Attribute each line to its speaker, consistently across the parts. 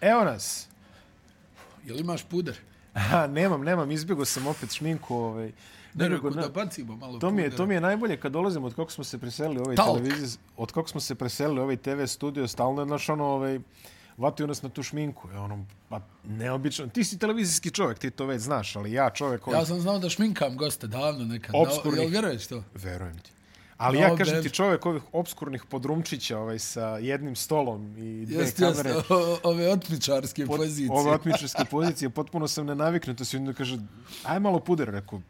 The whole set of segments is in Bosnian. Speaker 1: Evo nas.
Speaker 2: Jel imaš puder?
Speaker 1: Aha, nemam, nemam, izbjegao sam opet šminku. Ovaj.
Speaker 2: Ne,
Speaker 1: Nego,
Speaker 2: rekao
Speaker 1: na-
Speaker 2: da bacimo malo
Speaker 1: To mi, je,
Speaker 2: pudera.
Speaker 1: to mi je najbolje kad dolazimo od kako smo se preselili ovaj
Speaker 2: Talk.
Speaker 1: televizij, od kako smo se preselili ovaj TV studio, stalno je naš ono ovaj, vatio nas na tu šminku. Je ono, pa neobično. Ti si televizijski čovjek, ti to već znaš, ali ja čovjek koji...
Speaker 2: Ja sam znao da šminkam goste davno nekad.
Speaker 1: Obskurni.
Speaker 2: Da, jel vjeruješ to?
Speaker 1: Verujem ti. Ali
Speaker 2: No,
Speaker 1: ja kažem
Speaker 2: babe.
Speaker 1: ti čovjek ovih obskurnih podrumčića ovaj, sa jednim stolom i dve
Speaker 2: Jeste,
Speaker 1: kamere.
Speaker 2: jeste, o- ove otmičarske
Speaker 1: pot-
Speaker 2: pozicije.
Speaker 1: Ove otmičarske pozicije, potpuno sam nenaviknut. To si onda kaže, aj malo puder, rekao,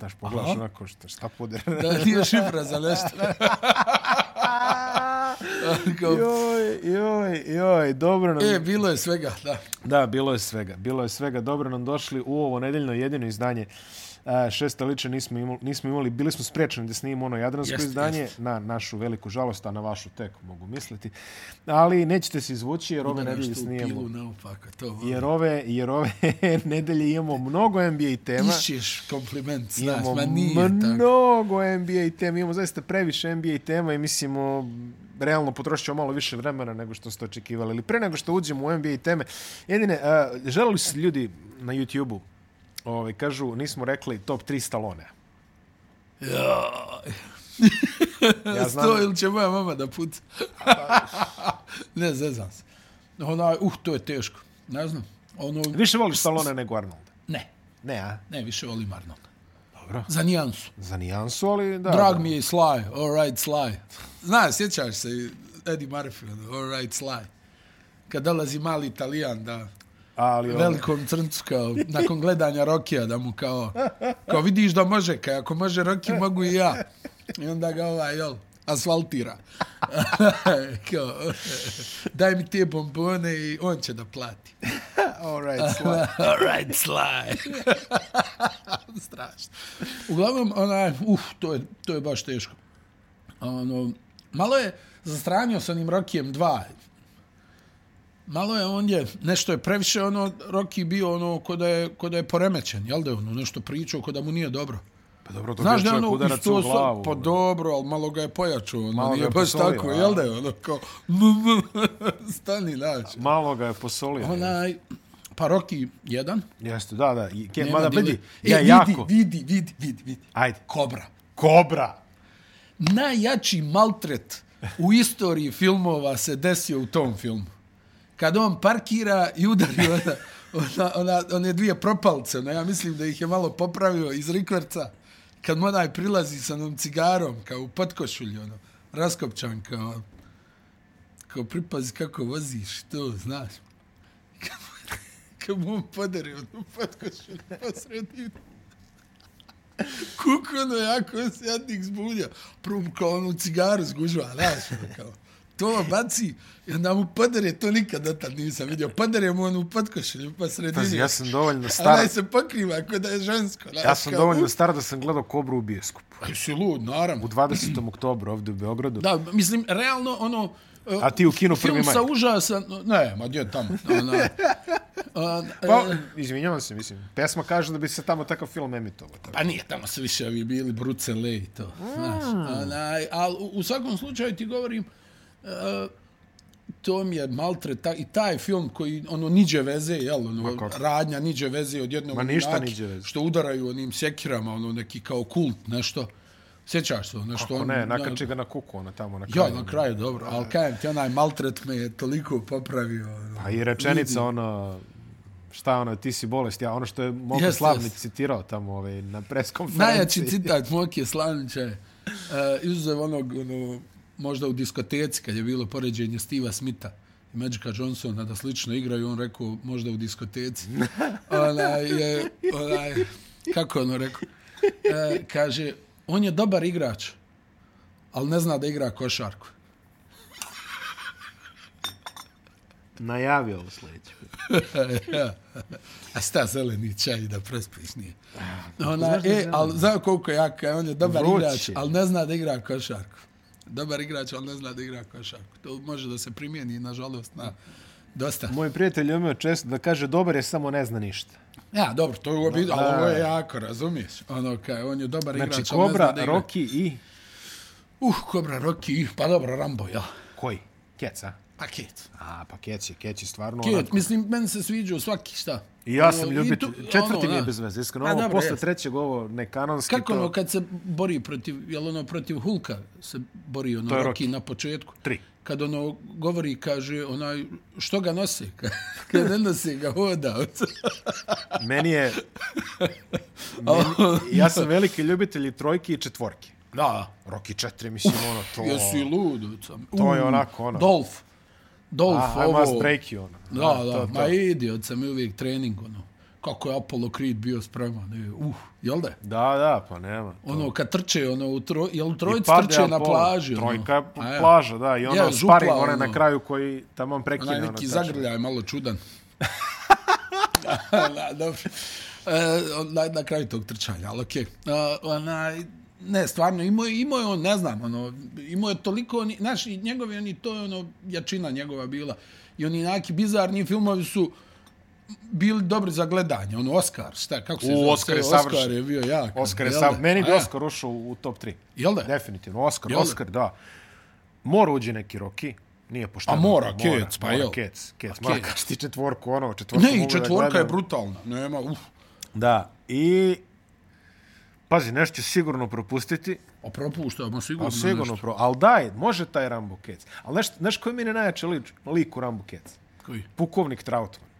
Speaker 1: daš pogledaš
Speaker 2: Aha.
Speaker 1: onako, šta, šta puder?
Speaker 2: Da nije šifra za nešto. Kao,
Speaker 1: joj, joj, joj, dobro nam...
Speaker 2: e, bilo je svega, da.
Speaker 1: Da, bilo je svega. Bilo je svega. Dobro nam došli u ovo nedeljno jedino izdanje. E, šesta liče nismo imali, nismo imali, bili smo sprečeni da snimimo ono jadransko
Speaker 2: Jeste,
Speaker 1: izdanje,
Speaker 2: jeste.
Speaker 1: na našu veliku žalost, a na vašu tek mogu misliti. Ali nećete se izvući jer ove
Speaker 2: Ima
Speaker 1: nedelje
Speaker 2: nešto u pilu
Speaker 1: snijemo.
Speaker 2: naopako, to. ono,
Speaker 1: Jer ove, jer ove nedelje imamo mnogo NBA tema.
Speaker 2: Išćeš kompliment s nas,
Speaker 1: Imamo
Speaker 2: ma nije tako.
Speaker 1: mnogo NBA tema, imamo zaista previše NBA tema i mislimo realno potrošit ćemo malo više vremena nego što ste očekivali. Ali pre nego što uđemo u NBA teme, jedine, uh, želeli su ljudi na YouTube-u, ovaj, kažu, nismo rekli top 3 stalone.
Speaker 2: Ja,
Speaker 1: Ja znam,
Speaker 2: to ili će moja mama da put. ne, zezam se. Ona, uh, to je teško. Ne znam. Ono,
Speaker 1: više voliš stalone nego Arnolda.
Speaker 2: ne,
Speaker 1: Ne, a?
Speaker 2: ne, više volim Arnolda.
Speaker 1: Dobro.
Speaker 2: Za nijansu.
Speaker 1: Za nijansu, ali da.
Speaker 2: Drag mi je i Sly, All Right Sly. Znaš, sjećaš se i Eddie Murphy, ono, All Right Sly. Kad dolazi mali Italijan da
Speaker 1: Ali, ono,
Speaker 2: velikom crncu kao, nakon gledanja Rokija da mu kao, kao vidiš da može, kao ako može Roki mogu i ja. I onda ga ovaj, jel, asfaltira. kao, daj mi te bombone i on će da plati.
Speaker 1: all right, sla-
Speaker 2: All right, Sly. Strašno. Uglavnom, onaj, uf, to je, to je baš teško. Ono, malo je zastranio sa onim Rokijem 2. Malo je on je, nešto je previše ono, Roki bio ono, ko da je, ko da je poremećen, jel da je ono, nešto pričao, ko da mu nije dobro.
Speaker 1: Pa dobro, to
Speaker 2: Znaš
Speaker 1: Znaš
Speaker 2: da je
Speaker 1: čovjek
Speaker 2: ono,
Speaker 1: udarac u
Speaker 2: isto sa-
Speaker 1: glavu. ono.
Speaker 2: pa dobro, ali malo ga je pojačao, ono,
Speaker 1: Malo ga
Speaker 2: nije
Speaker 1: je
Speaker 2: baš
Speaker 1: posolio,
Speaker 2: tako,
Speaker 1: a?
Speaker 2: jel da je ono, kao, stani, znaš.
Speaker 1: Malo ga je posolio.
Speaker 2: Onaj, pa Roki 1,
Speaker 1: Jeste, da, da. i- Ke,
Speaker 2: Nema
Speaker 1: mada
Speaker 2: dileme.
Speaker 1: vidi,
Speaker 2: E,
Speaker 1: ja
Speaker 2: vidi,
Speaker 1: jako.
Speaker 2: Vidi, vidi, vidi, vidi.
Speaker 1: Ajde.
Speaker 2: Kobra.
Speaker 1: Kobra.
Speaker 2: Najjači maltret u istoriji filmova se desio u tom filmu. Kad on parkira i udari ona, ona, ona, one dvije propalce, ona, ja mislim da ih je malo popravio iz rikverca, kad mu onaj prilazi sa onom cigarom, kao u potkošulju, ono, raskopčan, kao, kao pripazi kako voziš, to, znaš. Kad mu- Kad mu on podari onu potkošulju po sredini. Kukono ono, jako se jadnik zbunja. Prvo mu kao onu cigaru zgužva, znaš, ono kao. To baci i onda mu padare, to nikad dotad nisam vidio. Padare mu onu potkošulju po sredini.
Speaker 1: Pazi, ja sam dovoljno
Speaker 2: Stara...
Speaker 1: star.
Speaker 2: Onaj se pokriva kao da je žensko. znaš,
Speaker 1: Ja sam
Speaker 2: kao,
Speaker 1: dovoljno star da sam gledao Kobru u bioskopu.
Speaker 2: "Uf, Si lud, naravno.
Speaker 1: U 20. oktobru ovdje u Beogradu.
Speaker 2: Da, mislim, realno, ono... e,
Speaker 1: A ti u kinu
Speaker 2: film
Speaker 1: prvi maj.
Speaker 2: sa užasa... Ne, e, ma gdje tamo. Ona, ona,
Speaker 1: Pa, izvinjavam se, mislim. Pesma kaže da bi se tamo takav film emitovao. tako.
Speaker 2: Pa nije, tamo su više ovi bili Brucele i to. Znaš, onaj, ali u, u svakom slučaju ti govorim, uh, to mi je maltre, ta, i taj film koji, ono, niđe veze, jel, ono,
Speaker 1: kako?
Speaker 2: radnja niđe veze od jednog
Speaker 1: Ma ništa
Speaker 2: junaki
Speaker 1: niđe veze.
Speaker 2: Što udaraju onim sekirama, ono, neki kao kult, nešto. Sjećaš se, ono, što
Speaker 1: Ako
Speaker 2: on...
Speaker 1: ne, nakači ga na kuku, ona tamo na
Speaker 2: Ja,
Speaker 1: kraju.
Speaker 2: na kraju, dobro, ali kajem ti, onaj maltret me je toliko popravio. ono.
Speaker 1: Pa i rečenica, ona, šta ono, ti si bolest, ja, ono što je Moko
Speaker 2: Jeste,
Speaker 1: Slavnik
Speaker 2: jeste.
Speaker 1: citirao tamo ovaj, na preskonferenciji.
Speaker 2: Najjači citat Moke Slanića je, uh, izuzev onog, ono, možda u diskoteci, kad je bilo poređenje Steve'a Smitha i Magica Johnsona da slično igraju, on rekao, možda u diskoteci. onaj, je, onaj, kako je ono rekao? E, kaže, on je dobar igrač, ali ne zna da igra košarku.
Speaker 1: Najavio ovo sledeće.
Speaker 2: A sta zeleni čaj da prespiš nije. Ona, e, ali zna koliko je jaka, je, on je dobar
Speaker 1: Vruć
Speaker 2: igrač,
Speaker 1: je.
Speaker 2: ali ne zna da igra košarku. Dobar igrač, ali ne zna da igra košarku. To može da se primijeni, nažalost, na dosta.
Speaker 1: Moj prijatelj je umeo često da kaže, dobar je, samo ne zna ništa.
Speaker 2: Ja, dobro, to je uobiđeno,
Speaker 1: Da.
Speaker 2: ali ovo je jako, razumiješ? Ono, kaj, on je dobar
Speaker 1: e. Znači,
Speaker 2: igrač, ali ne zna
Speaker 1: Kobra,
Speaker 2: da igra.
Speaker 1: Rocky i...
Speaker 2: Uh, Kobra, Rocky, pa dobro, Rambo, ja.
Speaker 1: Koji? Kec, a?
Speaker 2: Paket.
Speaker 1: A, pa Kec je, Kec je stvarno... onako-
Speaker 2: Ket, mislim, meni se sviđao svaki šta.
Speaker 1: I ja sam
Speaker 2: Ono,
Speaker 1: ljubitelj.
Speaker 2: to-
Speaker 1: Četvrti
Speaker 2: ono,
Speaker 1: mi je
Speaker 2: da.
Speaker 1: bez veze, iskreno.
Speaker 2: A,
Speaker 1: Ovo,
Speaker 2: dobro,
Speaker 1: posle
Speaker 2: jeste.
Speaker 1: trećeg ovo nekanonski...
Speaker 2: Kako
Speaker 1: to...
Speaker 2: ono kad se bori protiv, jel ono protiv Hulka se bori ono
Speaker 1: To je
Speaker 2: Rocky
Speaker 1: Rocky.
Speaker 2: na početku.
Speaker 1: Tri.
Speaker 2: Kad ono govori, kaže, onaj, što ga nose? Kad ne nose ga hoda.
Speaker 1: Meni je... Meni,
Speaker 2: ono,
Speaker 1: ja sam veliki ljubitelj i trojki i četvorki.
Speaker 2: Da.
Speaker 1: Rocky 4, mislim, ono, to...
Speaker 2: Jesu i lud. Sam.
Speaker 1: To je onako, ono.
Speaker 2: Dolf. Dolf,
Speaker 1: Ah, I
Speaker 2: ovo.
Speaker 1: must break you, ono.
Speaker 2: Da,
Speaker 1: A,
Speaker 2: da,
Speaker 1: to, to.
Speaker 2: ma idi, od sam je uvijek trening, ono. Kako je Apollo Creed bio spreman, je, uh, jel da je?
Speaker 1: Da, da, pa nema.
Speaker 2: Ono, kad trče, ono, u tro, jel u
Speaker 1: I
Speaker 2: trojici
Speaker 1: pade
Speaker 2: trče na
Speaker 1: Apollo.
Speaker 2: plaži, ono.
Speaker 1: Trojka
Speaker 2: A ja,
Speaker 1: plaža, da, i ono
Speaker 2: Ja,
Speaker 1: ja,
Speaker 2: župla,
Speaker 1: sparing, onaj
Speaker 2: ono.
Speaker 1: na kraju koji tamo prekine.
Speaker 2: Onaj
Speaker 1: ono,
Speaker 2: neki
Speaker 1: tačno.
Speaker 2: zagrljaj, malo čudan. da, dobro. E, na, na kraju tog trčanja, ali okej. Okay. onaj, ne, stvarno, imao, je- imao je on, ne znam, ono, imao je toliko, oni- znaš, i njegovi, oni, to je ono, jačina njegova bila. I oni neki bizarni filmovi su bili dobri za gledanje, ono, Oscar, šta, kako se
Speaker 1: U,
Speaker 2: zove?
Speaker 1: Oscar je
Speaker 2: Oscar
Speaker 1: savršen.
Speaker 2: je bio jak.
Speaker 1: Oscar je
Speaker 2: jel
Speaker 1: sam...
Speaker 2: da?
Speaker 1: Meni bi
Speaker 2: A,
Speaker 1: Oscar ušao u top 3.
Speaker 2: Jel da?
Speaker 1: Definitivno, Oscar,
Speaker 2: Jel da?
Speaker 1: Oscar, da. Mora uđe neki Rocky, nije pošteno.
Speaker 2: A mora, Kec, pa
Speaker 1: mora,
Speaker 2: jel?
Speaker 1: Kec, Kec,
Speaker 2: A
Speaker 1: mora
Speaker 2: Kec.
Speaker 1: kaži ti četvorku, ono, četvorku
Speaker 2: Ne,
Speaker 1: mogu
Speaker 2: i
Speaker 1: da
Speaker 2: četvorka je
Speaker 1: gledam.
Speaker 2: brutalna, nema, uf,
Speaker 1: Da, i... Pazi, nešto ću sigurno propustiti.
Speaker 2: a propušta, ma sigurno,
Speaker 1: Pa sigurno,
Speaker 2: nešto.
Speaker 1: pro... ali daj, može taj Rambo Kec. Ali znaš, znaš koji mi je najjači lik, lik u Rambo Kec?
Speaker 2: Koji?
Speaker 1: Pukovnik Trautman.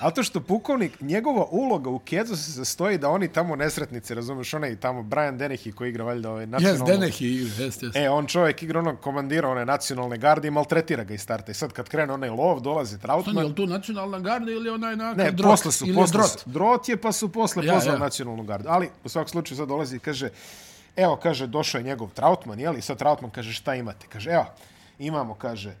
Speaker 1: Zato što pukovnik, njegova uloga u Kecu se sastoji da oni tamo nesretnici, razumeš, onaj tamo Brian Dennehy koji igra valjda ovaj
Speaker 2: Jes,
Speaker 1: nacionalno...
Speaker 2: Denehi igra, jes, jes.
Speaker 1: E, on čovjek igra onog komandira one nacionalne garde i maltretira ga iz starta. I sad kad krene onaj lov, dolazi
Speaker 2: Stani, je
Speaker 1: Trautman.
Speaker 2: li tu nacionalna garda ili onaj na
Speaker 1: Ne,
Speaker 2: drot?
Speaker 1: posle su,
Speaker 2: ili
Speaker 1: posle
Speaker 2: drot?
Speaker 1: su. Drot je, pa su posle
Speaker 2: Ja,
Speaker 1: ja, pozvali
Speaker 2: ja.
Speaker 1: nacionalnu gardu. Ali, u svakom slučaju, sad dolazi i kaže, evo, kaže, došao je njegov Trautman, jel? I sad Trautman kaže, šta imate? Kaže, evo, imamo, kaže,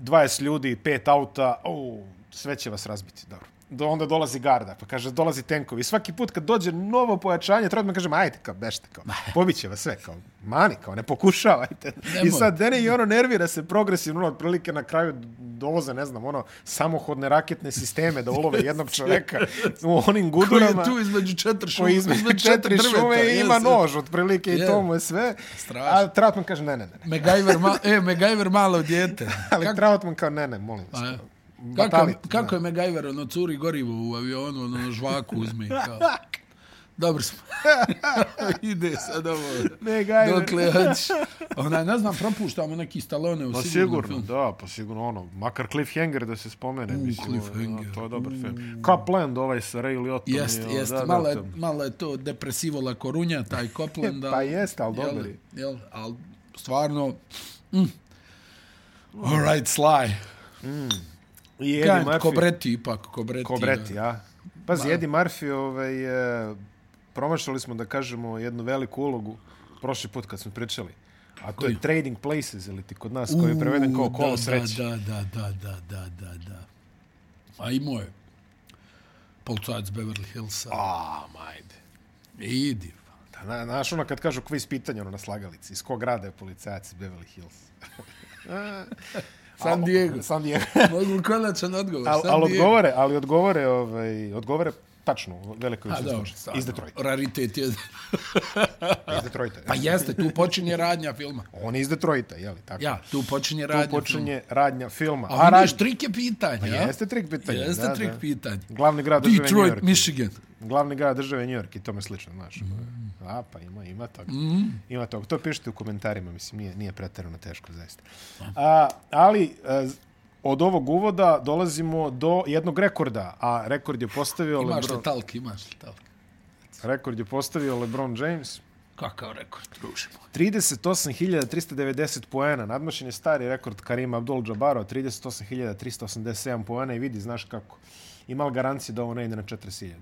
Speaker 1: 20 ljudi, pet auta, o, sve će vas razbiti, dobro. Do, onda dolazi garda, pa kaže, dolazi tenkovi. I svaki put kad dođe novo pojačanje, Trautman kaže, ma ajde, kao, bešte, kao, pobiće vas sve, kao, mani, kao, ne pokušavajte.
Speaker 2: Nemoj.
Speaker 1: I sad Dene i ono nervira se progresivno, ono, otprilike na kraju dovoze, ne znam, ono, samohodne raketne sisteme da ulove jednog čoveka u onim
Speaker 2: Koji je
Speaker 1: gudurama
Speaker 2: tu između četiri šume?
Speaker 1: koji između četiri šume i
Speaker 2: jes,
Speaker 1: ima
Speaker 2: jes.
Speaker 1: nož, otprilike, i
Speaker 2: Je.
Speaker 1: to mu je sve.
Speaker 2: Strašno.
Speaker 1: A Trautman kaže, ne, ne, ne.
Speaker 2: MacGyver, ma, e, MacGyver malo djete.
Speaker 1: Ali pa, Trautman kao, ne, ne, molim vas.
Speaker 2: A, ja. e, Kako,
Speaker 1: Batalit,
Speaker 2: je- kako je MacGyver, ono, curi gorivo u avionu, ono, žvaku uzme, kao. Dobro smo. Ide sad ovo.
Speaker 1: MacGyver.
Speaker 2: Dokle hoćeš. Onaj, ne znam, propuštamo neki Stallone u
Speaker 1: Pa
Speaker 2: sigurno,
Speaker 1: sigurno,
Speaker 2: film.
Speaker 1: da, pa sigurno ono. Makar Cliffhanger da se spomene.
Speaker 2: U,
Speaker 1: mislim, ono,
Speaker 2: Cliffhanger. Mm.
Speaker 1: To je dobar film. Copland ovaj sa Ray Liotom. i
Speaker 2: Jest,
Speaker 1: ovo,
Speaker 2: jest,
Speaker 1: ono, da, da,
Speaker 2: malo, je,
Speaker 1: to-
Speaker 2: malo je to depresivo La Korunja, taj Copland.
Speaker 1: Pa jest, ali dobar je.
Speaker 2: Jel, jel, ali stvarno... Mm. All right, Sly.
Speaker 1: I Eddie
Speaker 2: Kajem,
Speaker 1: Murphy.
Speaker 2: Kobreti ipak, Kobreti.
Speaker 1: Kobreti,
Speaker 2: da.
Speaker 1: ja. Pa Pazi, Eddie Murphy, ovaj, e, promašali smo da kažemo jednu veliku ulogu prošli put kad smo pričali. A to je Trading Places, ili ti kod nas, koji je preveden kao
Speaker 2: U,
Speaker 1: kolo
Speaker 2: da,
Speaker 1: sreće.
Speaker 2: Da, da, da, da, da, da, da. A imao je. Polcajac Beverly Hillsa.
Speaker 1: A, Ah, majde.
Speaker 2: Idi.
Speaker 1: Da, na, znaš ono kad kažu kviz pitanje ono na slagalici, iz kog grada je policajac iz Beverly Hills?
Speaker 2: San
Speaker 1: A,
Speaker 2: Diego.
Speaker 1: San Diego.
Speaker 2: Mogu konačan odgovor.
Speaker 1: Al,
Speaker 2: San
Speaker 1: ali
Speaker 2: Diego.
Speaker 1: odgovore, ali odgovore, ovaj, odgovore tačno, u velikoj
Speaker 2: A, dobro,
Speaker 1: većini slučaja. Iz
Speaker 2: stvarno,
Speaker 1: Detroita.
Speaker 2: Raritet je.
Speaker 1: Iz Detroita.
Speaker 2: Pa jeste, tu počinje radnja filma.
Speaker 1: On je iz Detroita, je li tako?
Speaker 2: Ja, tu počinje radnja
Speaker 1: tu
Speaker 2: filma.
Speaker 1: počinje radnja filma.
Speaker 2: A,
Speaker 1: radnja-
Speaker 2: vidiš, trik je pitanje, ja?
Speaker 1: Jeste trik pitanje.
Speaker 2: Jeste
Speaker 1: da,
Speaker 2: trik
Speaker 1: da.
Speaker 2: pitanje.
Speaker 1: Glavni grad države New
Speaker 2: Detroit,
Speaker 1: York.
Speaker 2: Michigan.
Speaker 1: Glavni grad države New York i tome slično, znaš.
Speaker 2: Mm.
Speaker 1: A, pa ima, ima toga. Mm. Ima toga. To pišite u komentarima, mislim, nije, nije pretarano teško, zaista. A, ali, e, z- od ovog uvoda dolazimo do jednog rekorda, a rekord je postavio
Speaker 2: Imaš li
Speaker 1: LeBron,
Speaker 2: talk, imaš li talk.
Speaker 1: rekord je postavio LeBron James.
Speaker 2: Kakav rekord, druže moj.
Speaker 1: 38.390 poena, nadmašen je stari rekord Karima Abdul-Jabara od 38.387 poena i vidi, znaš kako, imali garancije da ovo ne ide na 40.000.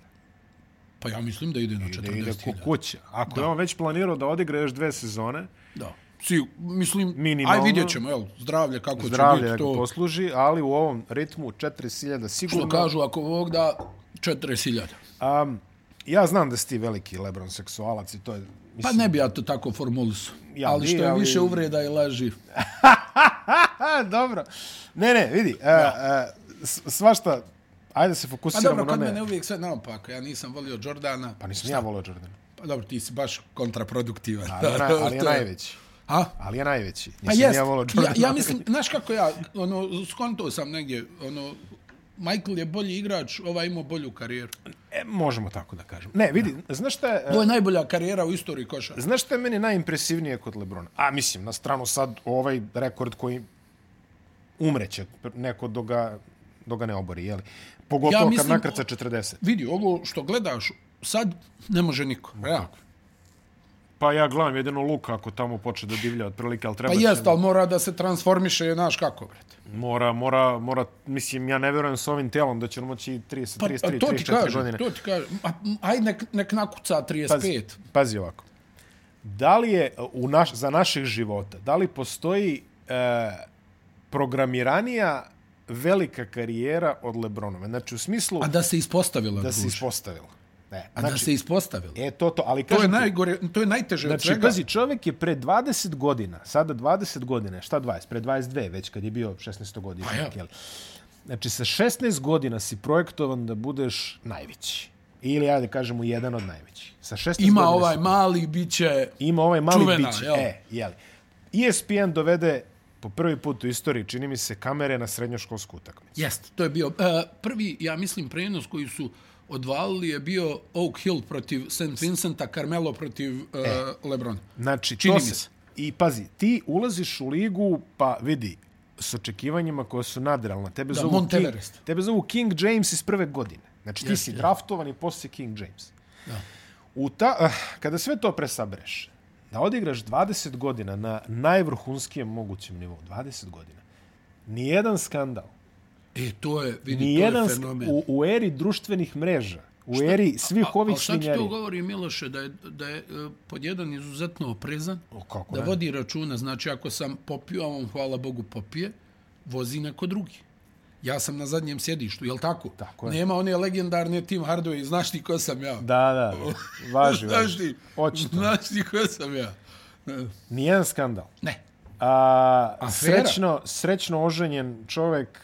Speaker 2: Pa ja mislim da ide na
Speaker 1: Da ide
Speaker 2: 40.000.
Speaker 1: ko kuća. Ako je on već planirao da odigra još dve sezone,
Speaker 2: Da. Si, mislim,
Speaker 1: Minimalno.
Speaker 2: aj vidjet ćemo, jel, zdravlje kako
Speaker 1: zdravlje
Speaker 2: će
Speaker 1: da
Speaker 2: biti
Speaker 1: ga
Speaker 2: to.
Speaker 1: posluži, ali u ovom ritmu 40.000 sigurno.
Speaker 2: Što kažu, ako Bog da, Pa 40.000.
Speaker 1: Um, ja znam da si ti veliki Lebron seksualac i to je...
Speaker 2: Pa
Speaker 1: Mislim,
Speaker 2: ne bi ja to tako formulisao.
Speaker 1: Ja
Speaker 2: ali
Speaker 1: bi,
Speaker 2: što je
Speaker 1: ali-
Speaker 2: više uvreda i laži.
Speaker 1: Aha, dobro. Ne, ne, vidi, uh, uh, s- svašta, ajde se
Speaker 2: Pa
Speaker 1: fokusiramo
Speaker 2: dobro, kod
Speaker 1: na ne.
Speaker 2: mene uvijek sve naopako. Ja nisam volio Jordana.
Speaker 1: Pa nisam ja volio Jordana.
Speaker 2: Pa dobro, ti si baš kontraproduktivan.
Speaker 1: Ali, je na, ali je
Speaker 2: To je-
Speaker 1: najveći.
Speaker 2: A?
Speaker 1: Ali je najveći.
Speaker 2: Pa
Speaker 1: Nisam
Speaker 2: jest.
Speaker 1: ja volao
Speaker 2: ja,
Speaker 1: Jordana.
Speaker 2: ja mislim, znaš kako ja, ono, skonto sam negdje, ono, Michael je bolji igrač, ovaj imao bolju karijeru.
Speaker 1: E, možemo tako da kažem. Ne, vidi, znaš šta je... e,
Speaker 2: To je najbolja karijera u istoriji košara.
Speaker 1: Znaš što je meni najimpresivnije kod Lebrona? A mislim, na stranu sad ovaj rekord koji umreće neko do ga, do ga ne obori, jeli? Pogotovo
Speaker 2: Ja
Speaker 1: ja
Speaker 2: mislim-
Speaker 1: kad nakrca 40.
Speaker 2: Vidi, ovo što gledaš sad, ne može niko. Ja.
Speaker 1: Pa ja gledam jedino Luka ako tamo počne da divlja otprilike, ali treba
Speaker 2: Pa jest, ali mora da se transformiše, znaš kako, brate.
Speaker 1: Mora, mora, mora, mislim, ja ne vjerujem s ovim telom da će on moći 30,
Speaker 2: Pa,
Speaker 1: 33,
Speaker 2: a to ti
Speaker 1: 34
Speaker 2: kaže,
Speaker 1: godine.
Speaker 2: to ti kaže. A, m, Ajde, nek, nek nakuca 35.
Speaker 1: Pazi, pazi ovako. Da li je uh, u naš, za naših života, da li postoji e, programiranija velika karijera od Lebronove? Znači, u smislu
Speaker 2: A da se ispostavila,
Speaker 1: da se
Speaker 2: druže.
Speaker 1: ispostavila. Ne,
Speaker 2: A
Speaker 1: znači,
Speaker 2: da se ispostavila.
Speaker 1: E, to to, ali
Speaker 2: To je,
Speaker 1: kažem ti,
Speaker 2: najgore, to je najteže od
Speaker 1: Znači,
Speaker 2: svega.
Speaker 1: pazi, čovjek je pre 20 godina, sada 20 godine, šta 20, pre 22 već kad je bio 16 godina.
Speaker 2: Pa ja.
Speaker 1: jel? Znači, sa 16 godina si projektovan da budeš najveći. Ili, ajde, kažemo, jedan od najvećih. Sa 16
Speaker 2: Ima
Speaker 1: godina
Speaker 2: ovaj
Speaker 1: si-
Speaker 2: mali, bit će...
Speaker 1: ima ovaj mali
Speaker 2: Čuvena,
Speaker 1: bić.
Speaker 2: jel?
Speaker 1: E, jeli. E ESPN dovede po prvi put u istoriji, čini mi se, kamere na srednjoškolsku utakmicu.
Speaker 2: Jest, to je bio... e, prvi, ja mislim, prenos koji su odvalili je bio Oak Hill protiv St. Vincenta, Carmelo protiv e, Lebrona.
Speaker 1: Znači,
Speaker 2: Čini
Speaker 1: to
Speaker 2: mi se.
Speaker 1: I pazi, ti ulaziš u ligu, pa vidi, s očekivanjima koja su nadrealna. Tebe,
Speaker 2: Da,
Speaker 1: zovu,
Speaker 2: Mount
Speaker 1: King,
Speaker 2: Everest.
Speaker 1: tebe zovu King James iz prve godine. Znači, ti si draftovan i poslije King James.
Speaker 2: Da.
Speaker 1: U ta, eh, kada sve to presabereš, da odigraš 20 godina na najvrhunskijem mogućem nivou, 20 godina, nijedan skandal,
Speaker 2: E, to je, vidi,
Speaker 1: Ni
Speaker 2: to
Speaker 1: jedan
Speaker 2: je fenomen.
Speaker 1: u, u eri društvenih mreža, u Šta? eri svih ovih
Speaker 2: ali sad ti
Speaker 1: svinjari.
Speaker 2: to govori, Miloše, da je, da je e, pod jedan izuzetno oprezan,
Speaker 1: O, kako
Speaker 2: da
Speaker 1: ne?
Speaker 2: vodi računa. Znači, ako sam popio, a on, hvala Bogu, popije, vozi neko drugi. Ja sam na zadnjem sjedištu, jel tako?
Speaker 1: Tako je.
Speaker 2: Nema one legendarne Tim Hardaway, znaš ti ko sam ja?
Speaker 1: Da, da, važi,
Speaker 2: znaš
Speaker 1: važi.
Speaker 2: ti,
Speaker 1: Očito.
Speaker 2: znaš ti ko sam ja? E,
Speaker 1: Nijedan skandal.
Speaker 2: Ne,
Speaker 1: A,
Speaker 2: Afera?
Speaker 1: srećno, srećno oženjen čovek,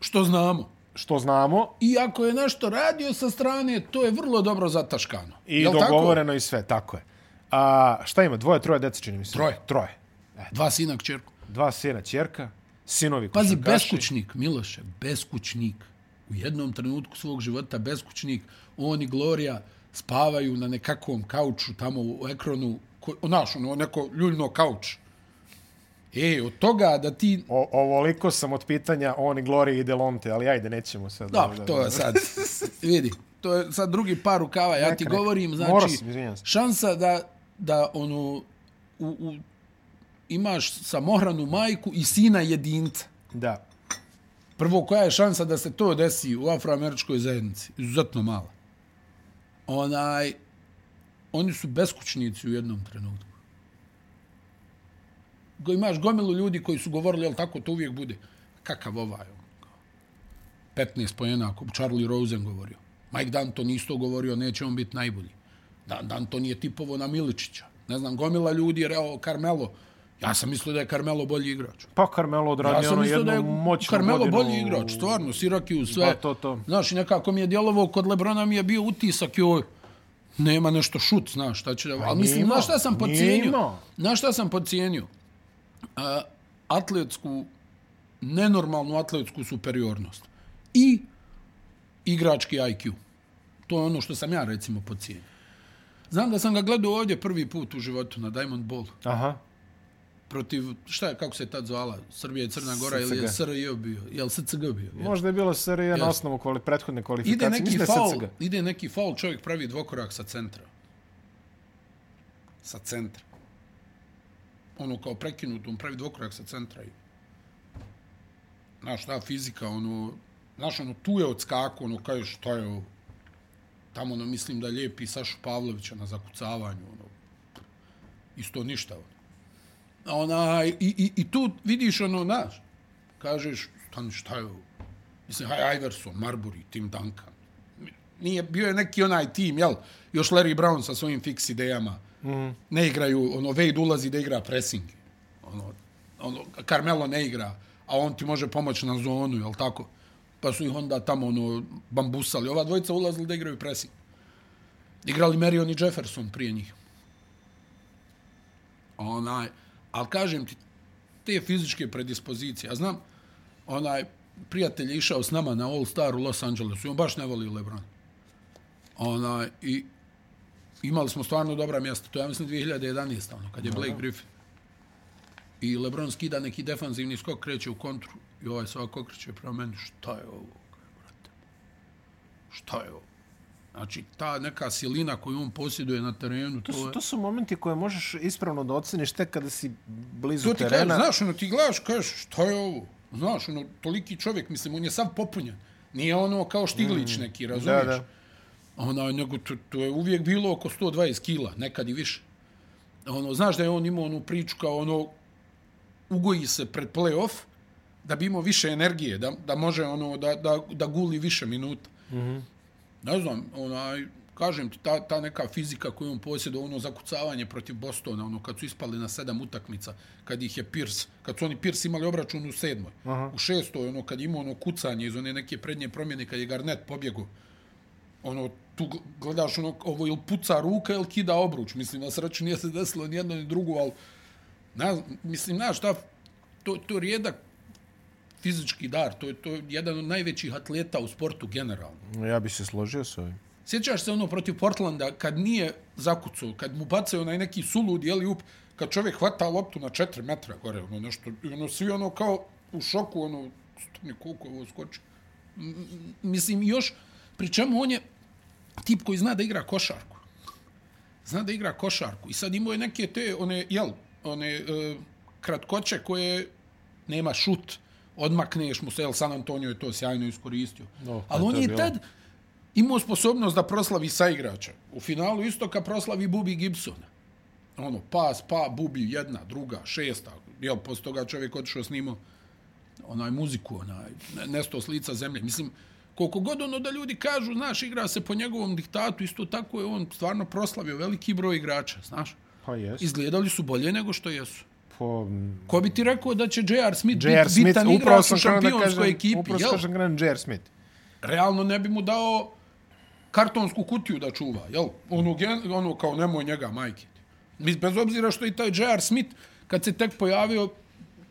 Speaker 2: što znamo.
Speaker 1: što znamo,
Speaker 2: I ako je nešto radio sa strane, to je vrlo dobro zataškano.
Speaker 1: i
Speaker 2: Jel tako?
Speaker 1: dogovoreno i sve, tako je. A, šta ima, dvoje, troje dece čini mi se?
Speaker 2: Troje.
Speaker 1: Troje.
Speaker 2: E, Dva sina kćerku.
Speaker 1: Dva sina, čerka, sinovi
Speaker 2: Pazi,
Speaker 1: košarkaši.
Speaker 2: beskućnik, Miloše, beskućnik. U jednom trenutku svog života beskućnik, on i Gloria spavaju na nekakvom kauču tamo u ekronu, ko, naš, ono, neko ljuljno kauč. E, od toga da ti...
Speaker 1: O, ovoliko sam od pitanja on i Gloria i Delonte, ali ajde, nećemo sad.
Speaker 2: Dobro, to je sad, vidi, to je sad drugi par rukava, ja ti
Speaker 1: Neka, neka.
Speaker 2: govorim,
Speaker 1: Morao
Speaker 2: znači,
Speaker 1: sam, izvinjam se.
Speaker 2: šansa da, da ono, u, u, imaš samohranu majku i sina jedinca.
Speaker 1: Da.
Speaker 2: Prvo, koja je šansa da se to desi u afroameričkoj zajednici? Izuzetno mala. Onaj, oni su beskućnici u jednom trenutku. Go, imaš gomilu ljudi koji su govorili, jel tako, to uvijek bude. Kakav ovaj? on, kao, 15 pojena, ako bi Charlie Rosen govorio. Mike Danton isto govorio, neće on biti najbolji. Da, Danton je tipovo na Miličića. Ne znam, gomila ljudi je reo Carmelo. Ja sam mislio da je Carmelo bolji igrač.
Speaker 1: Pa Carmelo
Speaker 2: Ja
Speaker 1: odradio
Speaker 2: sam
Speaker 1: ono
Speaker 2: mislio
Speaker 1: jednu
Speaker 2: da je
Speaker 1: moćnu
Speaker 2: Carmelo
Speaker 1: godinu.
Speaker 2: bolji igrač, stvarno, Sirakiju sve.
Speaker 1: Da, pa to, to.
Speaker 2: Znaš, i nekako mi je djelovao, kod Lebrona mi je bio utisak, joj, nema nešto šut, znaš, šta će da... Ali
Speaker 1: nije
Speaker 2: mislim,
Speaker 1: imao,
Speaker 2: znaš šta sam
Speaker 1: nije
Speaker 2: podcijenio?
Speaker 1: imao.
Speaker 2: Znaš šta sam podcijenio? A, atletsku, nenormalnu atletsku superiornost. I igrački IQ. To je ono što sam ja, recimo, podcijenio. Znam da sam ga gledao ovdje prvi put u životu na Diamond Ballu
Speaker 1: Aha.
Speaker 2: protiv, šta je, kako se je tad zvala, Srbija i Crna Gora ili je
Speaker 1: SCG.
Speaker 2: SRJ bio, je li SCG bio? Je.
Speaker 1: Možda je bilo SRJ na osnovu kvali, prethodne kvalifikacije.
Speaker 2: Ide neki,
Speaker 1: Mislim da je
Speaker 2: faul,
Speaker 1: SCG.
Speaker 2: ide neki faul, čovjek pravi dvokorak sa centra. Sa centra. Ono kao prekinut, on pravi dvokorak sa centra. i- Znaš, ta fizika, ono, znaš, ono, tu je odskaku, ono, kao šta je ovo? Tamo, ono, mislim da lijepi Sašu Pavlovića na zakucavanju, ono, isto ništa, ono. A Ona, i, i, i tu vidiš, ono, znaš, kažeš, stani, šta je ovo? Mislim, Haj Iverson, Marbury, Tim Duncan. Nije, bio je neki onaj tim, jel? Još Larry Brown sa svojim fiks idejama. Mm. Ne igraju, ono, Wade ulazi da igra pressing. Ono, ono, Carmelo ne igra, a on ti može pomoći na zonu, jel tako? Pa su ih onda tamo, ono, bambusali. Ova dvojica ulazili da igraju pressing. Igrali Marion i Jefferson prije njih. Onaj, Ali kažem ti, te fizičke predispozicije, ja znam, onaj prijatelj je išao s nama na All Star u Los Angelesu i on baš ne voli Lebron. Onaj, i imali smo stvarno dobra mjesta. To je, ja mislim, 2011. Ono, kad je Blake Griffin. I Lebron skida neki defanzivni skok, kreće u kontru. I ovaj se ovako okreće prema meni, šta je ovo? Kaj, brate? Šta je ovo? Znači, ta neka silina koju on posjeduje na terenu, to,
Speaker 1: To
Speaker 2: je...
Speaker 1: su, to su momenti koje možeš ispravno da oceniš tek kada si blizu
Speaker 2: To ti kažeš,
Speaker 1: terena.
Speaker 2: znaš, ono, ti gledaš, kažeš, šta je ovo? Znaš, ono, toliki čovjek, mislim, on je sav popunjen. Nije ono kao Štiglić neki, razumiješ?
Speaker 1: Mm. da.
Speaker 2: Ona, nego to, to je uvijek bilo oko 120 kila, nekad i više. Ono, znaš da je on imao onu priču kao ono, ugoji se pred play-off, da bi imao više energije, da, da može ono, da, da, da guli više minuta. Mm Ne znam, onaj, kažem ti, ta, ta neka fizika koju on posjeda, ono zakucavanje protiv Bostona, ono kad su ispali na sedam utakmica, kad ih je Pierce, kad su oni Pierce imali obračun u sedmoj, Aha. u šestoj, ono kad ima ono kucanje iz one neke prednje promjene, kad je Garnett pobjegao, ono, tu gl- gledaš ono, ovo ili puca ruka ili kida obruč. Mislim, na sreću nije se desilo ni jedno ni drugo, ali, na, mislim, znaš, ta, to, to je rijedak fizički dar, to je, to je jedan od najvećih atleta u sportu generalno.
Speaker 1: Ja bi se složio s ovim.
Speaker 2: Sjećaš se ono protiv Portlanda kad nije zakucao, kad mu bacaju onaj neki sulud, jeli up, kad čovjek hvata loptu na 4 metra gore, ono nešto, i ono svi ono kao u šoku, ono, stani koliko je ovo skoči. M- m- Mislim, još, pri čemu on je tip koji zna da igra košarku. Zna da igra košarku. I sad imao je neke te, one, jel, one e, kratkoće koje nema šut, odmakneš mu se, jel, San Antonio je to sjajno iskoristio.
Speaker 1: No, e,
Speaker 2: Ali
Speaker 1: to
Speaker 2: on
Speaker 1: je
Speaker 2: je
Speaker 1: bilo.
Speaker 2: tad, imao sposobnost da proslavi sa igrača. U finalu istoka proslavi Bubi Gibsona. Ono, pas, pa, Bubi, jedna, druga, šesta. Jel, posle toga čovjek otišao snimao onaj muziku, onaj, ne- nesto s lica zemlje. Mislim, koliko god ono da ljudi kažu, znaš, igra se po njegovom diktatu, isto tako je on stvarno proslavio veliki broj igrača, znaš.
Speaker 1: Pa jes.
Speaker 2: Izgledali su bolje nego što jesu.
Speaker 1: Po...
Speaker 2: Ko bi ti rekao da će J.R. Smith
Speaker 1: J.R.
Speaker 2: biti
Speaker 1: Smith,
Speaker 2: bitan
Speaker 1: upravo
Speaker 2: igrač u
Speaker 1: sam krenuo da
Speaker 2: šampionskoj
Speaker 1: kažem,
Speaker 2: ekipi?
Speaker 1: upravo
Speaker 2: jel?
Speaker 1: sam kažem krenuo J.R. Smith.
Speaker 2: realno ne bi mu dao kartonsku kutiju da čuva, jel? Ono, gen, ono kao nemoj njega, majke. ti. Mis- Bez obzira što i taj J.R. Smith, kad se tek pojavio,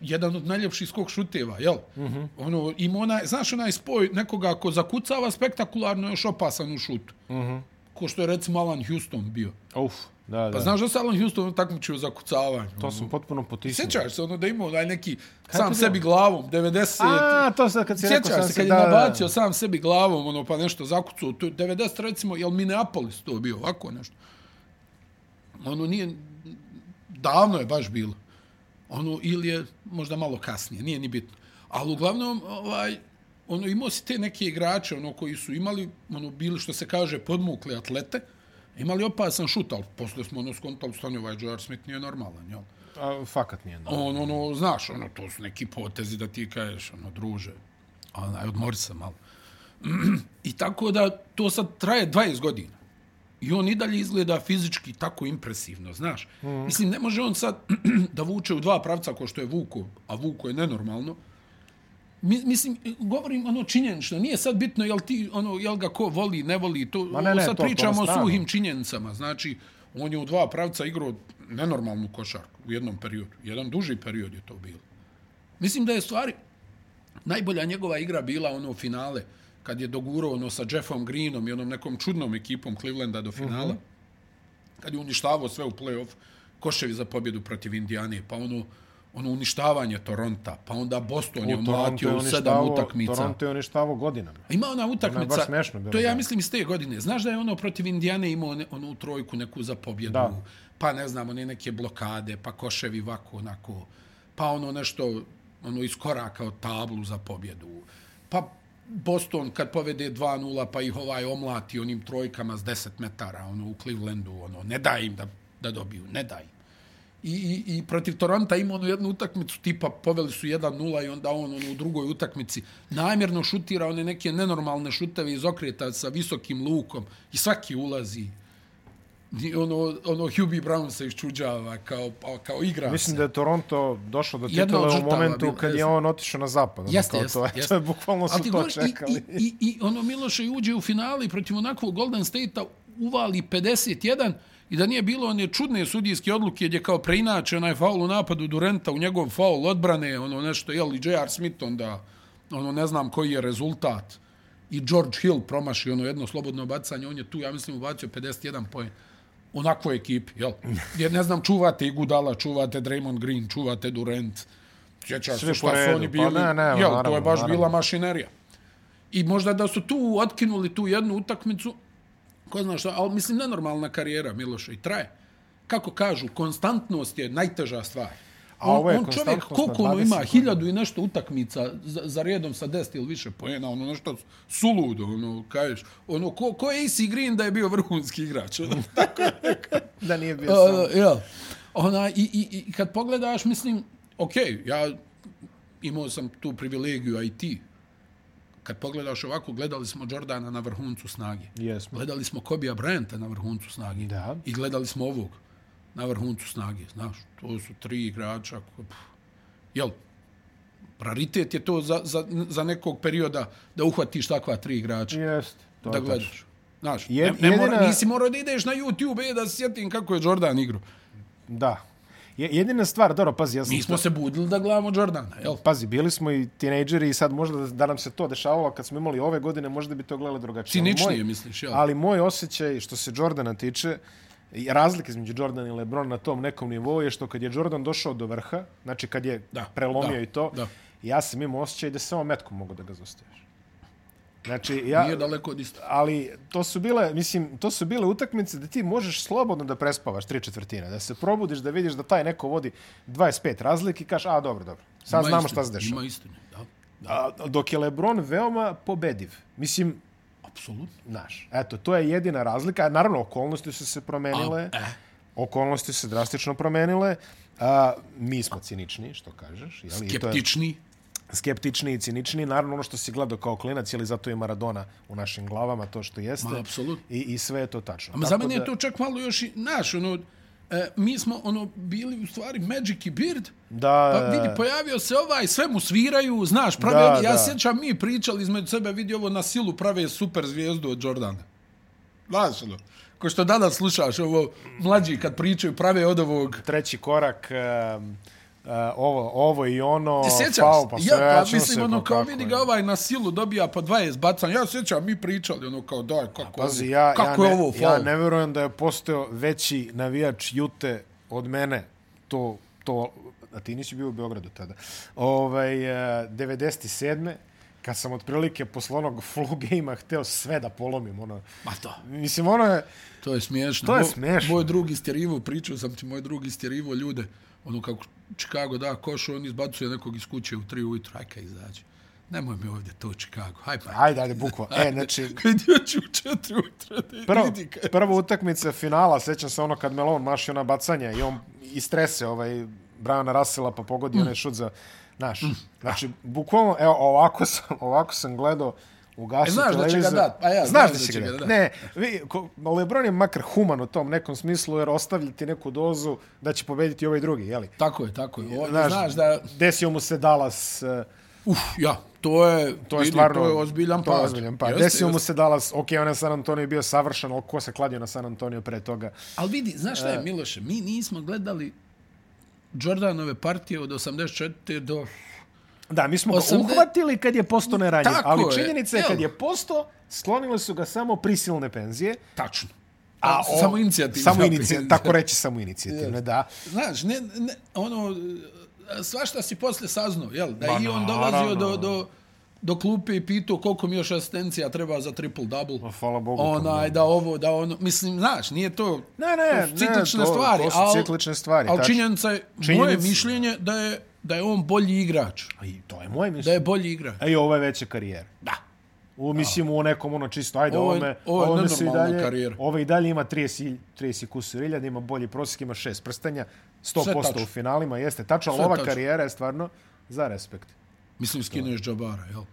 Speaker 2: jedan od najljepših skok šuteva, jel?
Speaker 1: Mhm.
Speaker 2: Ono, ima onaj, znaš onaj spoj nekoga ko zakucava spektakularno je još opasan u šutu.
Speaker 1: Mhm.
Speaker 2: Ko što je recimo Alan Houston bio.
Speaker 1: Uf, da, da.
Speaker 2: Pa znaš da se Alan Houston takmičio u zakucavanju?
Speaker 1: To sam potpuno potisnuo.
Speaker 2: Sjećaš se ono da ima onaj neki sam
Speaker 1: to
Speaker 2: sebi glavom, 90...
Speaker 1: A, to sad kad si rekao sam
Speaker 2: Sjećaš se
Speaker 1: se,
Speaker 2: kad je
Speaker 1: da, da, da.
Speaker 2: nabacio sam sebi glavom, ono, pa nešto zakucao, tu 90 recimo, jel Minneapolis to bio, ovako nešto. Ono nije, davno je baš bilo. Ono, ili je možda malo kasnije, nije ni bitno. Ali uglavnom, ovaj, ono, imao si te neke igrače, ono, koji su imali, ono, bili, što se kaže, podmukli atlete, imali opasan šut, ali posle smo, ono, skontali, stani, ovaj J.R. Smith nije normalan, jel?
Speaker 1: A, fakat nije. Da.
Speaker 2: on, ono, znaš, ono, to su neki potezi da ti kažeš, ono, druže, onaj, odmori se malo. I tako da to sad traje 20 godina. I on i dalje izgleda fizički tako impresivno, znaš.
Speaker 1: Mhm.
Speaker 2: Mm. Mislim, ne može on sad da vuče u dva pravca ko što je Vuko, a Vuko je nenormalno. Mi, mislim, govorim ono činjenično, nije sad bitno jel, ti, ono, jel ga ko voli, ne voli, to,
Speaker 1: ne,
Speaker 2: ovo
Speaker 1: ne,
Speaker 2: sad
Speaker 1: to- to na
Speaker 2: pričamo o
Speaker 1: stranu.
Speaker 2: suhim činjenicama. Znači, on je u dva pravca igrao nenormalnu košarku u jednom periodu. Jedan duži period je to bilo. Mislim da je stvari, najbolja njegova igra bila ono finale, kad je dogurao ono sa Jeffom Greenom i onom nekom čudnom ekipom Clevelanda do finala, kad je uništavao sve u play-off, koševi za pobjedu protiv Indijane, pa ono, ono uništavanje Toronta, pa onda Boston je omlatio u sedam utakmica.
Speaker 1: Toronto je uništavao godinama.
Speaker 2: Ima ona utakmica,
Speaker 1: baš smiješno bilo,
Speaker 2: to je, ja
Speaker 1: da.
Speaker 2: mislim iz te godine. Znaš da je ono protiv Indijane imao one, onu trojku neku za pobjedu,
Speaker 1: Da.
Speaker 2: pa ne znam, one neke blokade, pa koševi vako onako, pa ono nešto ono iskoraka od tablu za pobjedu. Pa Boston kad povede 2-0 pa ih ovaj omlati onim trojkama s 10 metara ono u Clevelandu, ono ne daj im da, da dobiju, ne daj im. I, i, i protiv Toronta ima onu jednu utakmicu tipa poveli su 1-0 i onda on ono, u drugoj utakmici namjerno šutira one neke nenormalne šuteve iz okreta sa visokim lukom i svaki ulazi. I ono, ono Hubie Brown se iščuđava kao, pa- kao igra
Speaker 1: Mislim
Speaker 2: se.
Speaker 1: da je Toronto došao do
Speaker 2: Jedna od
Speaker 1: titule u
Speaker 2: žrtava
Speaker 1: momentu
Speaker 2: bila,
Speaker 1: kad je
Speaker 2: jeste.
Speaker 1: on otišao na zapad. ono,
Speaker 2: Jeste,
Speaker 1: kao
Speaker 2: jeste,
Speaker 1: to, je-
Speaker 2: jeste.
Speaker 1: To je bukvalno su
Speaker 2: Ali ti
Speaker 1: to
Speaker 2: govoriš,
Speaker 1: čekali.
Speaker 2: I, i, i, i ono Miloše uđe u finali protiv onakvog Golden State-a, uvali 51 I da nije bilo one čudne sudijske odluke gdje kao preinače onaj faul u napadu Durenta u njegov faul odbrane, ono nešto, jel, i J.R. Smith onda, ono ne znam koji je rezultat. I George Hill promaši ono jedno slobodno bacanje, on je tu, ja mislim, ubacio 51 poen. Onako ekipi, jel? Jer ne znam, čuvate i Gudala, čuvate Draymond Green, čuvate Durant. Sjećaš
Speaker 1: Sve
Speaker 2: se
Speaker 1: po
Speaker 2: šta
Speaker 1: redu,
Speaker 2: su oni
Speaker 1: pa
Speaker 2: bili.
Speaker 1: ne, ne,
Speaker 2: jel, to
Speaker 1: naravno,
Speaker 2: je baš
Speaker 1: naravno.
Speaker 2: bila mašinerija. I možda da su tu otkinuli tu jednu utakmicu, ko zna šta, ali mislim nenormalna karijera Miloša i traje. Kako kažu, konstantnost je najteža stvar.
Speaker 1: A
Speaker 2: On,
Speaker 1: ovo je
Speaker 2: on čovjek
Speaker 1: konstantnost na
Speaker 2: koliko ono
Speaker 1: 20
Speaker 2: ima,
Speaker 1: godina.
Speaker 2: hiljadu i nešto utakmica za, za redom sa 10 ili više pojena, ono nešto suludo, ono, kažeš, ono, ko, ko je AC Green da je bio vrhunski igrač? Ono,
Speaker 1: Da nije bio sam.
Speaker 2: Uh, ja. Ona, i, i, I kad pogledaš, mislim, ok, ja imao sam tu privilegiju, a i ti. Kad pogledaš ovako, gledali smo Jordana na vrhuncu snage.
Speaker 1: Jesmo.
Speaker 2: Gledali smo Kobija Bryanta na vrhuncu snage.
Speaker 1: Da.
Speaker 2: I gledali smo ovog na vrhuncu snage. Znaš, to su tri igrača. Ko, pff, jel, raritet je to za, za, za nekog perioda da uhvatiš takva tri igrača
Speaker 1: Jeste. To
Speaker 2: da
Speaker 1: je tačno.
Speaker 2: gledaš. Znaš, ne,
Speaker 1: Jed-
Speaker 2: ne jedina...
Speaker 1: jedina-
Speaker 2: mora, nisi morao da ideš na YouTube e, da se sjetim kako je Jordan igrao.
Speaker 1: Da. Je- Jedina stvar, dobro, pazi, ja sam...
Speaker 2: Mi smo se budili da gledamo Jordana, jel?
Speaker 1: Pazi, bili smo i tinejdžeri i sad možda da, da nam se to dešavalo kad smo imali ove godine, možda bi to gledali drugačije. Ali
Speaker 2: Ciničnije,
Speaker 1: moj-
Speaker 2: misliš, jel?
Speaker 1: Ali moj osjećaj što se Jordana tiče, i razlika između Jordana i Lebrona na tom nekom nivou je što kad je Jordan došao do vrha, znači kad je
Speaker 2: Da,
Speaker 1: prelomio
Speaker 2: da,
Speaker 1: i to,
Speaker 2: da.
Speaker 1: ja sam imao osjećaj da samo metkom mogu da ga zaustaviš. Znači, ja,
Speaker 2: Nije daleko od isto.
Speaker 1: ali to su bile, mislim, to su bile utakmice da ti možeš slobodno da prespavaš tri četvrtine, da se probudiš, da vidiš da taj neko vodi 25 razlik i kaš, a dobro, dobro, sad
Speaker 2: Ima
Speaker 1: znamo
Speaker 2: istine,
Speaker 1: šta se dešava.
Speaker 2: Ima istine, da.
Speaker 1: A, dok je Lebron veoma pobediv. Mislim,
Speaker 2: Apsolutno.
Speaker 1: znaš, eto, to je jedina razlika. Naravno, okolnosti su se promenile.
Speaker 2: A, e.
Speaker 1: Okolnosti su se drastično promenile. A, mi smo cinični, što kažeš. Jeli? I to je-
Speaker 2: Skeptični.
Speaker 1: skeptični i cinični. Naravno, ono što si gledao kao klinac, jeli zato je Maradona u našim glavama, to što jeste.
Speaker 2: Ma, apsolutno.
Speaker 1: I, I sve je to tačno.
Speaker 2: Ma za
Speaker 1: Tako
Speaker 2: mene
Speaker 1: da-
Speaker 2: je to čak malo još i, znaš, ono, e, mi smo ono bili u stvari Magic i Beard,
Speaker 1: Da,
Speaker 2: Pa vidi, pojavio se ovaj, sve mu sviraju, znaš, prave,
Speaker 1: Da,
Speaker 2: da, ja
Speaker 1: da.
Speaker 2: sjećam mi pričali između sebe, vidi ovo na silu prave super zvijezdu od Jordana. Znaš, ono, ko što danas slušaš ovo, mlađi kad pričaju prave od ovog,
Speaker 1: treći korak, um, uh, ovo, ovo i ono,
Speaker 2: Ti sjećaš?
Speaker 1: faul, pa sve,
Speaker 2: ja,
Speaker 1: ja
Speaker 2: pa
Speaker 1: ću se,
Speaker 2: mislim, ono,
Speaker 1: pa
Speaker 2: kao
Speaker 1: kako
Speaker 2: vidi
Speaker 1: je.
Speaker 2: ga ovaj na silu dobija po 20 bacanja. Ja sjećam, mi pričali, ono, kao, daj, kako,
Speaker 1: Pa Pazi,
Speaker 2: ovo-
Speaker 1: ja,
Speaker 2: kako
Speaker 1: ja,
Speaker 2: je ovo
Speaker 1: ne, ja
Speaker 2: faul?
Speaker 1: ne verujem da je postao veći navijač Jute od mene. To, to, a ti nisi bio u Beogradu tada. Ovaj, eh, 97. kad sam otprilike posle onog flow game-a hteo sve da polomim. Ono.
Speaker 2: Ma to,
Speaker 1: Mislim, ono je...
Speaker 2: to je smiješno.
Speaker 1: To je
Speaker 2: Mo-
Speaker 1: smiješno.
Speaker 2: Moj drug istjerivo, pričao sam ti, moj drug istjerivo ljude, ono, kako Chicago da koš, on izbacuje nekog iz kuće u 3 ujutro, aj kaj izađe. Nemoj mi ovdje to Chicago, aj pa.
Speaker 1: Ajde, ajde, bukva. E, znači,
Speaker 2: Vidio ću u 4 ujutro, da
Speaker 1: prvo,
Speaker 2: vidi kaj.
Speaker 1: prva utakmica finala, sećam se ono kad Melon maši ona bacanja i on istrese ovaj Brana Rasela pa pogodi onaj šut za naš.
Speaker 2: Mm.
Speaker 1: Znači, bukvalno, evo, ovako sam, ovako sam gledao ugasio
Speaker 2: E, znaš da će ga
Speaker 1: televizor.
Speaker 2: dat, a ja,
Speaker 1: znaš da će ga dat.
Speaker 2: dat.
Speaker 1: Ne, vi, ko, Lebron je makar human u tom nekom smislu, jer ostavlja ti neku dozu da će pobediti ovaj drugi, jeli?
Speaker 2: Tako je, tako je. O, znaš, znaš da,
Speaker 1: Desio mu se Dallas, eh,
Speaker 2: uf, ja, to je,
Speaker 1: to je
Speaker 2: vidi,
Speaker 1: stvarno...
Speaker 2: to je ozbiljan pad.
Speaker 1: To je ozbiljan pad.
Speaker 2: Jeste,
Speaker 1: Desio mu
Speaker 2: jeste.
Speaker 1: se Dallas, ok, on je San Antonio bio savršen, ali ko se kladio na San Antonio pre toga?
Speaker 2: Ali vidi, znaš šta
Speaker 1: E.
Speaker 2: je, Miloše, mi nismo gledali Jordanove partije od 84. do...
Speaker 1: Da, mi smo ga
Speaker 2: Osamde-
Speaker 1: uhvatili kad je posto neranjiv,
Speaker 2: Tako
Speaker 1: ali
Speaker 2: je,
Speaker 1: činjenica je
Speaker 2: jel?
Speaker 1: kad je posto, sklonile su ga samo prisilne penzije.
Speaker 2: Tačno. A,
Speaker 1: o-
Speaker 2: samo inicijativno.
Speaker 1: Samo inicijativno, tako reći samo inicijativne, da.
Speaker 2: Znaš, ne, ne, ono, e, svašta si posle saznao, jel? Da
Speaker 1: Ma,
Speaker 2: i on
Speaker 1: naravno.
Speaker 2: dolazio do, do, do klupe i pitao koliko mi još asistencija treba za triple-double.
Speaker 1: Ma, hvala Bogu,
Speaker 2: Onaj,
Speaker 1: to
Speaker 2: da ovo, da ono. Mislim, znaš, nije to...
Speaker 1: Ne, ne,
Speaker 2: to su
Speaker 1: ne,
Speaker 2: ciklične
Speaker 1: to- to
Speaker 2: stvari.
Speaker 1: su
Speaker 2: al-
Speaker 1: ciklične stvari,
Speaker 2: Al
Speaker 1: tačno.
Speaker 2: činjenica je, moje
Speaker 1: Činjenica-
Speaker 2: mišljenje da je, da je on bolji igrač.
Speaker 1: I to je moje
Speaker 2: Da
Speaker 1: mišljenje.
Speaker 2: je bolji igrač.
Speaker 1: Da je... E, i ovo je veća karijera.
Speaker 2: Da.
Speaker 1: U, mislim, u nekom ono čisto, ajde,
Speaker 2: Ovo je-
Speaker 1: ovome,
Speaker 2: ovo je
Speaker 1: ovome su i
Speaker 2: nenormalna
Speaker 1: dalje,
Speaker 2: karijera.
Speaker 1: ovo i dalje ima 30, i- 30 kusur iljada, ima bolji prosjek, ima šest prstenja,
Speaker 2: Sve
Speaker 1: 100%
Speaker 2: tačno.
Speaker 1: u finalima, jeste tačno, ali
Speaker 2: Sve
Speaker 1: ova
Speaker 2: tačno.
Speaker 1: karijera je stvarno za respekt.
Speaker 2: Mislim, skineš džabara, jel?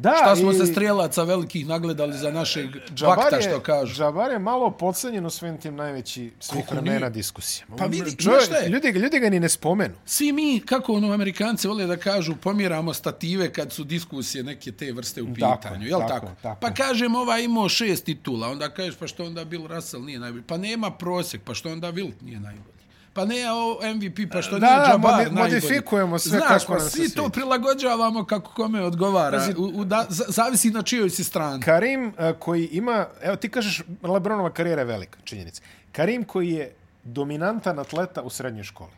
Speaker 1: Da,
Speaker 2: Šta smo
Speaker 1: i- E,
Speaker 2: se strelaca velikih nagledali za našeg
Speaker 1: Džabar
Speaker 2: vakta,
Speaker 1: je-
Speaker 2: što kažu.
Speaker 1: Džabar je malo podcenjen u svim tim najveći svih
Speaker 2: Koliko
Speaker 1: vremena
Speaker 2: nije?
Speaker 1: diskusijama.
Speaker 2: Pa vidi, znaš
Speaker 1: Čovjek-
Speaker 2: šta je?
Speaker 1: ljudi, ga- ljudi ga ni ne spomenu.
Speaker 2: Svi mi, kako ono Amerikanci vole da kažu, pomjeramo stative kad su diskusije neke te vrste u pitanju,
Speaker 1: Tako,
Speaker 2: jel tako?
Speaker 1: tako,
Speaker 2: tako?
Speaker 1: tako.
Speaker 2: Pa kažem, ova imao šest titula, onda kažeš, pa što onda Bill Russell nije najbolji? Pa nema prosjek, pa što onda Wilt nije najbolji? Pa ne o MVP, pa što
Speaker 1: Da,
Speaker 2: nije
Speaker 1: da,
Speaker 2: Jabbar
Speaker 1: modi-
Speaker 2: najbolji?
Speaker 1: modifikujemo sve
Speaker 2: Znaš,
Speaker 1: kako
Speaker 2: pa
Speaker 1: nam se
Speaker 2: svi to
Speaker 1: svidi.
Speaker 2: prilagođavamo kako kome odgovara.
Speaker 1: Pazi-
Speaker 2: U, u, da, za- zavisi na čijoj si strani.
Speaker 1: Karim e, koji ima, evo ti kažeš Lebronova karijera je velika, činjenica. Karim koji je dominantan atleta u srednjoj školi.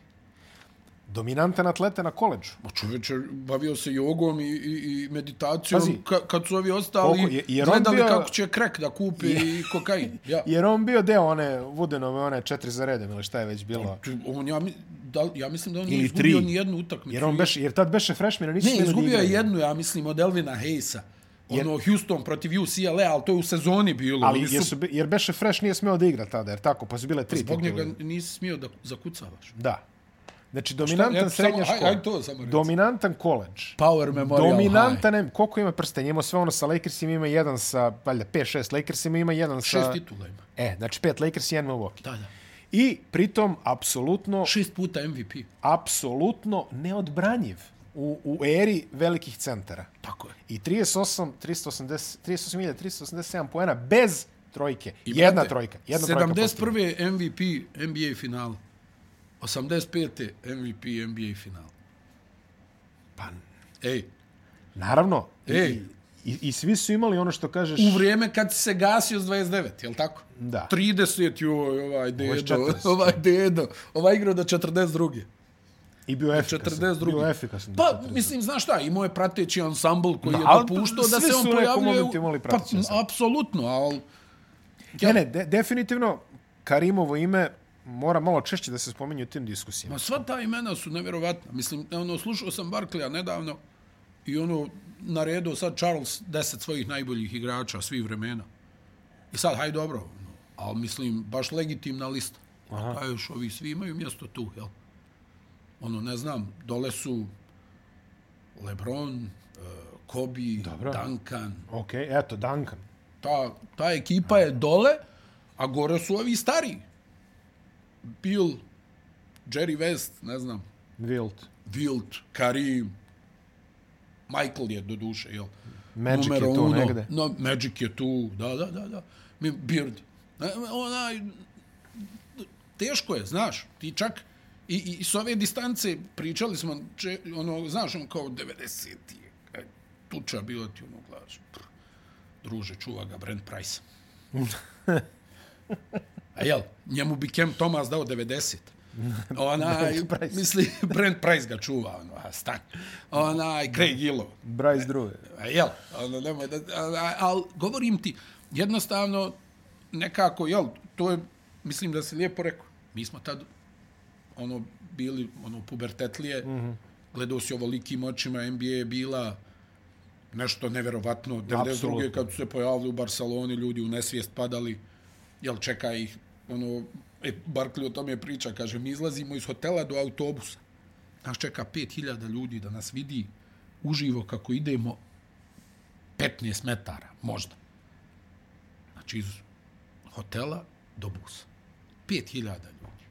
Speaker 1: Dominantan atleta na koleđu.
Speaker 2: Ma čoveče, Pa bavio se jogom i, i, i meditacijom
Speaker 1: Pazi.
Speaker 2: ka, kad su ovi ostali
Speaker 1: Koliko- je- jer on
Speaker 2: gledali
Speaker 1: bio-
Speaker 2: kako će krek da kupi i kokain. Ja.
Speaker 1: Jer on bio deo one Vudenove, one četiri za redom ili šta je već bilo.
Speaker 2: Tu- On, ja, mi- da, ja mislim da on nije
Speaker 1: Ili
Speaker 2: izgubio
Speaker 1: tri.
Speaker 2: ni jednu utakmicu.
Speaker 1: Jer, on beše, jer tad beše freshman, nisu
Speaker 2: ne,
Speaker 1: smjeli da
Speaker 2: izgubio je
Speaker 1: igraju.
Speaker 2: jednu, ja mislim, od Elvina Hayesa. Ono, Houston protiv UCLA, ali to je u sezoni bilo.
Speaker 1: Ali
Speaker 2: Oni
Speaker 1: jer, su, be- jer beše fresh nije smeo da igra tada, jer tako, pa su bile tri
Speaker 2: Zbog
Speaker 1: titule.
Speaker 2: njega nisi smio da zakucavaš.
Speaker 1: Da. Znači, dominantan
Speaker 2: eto,
Speaker 1: srednja
Speaker 2: samo- aj-
Speaker 1: škola.
Speaker 2: aj to samo reci.
Speaker 1: dominantan koleđ.
Speaker 2: Power Memorial
Speaker 1: Dominantan, em, koliko ima prstenja? Imao sve ono sa Lakersima, ima jedan sa, valjda, 5-6 Lakersima, ima jedan
Speaker 2: High. Šest
Speaker 1: sa...
Speaker 2: titula ima.
Speaker 1: E, znači pet Lakers i jedan Milwaukee.
Speaker 2: Da, da.
Speaker 1: I pritom, apsolutno,
Speaker 2: Šest puta MVP.
Speaker 1: apsolutno neodbranjiv u, u eri velikih centara.
Speaker 2: Tako je.
Speaker 1: I 38, 380, 38.387 poena bez trojke.
Speaker 2: I,
Speaker 1: jedna
Speaker 2: brate,
Speaker 1: trojka. Jedna trojka postigla.
Speaker 2: 71. MVP NBA finala. 85. MVP NBA finala.
Speaker 1: Pa,
Speaker 2: Ej,
Speaker 1: naravno.
Speaker 2: Ej.
Speaker 1: I, i, I svi su imali ono što kažeš...
Speaker 2: u vrijeme kad si se gasio s 29, jel tako?
Speaker 1: Da.
Speaker 2: 30, joj, ovaj dedo,
Speaker 1: 40.
Speaker 2: ovaj dedo, ovaj igrao do 42.
Speaker 1: I bio efikasan.
Speaker 2: 42.
Speaker 1: Bio efikasan. do
Speaker 2: Pa,
Speaker 1: 42.
Speaker 2: mislim, znaš šta, imao je prateći ansambl koji
Speaker 1: Ma,
Speaker 2: je
Speaker 1: ali
Speaker 2: dopuštao da
Speaker 1: svi
Speaker 2: se
Speaker 1: su u nekom
Speaker 2: on pojavljuje...
Speaker 1: momentu imali
Speaker 2: pa,
Speaker 1: prateći ansambl.
Speaker 2: apsolutno, ali...
Speaker 1: Ne, ne, de, definitivno Karimovo ime mora malo češće da se spominje u tim diskusijama.
Speaker 2: Ma Pa sva ta imena su nevjerovatna. Mislim, ono, slušao sam Barclaya nedavno i ono, naredio sad Charles 10 svojih najboljih igrača svih vremena. I sad, haj dobro, ono, ali mislim, baš legitimna lista. Aha. A još ovi svi imaju mjesto tu, jel? Ono, ne znam, dole su Lebron, eh, Kobe,
Speaker 1: Dobro.
Speaker 2: Duncan.
Speaker 1: Ok, eto, Duncan.
Speaker 2: Ta, ta ekipa je dole, a gore su ovi stari. Bill, Jerry West, ne znam.
Speaker 1: Wilt.
Speaker 2: Wilt, Karim, Michael je do duše, jel?
Speaker 1: Magic je tu negde.
Speaker 2: No, Magic je tu, da, da, da. da. Mi- Beard. E, Onaj, teško je, znaš, ti čak i, i, i s ove distance pričali smo, če, ono, znaš, on kao 90 je, tuča bilo ti ono glaš. Prr. Druže, čuva ga Brent Price. A jel, njemu bi Cam Thomas dao 90. Onaj,
Speaker 1: Price.
Speaker 2: misli, Brent Price ga čuva, ono, a stan. Onaj, Greg Ilov.
Speaker 1: Bryce Drew.
Speaker 2: A jel, ono, nemoj da, a- ali govorim ti, jednostavno, nekako, jel, to je, mislim da si lijepo rekao, mi smo tad, ono, bili, ono, pubertetlije, mm -hmm. gledao si ovolikim očima, NBA je bila nešto neverovatno, 92.
Speaker 1: Apsolutno.
Speaker 2: kad su se pojavili u Barceloni, ljudi u nesvijest padali, jel, čeka ih, ono, e, Barkley o tome priča, kaže, mi izlazimo iz hotela do autobusa, nas čeka 5000 ljudi da nas vidi uživo kako idemo 15 metara, možda. Znači, iz hotela do busa. 5000 ljudi.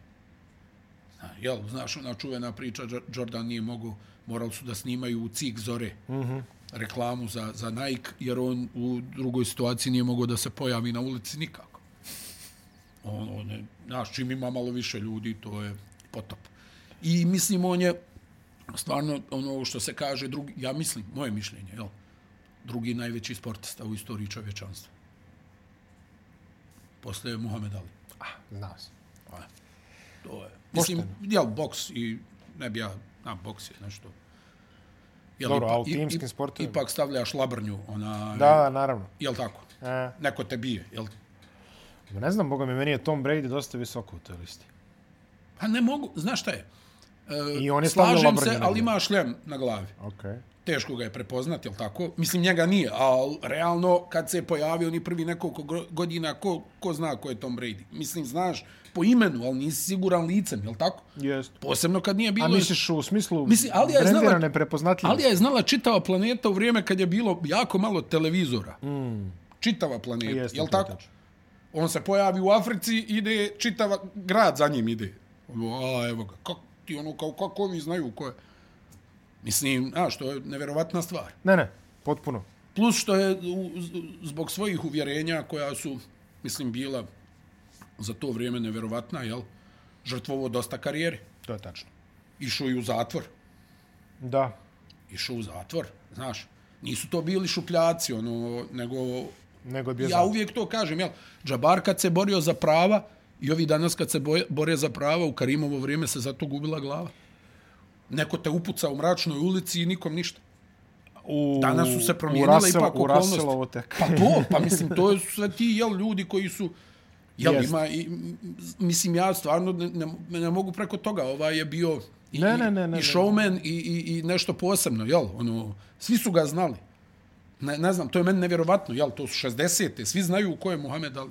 Speaker 2: Zna, jel, znaš, ona čuvena priča, Džor- Jordan nije mogao, morali su da snimaju u cik zore reklamu za, za Nike, jer on u drugoj situaciji nije mogao da se pojavi na ulici nikako. On, on je, znaš, čim ima malo više ljudi, to je potop. I mislim, on je stvarno, ono što se kaže, drugi, ja mislim, moje mišljenje, jel, drugi najveći sportista u istoriji čovječanstva. Posle Muhammed Ali.
Speaker 1: Ah, znao sam.
Speaker 2: To je. Mislim, jel, boks i ne bi ja, a, boks je nešto. Jel,
Speaker 1: Dobro,
Speaker 2: ipa-
Speaker 1: a u
Speaker 2: i-
Speaker 1: timskim
Speaker 2: i-
Speaker 1: sportovima?
Speaker 2: Ipak stavljaš labrnju, ona,
Speaker 1: Da, da, naravno.
Speaker 2: jel tako?
Speaker 1: E,
Speaker 2: Neko te bije, jel?
Speaker 1: ma ne znam, boga mi, meni je Tom Brady dosta visoko u toj listi.
Speaker 2: Pa ne mogu, znaš šta je? E,
Speaker 1: I on je stavljao
Speaker 2: Slažem
Speaker 1: labrnju
Speaker 2: se,
Speaker 1: negdje.
Speaker 2: ali ima šlem na glavi.
Speaker 1: Ok.
Speaker 2: Te- teško ga je prepoznati, jel tako? Mislim, njega nije, ali realno kad se je pojavio ni prvi nekoliko gro- godina, ko, ko zna ko je Tom Brady? Mislim, znaš po imenu, ali nisi siguran licem, jel tako?
Speaker 1: Jest.
Speaker 2: Posebno kad nije bilo...
Speaker 1: A misliš u smislu
Speaker 2: Mislim, Alija je znala-
Speaker 1: brendirane prepoznatljivosti?
Speaker 2: Alija je znala čitava planeta u vrijeme kad je bilo jako malo televizora. Mm. Čitava planeta,
Speaker 1: Jeste,
Speaker 2: Jeste, jel
Speaker 1: to je
Speaker 2: tako?
Speaker 1: tačno.
Speaker 2: On se pojavi u Africi, ide čitava, grad za njim ide. Ono, A, evo ga, kako ti ono, kao, kako oni znaju ko je? Mislim, a, što je neverovatna stvar.
Speaker 1: Ne, ne, potpuno.
Speaker 2: Plus što je u- z- zbog svojih uvjerenja koja su, mislim, bila za to vrijeme neverovatna, jel? Žrtvovo dosta karijere.
Speaker 1: To je tačno.
Speaker 2: Išao i u zatvor.
Speaker 1: Da.
Speaker 2: Išao u zatvor, znaš. Nisu to bili šupljaci, ono, nego
Speaker 1: Nego je bio
Speaker 2: Ja uvijek to kažem, jel? Džabar kad se borio za prava i ovi danas kad se boje, bore za prava, u Karimovo vrijeme se zato gubila glava. Neko te upuca u mračnoj ulici i nikom ništa.
Speaker 1: u,
Speaker 2: Danas su se promijenile ipak
Speaker 1: u
Speaker 2: okolnosti.
Speaker 1: Raselovo tek.
Speaker 2: Pa to, pa mislim, to su sve ti, jel, ljudi koji su... Jel,
Speaker 1: Jest.
Speaker 2: ima, i, m, mislim, ja stvarno ne, ne, ne mogu preko toga. Ovaj je bio i,
Speaker 1: Ne, ne, ne, ne, ne.
Speaker 2: i showman i, i, i nešto posebno, jel? Ono, svi su ga znali. Ne, ne znam, to je meni nevjerovatno, jel? To su 60-te, svi znaju ko je Muhammed Ali.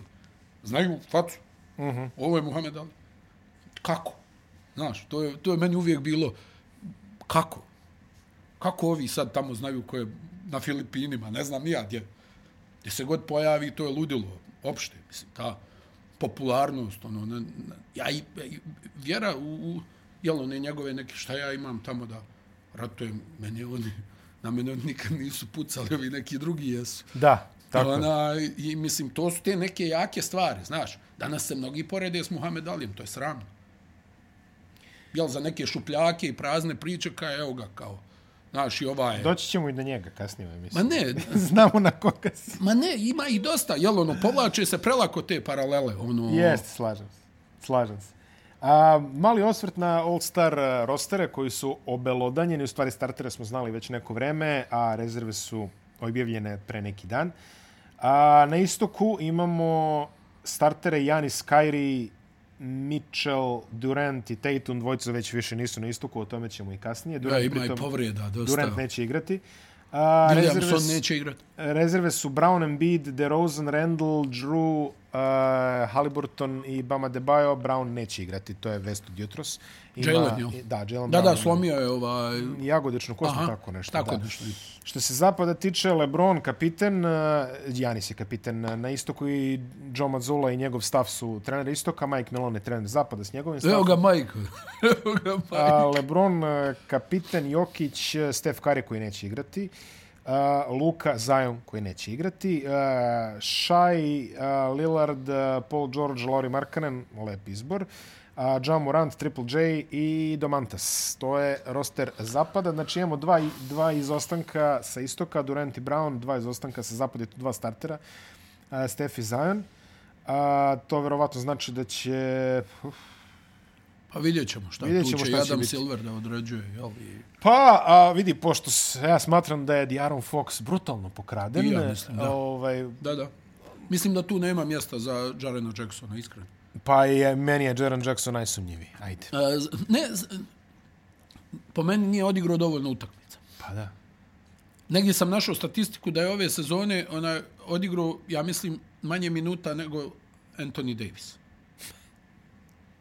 Speaker 2: Znaju facu. Uh
Speaker 1: Mhm.
Speaker 2: -huh. Ovo je Muhammed Ali. Kako? Znaš, to je, to je meni uvijek bilo kako? Kako ovi sad tamo znaju ko je na Filipinima, ne znam nija gdje. Gdje se god pojavi, to je ludilo, opšte, mislim, ta popularnost, ono, ne, ne, ja i, i- vjera u, u jel, one njegove neke, šta ja imam tamo da ratujem, mene oni, na mene oni nikad nisu pucali, ovi neki drugi jesu.
Speaker 1: Da, tako je.
Speaker 2: Ona, i, mislim, to su te neke jake stvari, znaš. Danas se mnogi porede s Muhammed Alijem, to je sramno. Jel, za neke šupljake i prazne priče, kao evo ga, kao, znaš, i ova je...
Speaker 1: Doći ćemo i do njega kasnije,
Speaker 2: Ma
Speaker 1: mislim.
Speaker 2: ne,
Speaker 1: Znamo na koga si.
Speaker 2: ma ne, ima i dosta, jel, ono, povlače se prelako te paralele, ono...
Speaker 1: Jest, slažem se. Slažem se. A, mali osvrt na All-Star e, rostere koji su obelodanjeni. U stvari startere smo znali već neko vreme, a rezerve su objavljene pre neki dan. A, na istoku imamo startere Janis Kairi, Mitchell, Durant i Tatum. Dvojcu već više nisu na istoku, o tome ćemo i kasnije.
Speaker 2: Da,
Speaker 1: Durant,
Speaker 2: ima i
Speaker 1: pritom-
Speaker 2: povreda, dosta.
Speaker 1: Durant neće igrati. A, rezerve
Speaker 2: Williamson
Speaker 1: su-
Speaker 2: neće igrati.
Speaker 1: Rezerve su Brown Embiid, DeRozan, Randall, Drew, uh, Halliburton i Bama Debajo. Brown neće igrati, to je vest od jutros. Ima- e,
Speaker 2: Jalen, jel?
Speaker 1: Da, Jalen
Speaker 2: Da,
Speaker 1: Brown.
Speaker 2: da, slomio je ovaj...
Speaker 1: Jagodičnu kostu,
Speaker 2: Aha,
Speaker 1: tako nešto.
Speaker 2: Tako
Speaker 1: da.
Speaker 2: nešto.
Speaker 1: Što se zapada tiče, LeBron kapiten, Janis je kapiten uh, na istoku i Joe Mazzola i njegov stav su trener istoka, Mike Melon je trener zapada s njegovim
Speaker 2: Evo
Speaker 1: stavom.
Speaker 2: ga Majko. Evo ga Majko.
Speaker 1: A, LeBron, uh, kapiten Jokić, uh, Steph Curry koji neće igrati, uh, Luka Zion koji neće igrati, uh, Shai, uh, Lillard, uh, Paul George, Lauri Markkanen, lep izbor, uh, Ja Morant, Triple J i Domantas. To je roster zapada. Znači imamo dva, i- dva izostanka sa istoka, Durant i Brown, dva izostanka sa zapada, i tu dva startera, uh, Steph i Zion. A, to verovatno znači da će uf,
Speaker 2: Pa vidjet ćemo šta.
Speaker 1: Vidjet
Speaker 2: tu
Speaker 1: ćemo
Speaker 2: će
Speaker 1: šta
Speaker 2: i
Speaker 1: će
Speaker 2: Adam
Speaker 1: biti.
Speaker 2: Silver da određuje, jel? I...
Speaker 1: Pa, a, vidi, pošto se, ja smatram da je Diaron Fox brutalno pokraden.
Speaker 2: I ja mislim, da.
Speaker 1: Ovaj,
Speaker 2: Da, da. Mislim da tu nema mjesta za Jarena Jacksona, iskreno.
Speaker 1: pa je, meni je Jaron Jackson najsumnjiviji. Ajde.
Speaker 2: E, z- ne, z- po meni nije odigrao dovoljno utakmica.
Speaker 1: Pa da.
Speaker 2: Negdje sam našao statistiku da je ove sezone ona odigrao, ja mislim, manje minuta nego Anthony Davis.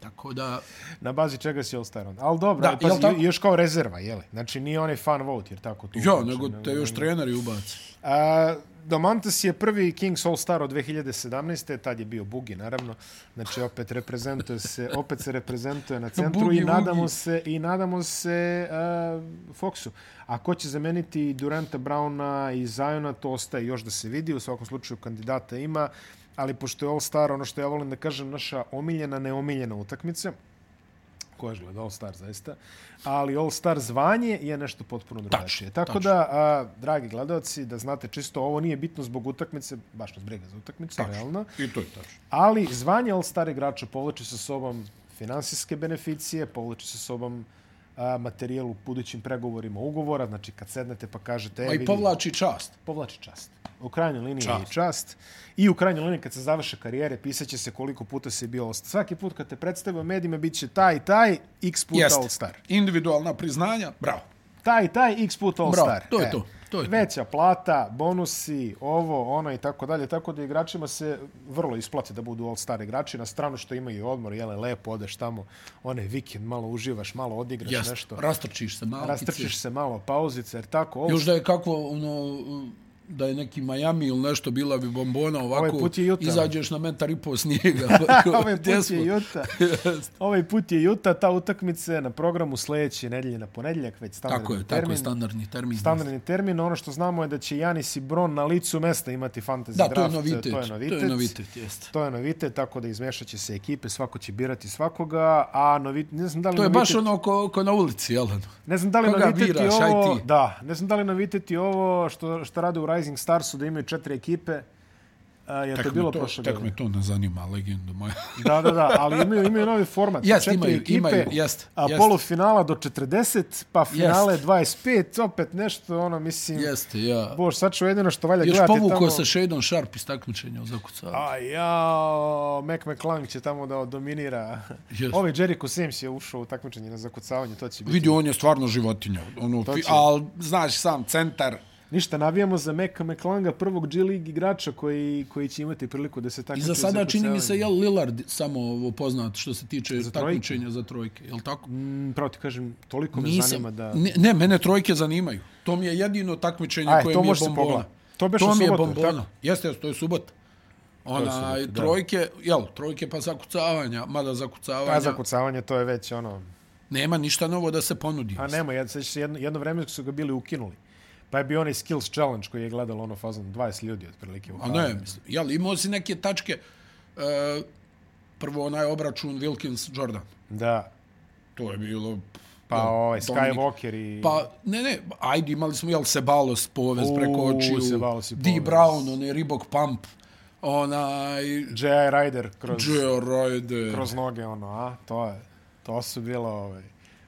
Speaker 2: Tako da,
Speaker 1: Na bazi čega si All-Star onda. Ali dobro,
Speaker 2: Da,
Speaker 1: ali,
Speaker 2: jel
Speaker 1: pazi,
Speaker 2: tako?
Speaker 1: još kao rezerva, jeli? Znači, nije onaj fan vote, jer tako tu.
Speaker 2: jo,
Speaker 1: znači,
Speaker 2: nego te još treneri ubaci.
Speaker 1: A, Domantas je prvi Kings All-Star od 2017. Tad je bio Bugi, naravno. Znači, opet reprezentuje se, opet se reprezentuje na centru
Speaker 2: Bugi,
Speaker 1: i nadamo
Speaker 2: Bugi.
Speaker 1: se, i nadamo se a, Foxu. A ko će zameniti Duranta, Brauna i Zajona, to ostaje još da se vidi. U svakom slučaju kandidata ima, ali pošto je All-Star, ono što ja volim da kažem, naša omiljena, neomiljena utakmica, ko je gleda All Star zaista, ali All Star zvanje je nešto potpuno drugačije. Tako
Speaker 2: tačno.
Speaker 1: da, a, dragi gledalci, da znate čisto, ovo nije bitno zbog utakmice, baš nas briga za utakmicu, realno,
Speaker 2: I to je tačno.
Speaker 1: ali zvanje All Star igrača povlači sa sobom finansijske beneficije, povlači sa sobom a, materijal u budućim pregovorima ugovora, znači kad sednete pa kažete... e,
Speaker 2: Pa i
Speaker 1: vidi,
Speaker 2: povlači čast.
Speaker 1: povlači čast. U krajnjoj liniji čast.
Speaker 2: Čast.
Speaker 1: je i čast. I u krajnjoj liniji kad se završe karijere, pisaće se koliko puta si bio All-Star. Svaki put kad te predstave u medijima, bit će taj i taj, x puta
Speaker 2: Jeste.
Speaker 1: All-Star.
Speaker 2: Individualna priznanja, bravo.
Speaker 1: taj i taj, x put All
Speaker 2: Bravo,
Speaker 1: Star.
Speaker 2: to je to, to je to.
Speaker 1: Veća plata, bonusi, ovo, ono i tako dalje, tako da igračima se vrlo isplati da budu All Star igrači, na stranu što imaju i odmor, jele, lepo, odeš tamo, onaj vikend, malo uživaš, malo odigraš
Speaker 2: Jasno,
Speaker 1: nešto,
Speaker 2: rastrčiš se malo.
Speaker 1: rastrčiš se malo, pauzice, jer tako, ovo
Speaker 2: Još da je kako, ono, da je neki Miami ili nešto, bila bi bombona ovako,
Speaker 1: Ovaj put je Utah.
Speaker 2: izađeš na metar i po snijega.
Speaker 1: Ovaj
Speaker 2: Gdje
Speaker 1: put
Speaker 2: smo?
Speaker 1: je Juta. ovaj put je Juta, ta utakmica je na programu sledeće nedelje na ponedjeljak, već standardni
Speaker 2: Tako je,
Speaker 1: termin.
Speaker 2: tako je, standardni termin.
Speaker 1: standardni termin. Ono što znamo je da će Janis i Bron na licu mesta imati fantasy
Speaker 2: Da,
Speaker 1: draft.
Speaker 2: to je novitet.
Speaker 1: To je novitet.
Speaker 2: To je novitet, jeste.
Speaker 1: To je novitet, tako da izmešat će se ekipe, svako će birati svakoga, a novit, ne znam da li
Speaker 2: To je
Speaker 1: novitet,
Speaker 2: baš ono ko, ko na ulici, jel? ono?
Speaker 1: ne znam da li
Speaker 2: koga
Speaker 1: novitet i
Speaker 2: biraš, aj
Speaker 1: ovo,
Speaker 2: ti.
Speaker 1: da, ne znam da li novitet i ovo što, što rade u Rising Starsu, da imaju četiri ekipe, a, je to
Speaker 2: Tak me
Speaker 1: bilo
Speaker 2: to-
Speaker 1: prošle
Speaker 2: Tak
Speaker 1: godine.
Speaker 2: me to ne zanima, legendu moja.
Speaker 1: Da, da, da, ali imaju, imaju novi format.
Speaker 2: Jest,
Speaker 1: Četiri
Speaker 2: imaju,
Speaker 1: ekipe,
Speaker 2: imaju, jest,
Speaker 1: a
Speaker 2: jest.
Speaker 1: polufinala do 40, pa finale 25, opet nešto, ono, mislim,
Speaker 2: Jeste, ja.
Speaker 1: bož, sad ću jedino što valja
Speaker 2: Još
Speaker 1: gledati
Speaker 2: povukao
Speaker 1: tamo...
Speaker 2: se Shadon Sharp iz takmičenja u zakucavanje.
Speaker 1: A ja, Mac McClung će tamo da dominira.
Speaker 2: Jest.
Speaker 1: Ovi Jericho Sims je ušao u takmičenje na zakucavanje, to će biti.
Speaker 2: Vidi, on je stvarno životinja. Ono, fi, ali, znaš, sam centar.
Speaker 1: Ništa, navijamo za Mac McClunga, prvog G League igrača koji, koji će imati priliku da se takmiči
Speaker 2: I za
Speaker 1: u
Speaker 2: sada čini mi se,
Speaker 1: zakucavanju.
Speaker 2: jel Lillard samo ovo poznat što se tiče za
Speaker 1: trojke?
Speaker 2: takmičenja za trojke, jel tako?
Speaker 1: Mm, pravo ti kažem, toliko me
Speaker 2: Nisam,
Speaker 1: zanima da...
Speaker 2: ne, ne, mene trojke zanimaju. To mi je jedino takmičenje
Speaker 1: Aj,
Speaker 2: koje
Speaker 1: to
Speaker 2: mi je
Speaker 1: možeš se
Speaker 2: bombona.
Speaker 1: pogledati. To beše
Speaker 2: mi je
Speaker 1: subota, jel
Speaker 2: bombona. Jeste, jeste, to je subota. Ona,
Speaker 1: subota, da.
Speaker 2: trojke, jel, trojke pa zakucavanja, mada zakucavanja,
Speaker 1: Pa zakucavanje, to je već ono...
Speaker 2: nema ništa novo da se ponudi.
Speaker 1: A nema, ja, sećam se jedno, jedno vreme su ga bili ukinuli. Pa je bio onaj Skills Challenge koji je gledalo ono fazon 20 ljudi otprilike. u
Speaker 2: A ne, mislim, jel, imao si neke tačke, e, prvo onaj obračun Wilkins-Jordan.
Speaker 1: Da.
Speaker 2: To je bilo...
Speaker 1: Pa
Speaker 2: jel,
Speaker 1: ovaj
Speaker 2: Dominik-
Speaker 1: Skywalker i...
Speaker 2: Pa, ne, ne, ajde, imali smo, jel, Sebalos povez
Speaker 1: U,
Speaker 2: preko očiju,
Speaker 1: Sebalos i
Speaker 2: D.
Speaker 1: povez.
Speaker 2: Brown, onaj Reebok Pump, onaj
Speaker 1: J.I. Ryder kroz,
Speaker 2: Joe Ride,
Speaker 1: kroz noge, ono, a? To je, to su bilo, ovaj...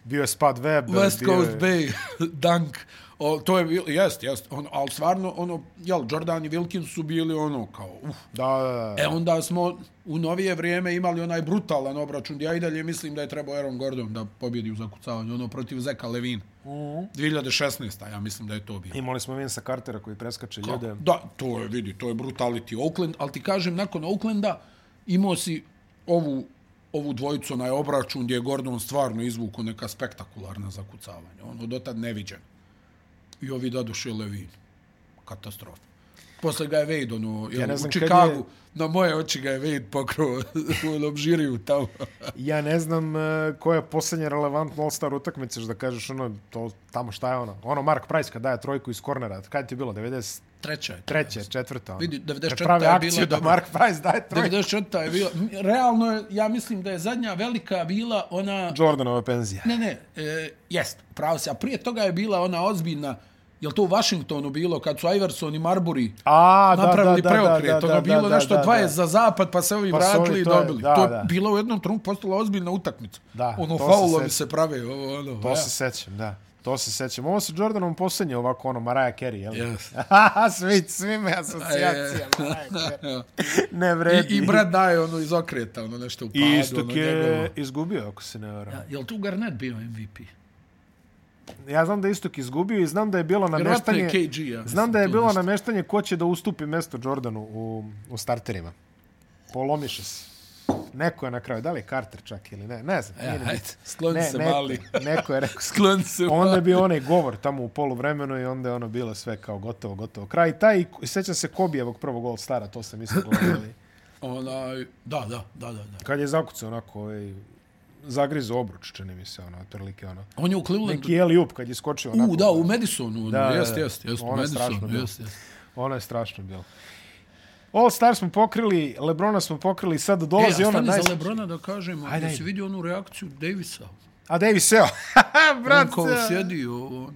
Speaker 1: Bio je Spud Webb.
Speaker 2: West
Speaker 1: bio
Speaker 2: Coast
Speaker 1: je,
Speaker 2: Bay, Dunk, o, to je bilo, jest, jest, on, ali stvarno, ono, jel, Jordan i Wilkins su bili ono, kao, uf,
Speaker 1: Da, da, da.
Speaker 2: E onda smo u novije vrijeme imali onaj brutalan obračun. Ja i dalje mislim da je trebao Aaron Gordon da pobjedi u zakucavanju. Ono protiv Zeka Levina. 2016. Ja mislim da je to bio.
Speaker 1: Imali smo Vinsa Cartera koji preskače ljude.
Speaker 2: Da, to je, vidi, to je brutality Oakland. Ali ti kažem, nakon Oaklanda imao si ovu, ovu dvojicu onaj obračun gdje je Gordon stvarno izvuku neka spektakularna zakucavanja. Ono, dotad neviđeno. I ovi dadoše Levin. Katastrofa. Posle ga je Wade, ono,
Speaker 1: Ja
Speaker 2: ja
Speaker 1: ne
Speaker 2: u
Speaker 1: znam kad
Speaker 2: Čikagu,
Speaker 1: je-
Speaker 2: je... na moje oči ga je Wade pokrao u onom žiriju tamo.
Speaker 1: Ja ne znam e, koja je posljednja relevantna All-Star utakmica, da kažeš ono, to, tamo šta je ono. Ono Mark Price kad daje trojku iz kornera, kad je ti bilo, 90,
Speaker 2: Treća je.
Speaker 1: Treće, četvrta. ono.
Speaker 2: Vidi, 94.
Speaker 1: Kad pravi
Speaker 2: je
Speaker 1: akciju
Speaker 2: bila
Speaker 1: da
Speaker 2: dobra.
Speaker 1: Mark Price daje trojku.
Speaker 2: 94. je bila, realno je, ja mislim da je zadnja velika bila ona...
Speaker 1: Jordanova penzija.
Speaker 2: Ne, ne, e, jest, pravo se. A prije toga je bila ona ozbiljna, je li to u Washingtonu bilo, kad su Iverson i Marbury
Speaker 1: A, da,
Speaker 2: napravili
Speaker 1: da, da,
Speaker 2: preokret.
Speaker 1: da, da,
Speaker 2: ono
Speaker 1: da,
Speaker 2: bilo
Speaker 1: da,
Speaker 2: nešto
Speaker 1: da,
Speaker 2: 20
Speaker 1: da.
Speaker 2: za zapad, pa se ovi
Speaker 1: Pa su
Speaker 2: vratili
Speaker 1: ovi,
Speaker 2: i
Speaker 1: to je-
Speaker 2: dobili.
Speaker 1: da,
Speaker 2: to je
Speaker 1: da.
Speaker 2: bilo u jednom trenutku postala ozbiljna utakmica.
Speaker 1: Da, to
Speaker 2: ono,
Speaker 1: se
Speaker 2: faulovi
Speaker 1: sjećam.
Speaker 2: se, prave. Ovo, ono,
Speaker 1: To se sećam, da. To se sećam. Ovo se Jordanom posljednje ovako, ono, Mariah Carey, jel?
Speaker 2: Yes.
Speaker 1: svi, svi me asocijacija, Mariah Carey. Ne vredi.
Speaker 2: E, I, I Brad daje ono iz okreta, ono nešto u padu.
Speaker 1: I Istok
Speaker 2: ono,
Speaker 1: je
Speaker 2: njegovo.
Speaker 1: izgubio, ako se ne varam.
Speaker 2: Jel tu Garnett bio MVP?
Speaker 1: Pa Ja znam da je Istok izgubio i znam da je bilo
Speaker 2: Vjerovatno je
Speaker 1: nameštanje...
Speaker 2: KG, ja. mislim,
Speaker 1: Znam da je
Speaker 2: tu
Speaker 1: bilo
Speaker 2: nešto.
Speaker 1: nameštanje ko će da ustupi mesto Jordanu u, u starterima. Polomiše se. Neko je na kraju, da li je Carter čak ili ne, ne znam.
Speaker 2: E,
Speaker 1: nije ni
Speaker 2: hajde, skloni
Speaker 1: Ne,
Speaker 2: se
Speaker 1: neko-
Speaker 2: mali.
Speaker 1: Neko je rekao,
Speaker 2: Skloni se
Speaker 1: onda je bio onaj govor tamo u poluvremenu i onda je ono bilo sve kao gotovo, gotovo. Kraj taj, i sećam se Kobijevog prvog All Stara, to sam isto gledali.
Speaker 2: Onaj, da, da, da, da, da.
Speaker 1: Kad je zakucao onako, ovaj, zagrizo obruč, čini mi se, ono, otprilike, ono.
Speaker 2: On je u Clevelandu.
Speaker 1: Neki Eli Up kad je skočio onako.
Speaker 2: U, da, u Madisonu.
Speaker 1: Da,
Speaker 2: Da,
Speaker 1: da,
Speaker 2: jest,
Speaker 1: da.
Speaker 2: jest, jest, u
Speaker 1: Ono je strašno
Speaker 2: Madisonu,
Speaker 1: bilo.
Speaker 2: jest, jest.
Speaker 1: Ono je strašno bilo. All Star smo pokrili, Lebrona smo pokrili, sad
Speaker 2: E, a
Speaker 1: dolazi e, ona
Speaker 2: stani
Speaker 1: naj...
Speaker 2: za Lebrona da kažemo,
Speaker 1: Ajde,
Speaker 2: da
Speaker 1: ajde.
Speaker 2: si vidio onu reakciju Davisa.
Speaker 1: A Davis, evo.
Speaker 2: On
Speaker 1: Brat,
Speaker 2: kao sjedi, ovo, ono.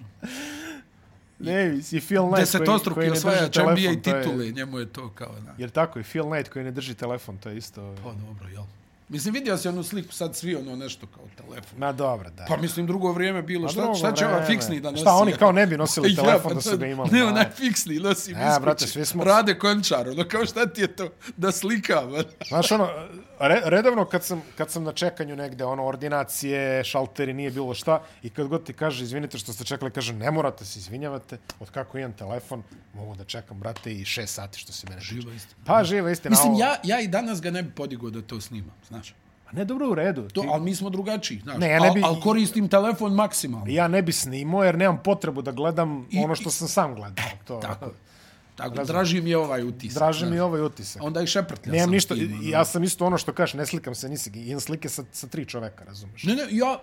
Speaker 1: Davis i Phil Knight
Speaker 2: Desetostruki
Speaker 1: Ovaj koji, koji ne drži
Speaker 2: osvajač
Speaker 1: telefon,
Speaker 2: NBA
Speaker 1: to je-
Speaker 2: titule, njemu je to kao, na.
Speaker 1: Jer tako je, Phil Knight koji ne drži telefon, to je isto... ovaj.
Speaker 2: Pa dobro, jel? Mislim, vidio si onu sliku, sad svi ono nešto kao telefon.
Speaker 1: Ma dobro, da.
Speaker 2: Pa mislim, drugo vrijeme bilo,
Speaker 1: Pa
Speaker 2: šta,
Speaker 1: drugo
Speaker 2: šta će
Speaker 1: vreme.
Speaker 2: ova fiksni da nosi?
Speaker 1: Šta, oni
Speaker 2: jel?
Speaker 1: kao ne bi nosili
Speaker 2: Ja,
Speaker 1: telefon
Speaker 2: pa
Speaker 1: da su
Speaker 2: to-
Speaker 1: ga imali.
Speaker 2: Ne,
Speaker 1: ma.
Speaker 2: onaj fiksni, nosi
Speaker 1: Ja,
Speaker 2: biskuće.
Speaker 1: brate, E, svi smo-
Speaker 2: Rade končar, ono kao šta ti je to da slikam? ono.
Speaker 1: Znaš, ono, re, redovno kad sam, kad sam na čekanju negde, ono, ordinacije, šalteri, nije bilo šta, i kad god ti kaže, izvinite što ste čekali, kaže, ne morate se izvinjavate, od kako imam telefon, mogu da čekam, brate, i šest sati što se mene tiče.
Speaker 2: Živa istina.
Speaker 1: Pa, živa istina.
Speaker 2: Mislim,
Speaker 1: ali-
Speaker 2: ja, ja i danas ga ne bi podigao da to snima, znaš.
Speaker 1: Ma Pa Ne, dobro, u redu.
Speaker 2: To,
Speaker 1: ti,
Speaker 2: ali mi smo drugačiji, znaš.
Speaker 1: Ne, ja ne bi-
Speaker 2: Al, al koristim telefon maksimalno.
Speaker 1: ja ne bi snimao, jer nemam potrebu da gledam
Speaker 2: I-
Speaker 1: ono što sam sam gledao. To,
Speaker 2: Tako, tako draži mi je ovaj utisak.
Speaker 1: Draže
Speaker 2: znaš.
Speaker 1: mi je ovaj utisak.
Speaker 2: Onda i šeprtlja
Speaker 1: Nemam
Speaker 2: sam
Speaker 1: ništa,
Speaker 2: s tim, ono.
Speaker 1: ja sam isto ono što kažeš, ne slikam se, nisi, imam slike sa, sa tri čoveka, razumeš?
Speaker 2: Ne, ne, ja,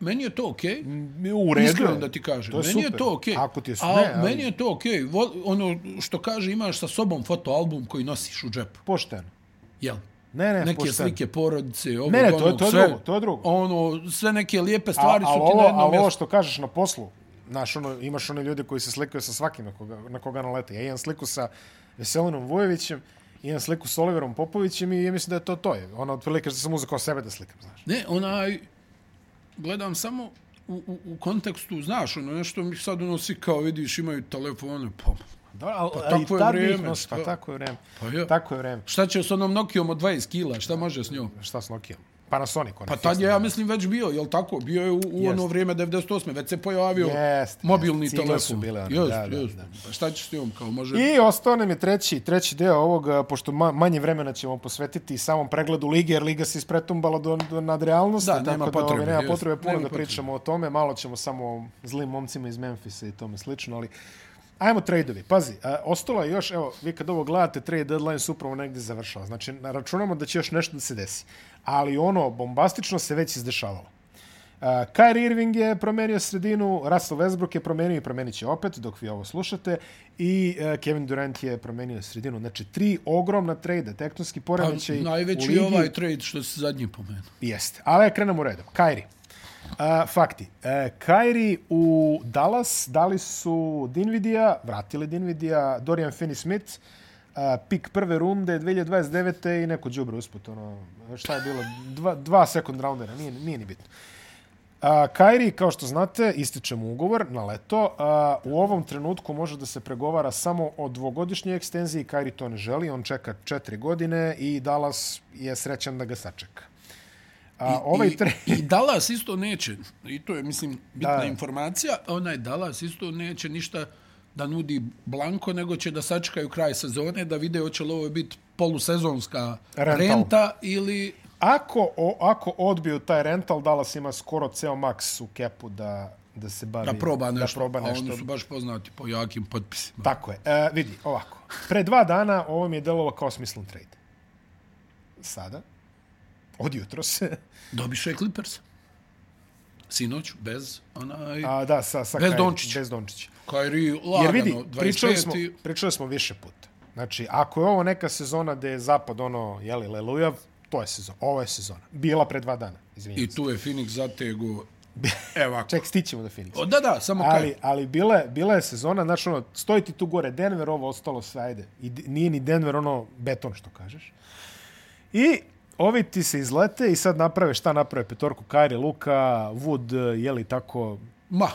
Speaker 2: meni je to okej. Okay.
Speaker 1: U redu je.
Speaker 2: Iskreno da ti kažem.
Speaker 1: To
Speaker 2: meni
Speaker 1: super.
Speaker 2: je to okej. Okay.
Speaker 1: Ako ti je su,
Speaker 2: A,
Speaker 1: ne, ali
Speaker 2: meni je to okej. Okay. Ono što kaže, imaš sa sobom fotoalbum koji nosiš u džepu.
Speaker 1: pošteno.
Speaker 2: Jel?
Speaker 1: Ne, ne,
Speaker 2: neke
Speaker 1: pošteno.
Speaker 2: slike porodice, ovo,
Speaker 1: Ne, ne, to je-
Speaker 2: ono,
Speaker 1: to je
Speaker 2: sve,
Speaker 1: drugo, to je drugo.
Speaker 2: Ono, sve neke lijepe
Speaker 1: A,
Speaker 2: stvari
Speaker 1: ali
Speaker 2: su ti na
Speaker 1: ovo,
Speaker 2: jednom
Speaker 1: ali ovo
Speaker 2: mjestu.
Speaker 1: što kažeš na poslu, znaš, ono, imaš one ljude koji se slikaju sa svakim na koga, na koga nalete. Ja imam sliku sa Veselinom Vujovićem, imam sliku s Oliverom Popovićem i ja mislim da je to to. Je. Ona otprilike što sam uzeo kao sebe da slikam, znaš.
Speaker 2: Ne, onaj, gledam samo u, u, u kontekstu, znaš, ono, nešto mi sad ono, svi kao vidiš, imaju telefone, pa,
Speaker 1: Dobro, ali,
Speaker 2: Pa
Speaker 1: ali
Speaker 2: tako je
Speaker 1: tad bi ih
Speaker 2: vrijeme,
Speaker 1: nosio-
Speaker 2: šta?
Speaker 1: Pa tako je vreme.
Speaker 2: Pa je.
Speaker 1: Tako je vreme.
Speaker 2: šta će s onom Nokijom od 20 kila, šta može s njom?
Speaker 1: Šta s Nokijom? Panasonic. ono, onaj
Speaker 2: Pa tad
Speaker 1: fiksni.
Speaker 2: je, ja mislim, već bio, jel tako? Bio je u, u ono vrijeme 98. Već se pojavio
Speaker 1: Jest,
Speaker 2: mobilni
Speaker 1: jest, cigle
Speaker 2: telefon.
Speaker 1: su bile one,
Speaker 2: jest,
Speaker 1: da, da,
Speaker 2: jest.
Speaker 1: da.
Speaker 2: Pa šta ćeš s njom, kao može...
Speaker 1: I ostao nam je treći, treći deo ovog, a, pošto ma, manje vremena ćemo posvetiti samom pregledu Lige, jer Liga se ispretumbala do, do nadrealnosti,
Speaker 2: Da,
Speaker 1: tako
Speaker 2: nema
Speaker 1: da
Speaker 2: potrebe,
Speaker 1: ovaj, nema
Speaker 2: jest,
Speaker 1: potrebe puno
Speaker 2: nema
Speaker 1: da
Speaker 2: potrebe.
Speaker 1: pričamo o tome, malo ćemo samo o zlim momcima iz Memfisa i tome slično, ali Ajmo tradeovi. Pazi, a, ostalo je još, evo, vi kad ovo gledate, trade deadline se upravo negdje završava. Znači, na- računamo da će još nešto da se desi. Ali ono, bombastično se već izdešavalo. Uh, Kyrie Irving je promenio sredinu, Russell Westbrook je promenio i promenit će opet dok vi ovo slušate i uh, Kevin Durant je promenio sredinu. Znači, tri ogromna trejda, tektonski
Speaker 2: Pa,
Speaker 1: poremećaj znači, u
Speaker 2: najveći
Speaker 1: ligi.
Speaker 2: je ovaj trade što se zadnji pomenuo.
Speaker 1: Jeste, ali krenemo redom. Kyrie. Uh, fakti. Uh, Kyrie u Dallas dali su Dinvidija, vratili Dinvidija, Dorian Finney-Smith, uh, pik prve runde 2029. i neko džubre usput. Ono, šta je bilo? Dva, dva second roundera, nije, nije ni bitno. A, Kairi, kao što znate, ističe mu ugovor na leto. A, u ovom trenutku može da se pregovara samo o dvogodišnjoj ekstenziji. Kairi to ne želi, on čeka četiri godine i Dallas je srećan da ga sačeka. A, I, ovaj
Speaker 2: I,
Speaker 1: tre...
Speaker 2: I Dallas isto neće, i to je, mislim, bitna da. informacija, onaj Dallas isto neće ništa da nudi blanko, nego će da sačekaju kraj sezone, da vide hoće li ovo biti polusezonska
Speaker 1: Rental.
Speaker 2: Rental. renta ili...
Speaker 1: Ako, o, ako odbiju taj rental, Dallas ima skoro ceo maks u kepu da, da se bavi...
Speaker 2: Da proba nešto,
Speaker 1: Da proba
Speaker 2: a
Speaker 1: nešto.
Speaker 2: oni su baš poznati po jakim potpisima.
Speaker 1: Tako je. E, vidi, ovako. Pre dva dana ovo mi je delovao kao smislen trade. Sada, od jutros,
Speaker 2: Dobiše Clippers. Sinoć, bez onaj...
Speaker 1: A, da, sa, sa
Speaker 2: Bez
Speaker 1: Kyrie,
Speaker 2: Dončića.
Speaker 1: Bez Dončića.
Speaker 2: Kairi lagano,
Speaker 1: Jer vidi,
Speaker 2: 25.
Speaker 1: pričali smo, pričali smo više puta. Znači, ako je ovo neka sezona gde je zapad ono, jeli, lelujav, to je sezona. Ovo je sezona. Bila pre dva dana, izvinjam
Speaker 2: I
Speaker 1: se.
Speaker 2: tu je Phoenix zatego... Evo ako.
Speaker 1: Ček, stićemo do Phoenixa.
Speaker 2: O, da, da, samo
Speaker 1: Ali,
Speaker 2: Kairi.
Speaker 1: ali bila, je, bila je sezona, znači ono, stoji ti tu gore, Denver ovo ostalo sve, ajde. I d- nije ni Denver ono beton što kažeš. I ovi ti se izlete i sad naprave šta naprave petorku, Kyrie, Luka, Wood, jeli tako,
Speaker 2: Ma,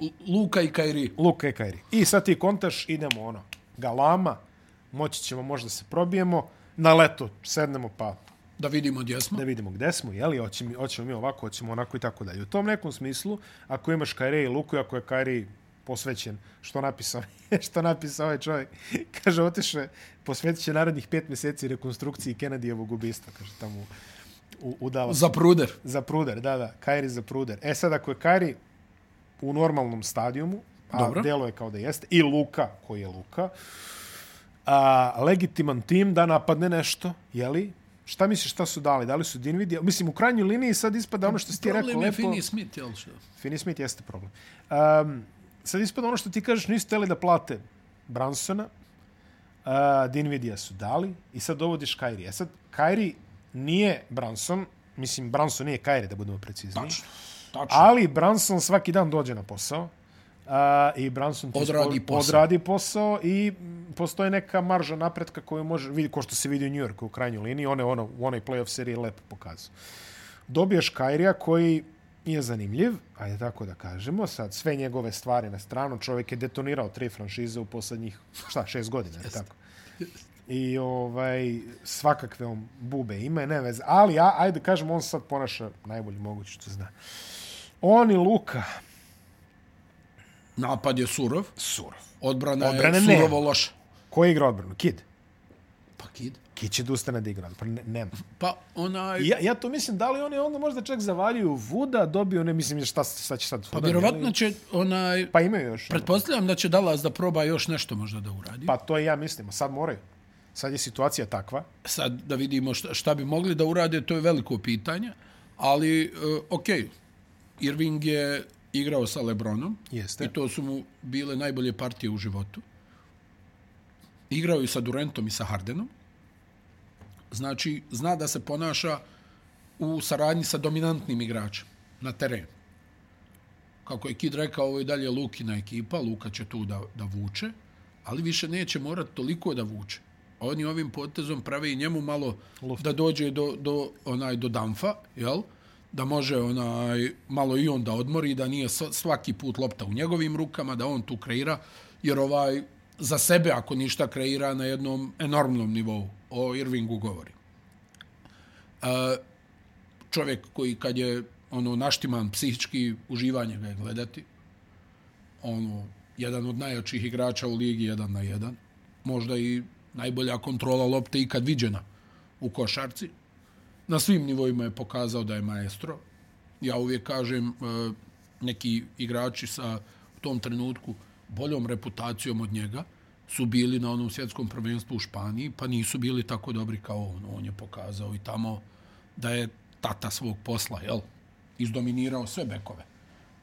Speaker 2: L- Luka i Kairi.
Speaker 1: Luka i Kairi. I sad ti kontaš, idemo ono, galama, moći ćemo možda se probijemo, na leto sednemo pa
Speaker 2: Da vidimo gdje smo.
Speaker 1: da vidimo gde smo, jeli, hoćemo, hoćemo mi ovako, hoćemo onako i tako dalje. U tom nekom smislu, ako imaš Kairi i Luku, i ako je Kairi posvećen, što napisao, što napisao ovaj čovjek, kaže, otišao je, posvetit će narednih pet mjeseci rekonstrukciji Kennedyjevog ubistva, kaže, tamo u, u, u Dallasu.
Speaker 2: Za pruder.
Speaker 1: Za pruder, da, da. Kairi za pruder. E sad, ako je Kairi u normalnom stadijumu, a Dobro.
Speaker 2: Dobro.
Speaker 1: delo je kao da jeste, i Luka, koji je Luka, a, legitiman tim da napadne nešto, jeli? Šta misliš šta su dali? Dali su Dinvidija? Mislim, u krajnjoj liniji sad ispada ono što si ti rekao.
Speaker 2: Problem je
Speaker 1: lepo.
Speaker 2: Finney Smith, jel što?
Speaker 1: Finney Smith jeste problem. Um, sad ispada ono što ti kažeš, nisu teli da plate Bransona, uh, Dinvidija su dali i sad dovodiš Kairi. E sad, Kairi nije Branson, mislim, Branson nije Kairi, da budemo precizni.
Speaker 2: Tačno. Tačno.
Speaker 1: Ali Branson svaki dan dođe na posao uh, i Branson ti
Speaker 2: Odradi
Speaker 1: spor-
Speaker 2: posao.
Speaker 1: odradi posao i mm, postoji neka marža napretka koju može, vidi, ko što se vidi u New Yorku u krajnjoj liniji, one, ono, u onoj playoff seriji lepo pokazao dobiješ Kairija koji je zanimljiv, ajde tako da kažemo, sad sve njegove stvari na stranu, čovjek je detonirao tri franšize u poslednjih, šta, šest godina, je li tako? I ovaj, svakakve on bube ima, ne veze. Ali, ja, ajde kažem, on se sad ponaša najbolje moguće što zna. On i Luka,
Speaker 2: Napad je surov,
Speaker 1: surov.
Speaker 2: odbrana,
Speaker 1: Odbrana
Speaker 2: je
Speaker 1: nema.
Speaker 2: surovo loša.
Speaker 1: Ko je igra odbranu? Kid.
Speaker 2: Pa kid.
Speaker 1: Kid će da ustane da igra odbranu. Ne, nema.
Speaker 2: Pa onaj...
Speaker 1: Ja, ja to mislim, da li oni onda možda čak zavaljuju Vuda, dobio ne mislim šta, šta će sad Vuda.
Speaker 2: Pa
Speaker 1: jel?
Speaker 2: vjerovatno će onaj...
Speaker 1: Pa imaju još.
Speaker 2: Pretpostavljam da će Dallas da proba još nešto možda da uradi.
Speaker 1: Pa to i ja mislim, a sad moraju. Sad je situacija takva.
Speaker 2: Sad da vidimo šta, šta bi mogli da urade, to je veliko pitanje. Ali, uh, ok, Irving je igrao sa Lebronom.
Speaker 1: Jeste.
Speaker 2: I to su mu bile najbolje partije u životu. Igrao je i sa Durantom i sa Hardenom. Znači, zna da se ponaša u saradnji sa dominantnim igračem na terenu. Kako je Kid rekao, ovo je dalje Lukina ekipa, Luka će tu da, da vuče, ali više neće morat toliko da vuče. Oni ovim potezom prave i njemu malo Luft. da dođe do, do, onaj, do damfa, jel? da može onaj malo i on da odmori, da nije sva- svaki put lopta u njegovim rukama, da on tu kreira, jer ovaj za sebe, ako ništa, kreira na jednom enormnom nivou. O Irvingu govori čovjek koji kad je ono naštiman psihički uživanje ga je gledati. Ono jedan od najjačih igrača u ligi jedan na jedan. Možda i najbolja kontrola lopte ikad viđena u košarci. Na svim nivoima je pokazao da je maestro. Ja uvijek kažem e, neki igrači sa u tom trenutku boljom reputacijom od njega su bili na onom svjetskom prvenstvu u Španiji, pa nisu bili tako dobri kao on. On je pokazao i tamo da je tata svog posla, jel? Izdominirao sve bekove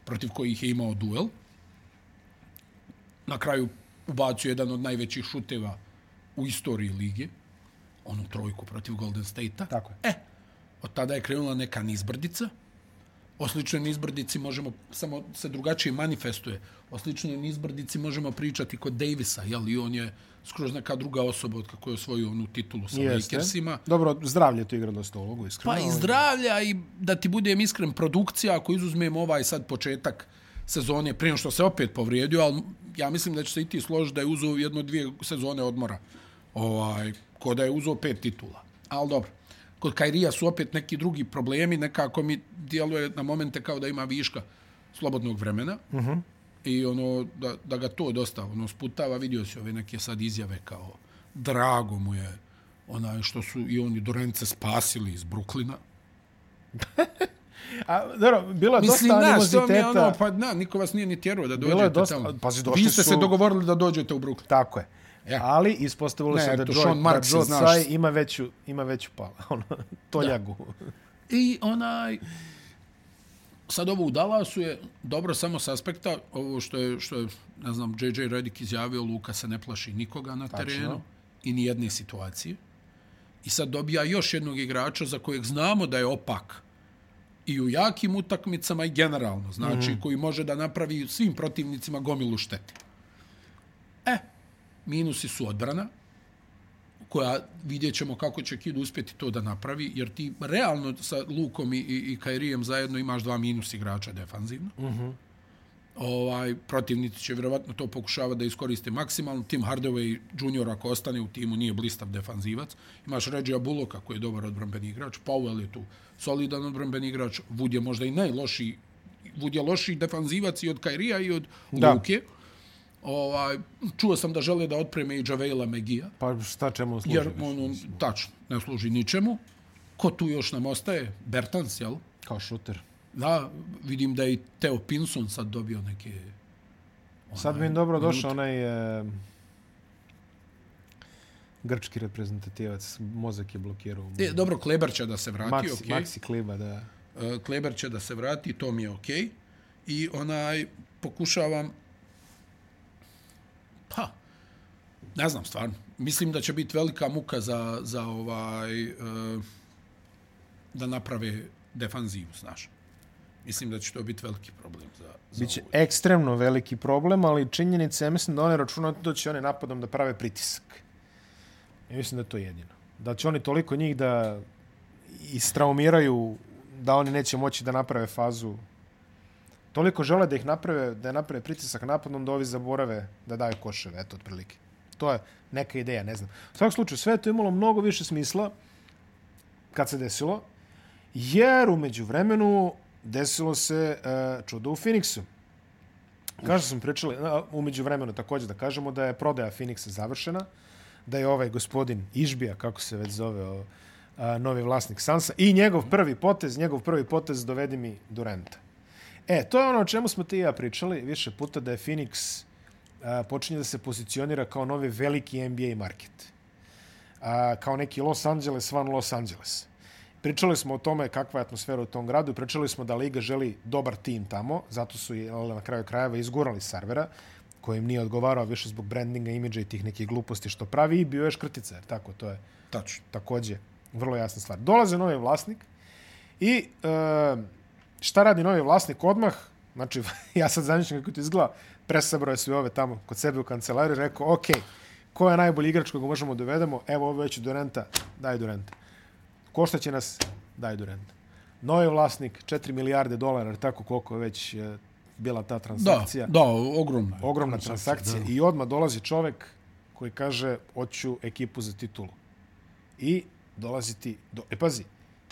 Speaker 2: protiv kojih je imao duel. Na kraju ubacio jedan od najvećih šuteva u istoriji lige, onu trojku protiv Golden State-a.
Speaker 1: Tako je.
Speaker 2: E, od tada je krenula neka nizbrdica. O sličnoj nizbrdici možemo, samo se drugačije manifestuje, o sličnoj nizbrdici možemo pričati kod Davisa, jel? I on je skroz neka druga osoba od kako je osvojio onu titulu sa
Speaker 1: Jeste.
Speaker 2: Lakersima.
Speaker 1: Dobro, zdravlje tu igra dosta ulogu, iskreno.
Speaker 2: Pa i zdravlja i da ti budem iskren, produkcija, ako izuzmemo ovaj sad početak sezone, prije nego što se opet povrijedio, ali ja mislim da će se i ti složiti da je uzeo jedno dvije sezone odmora. Ovaj, ko da je uzeo pet titula. Ali dobro. Kod Kairija su opet neki drugi problemi, nekako mi djeluje na momente kao da ima viška slobodnog vremena. Uh -huh. I ono, da, da ga to dosta ono, sputava, vidio si ove neke sad izjave kao drago mu je onaj što su i oni Dorence spasili iz Bruklina.
Speaker 1: A, dobro, bilo je
Speaker 2: Mislim,
Speaker 1: Pa dosta
Speaker 2: znaš, to mi je
Speaker 1: animoziteta.
Speaker 2: ono, pa na, niko vas nije ni tjerao da
Speaker 1: Bilo
Speaker 2: dođete
Speaker 1: je dosta-
Speaker 2: tamo.
Speaker 1: pazi,
Speaker 2: Vi
Speaker 1: došli
Speaker 2: ste se
Speaker 1: su-
Speaker 2: dogovorili da dođete u Brooklyn.
Speaker 1: Tako je.
Speaker 2: Ja.
Speaker 1: Ali ispostavilo
Speaker 2: Ne,
Speaker 1: se da
Speaker 2: to
Speaker 1: Joe,
Speaker 2: Sean
Speaker 1: da
Speaker 2: Marks je,
Speaker 1: Joe
Speaker 2: znaš.
Speaker 1: Tsai ima veću, ima veću pala, ono, toljagu.
Speaker 2: I onaj... Sad ovo u Dallasu je dobro samo s aspekta, ovo što je, što je ne znam, JJ Redick izjavio, Luka se ne plaši nikoga na terenu i ni jedne situacije. I sad dobija još jednog igrača za kojeg znamo da je opak i u jakim utakmicama i generalno, znači mm. koji može da napravi svim protivnicima gomilu štete. E, minusi su odbrana, koja vidjet ćemo kako će Kid uspjeti to da napravi, jer ti realno sa Lukom i, i, i Kairijem zajedno imaš dva minus igrača defanzivno. Uh -huh. ovaj, protivnici će vjerovatno to pokušavati da iskoriste maksimalno. Tim Hardaway junior ako ostane u timu nije blistav defanzivac. Imaš Regija Buloka koji je dobar odbrambeni igrač, Powell je tu solidan odbrambeni igrač, Wood je možda i najlošiji Wood je lošiji defanzivac i od Kairija i od
Speaker 1: Da.
Speaker 2: Luke. Ovaj, čuo sam da žele da otpreme i Javela Megija.
Speaker 1: Pa šta čemu služi?
Speaker 2: Jer on, on tačno, ne služi ničemu. Ko tu još nam ostaje? Bertans, jel?
Speaker 1: Kao šuter.
Speaker 2: Da, vidim da je i Teo Pinson sad dobio neke...
Speaker 1: Sad mi je dobro došao onaj... E, grčki reprezentativac, mozak je blokirao. mu.
Speaker 2: E, dobro, Kleber će da se vrati,
Speaker 1: Maxi,
Speaker 2: okej.
Speaker 1: Maxi Kliba, da.
Speaker 2: E, Kleber će da se vrati, to mi je okej. I onaj, pokušavam... Pa, ne znam stvarno. Mislim da će biti velika muka za, za ovaj... E, da naprave defanzivu, znaš. Mislim da će to biti veliki problem za, za
Speaker 1: Biće
Speaker 2: ovu
Speaker 1: ekstremno veliki problem, ali činjenica je, mislim da oni računaju da će oni napadom da prave pritisak. Ja mislim da je to jedino. Da će oni toliko njih da istraumiraju da oni neće moći da naprave fazu. Toliko žele da ih naprave, da je naprave pritisak napadom da ovi zaborave da daju koševe, eto, otprilike. to je neka ideja, ne znam. U svakom slučaju, sve to je imalo mnogo više smisla kad se desilo, jer umeđu vremenu desilo se uh, čudo u Phoenixu. Kao što smo pričali, a, umeđu vremenu također da kažemo da je prodaja Phoenixa završena, da je ovaj gospodin Išbija, kako se već zove, o, a, novi vlasnik Sansa, i njegov prvi potez, njegov prvi potez dovedi mi Durenta. E, to je ono o čemu smo ti i ja pričali više puta, da je Phoenix a, počinje da se pozicionira kao novi veliki NBA market. A, kao neki Los Angeles van Los Angeles. Pričali smo o tome kakva je atmosfera u tom gradu, pričali smo da Liga želi dobar tim tamo, zato su je na kraju krajeva izgurali servera, koji im nije odgovarao više zbog brandinga, imidža i tih nekih gluposti što pravi i bio je škrtica, jer tako to je
Speaker 2: Tačno.
Speaker 1: takođe vrlo jasna stvar. Dolaze novi vlasnik i e, šta radi novi vlasnik odmah? Znači, ja sad zamišljam kako to izgleda. Presabro je sve ove tamo kod sebe u kancelariji i rekao, ok, ko je najbolji igrač koga možemo dovedemo? Evo, ovo je već Durenta, daj Durenta. Košta će nas, daj Durenta. Novi vlasnik, 4 milijarde dolara, jer tako koliko je već e, bila ta
Speaker 2: Da,
Speaker 1: transakcija
Speaker 2: da, ogromno. je.
Speaker 1: ogromna transakcija i odmah dolazi čovek koji kaže hoću ekipu za titulu. I dolazi ti, do, e pazi,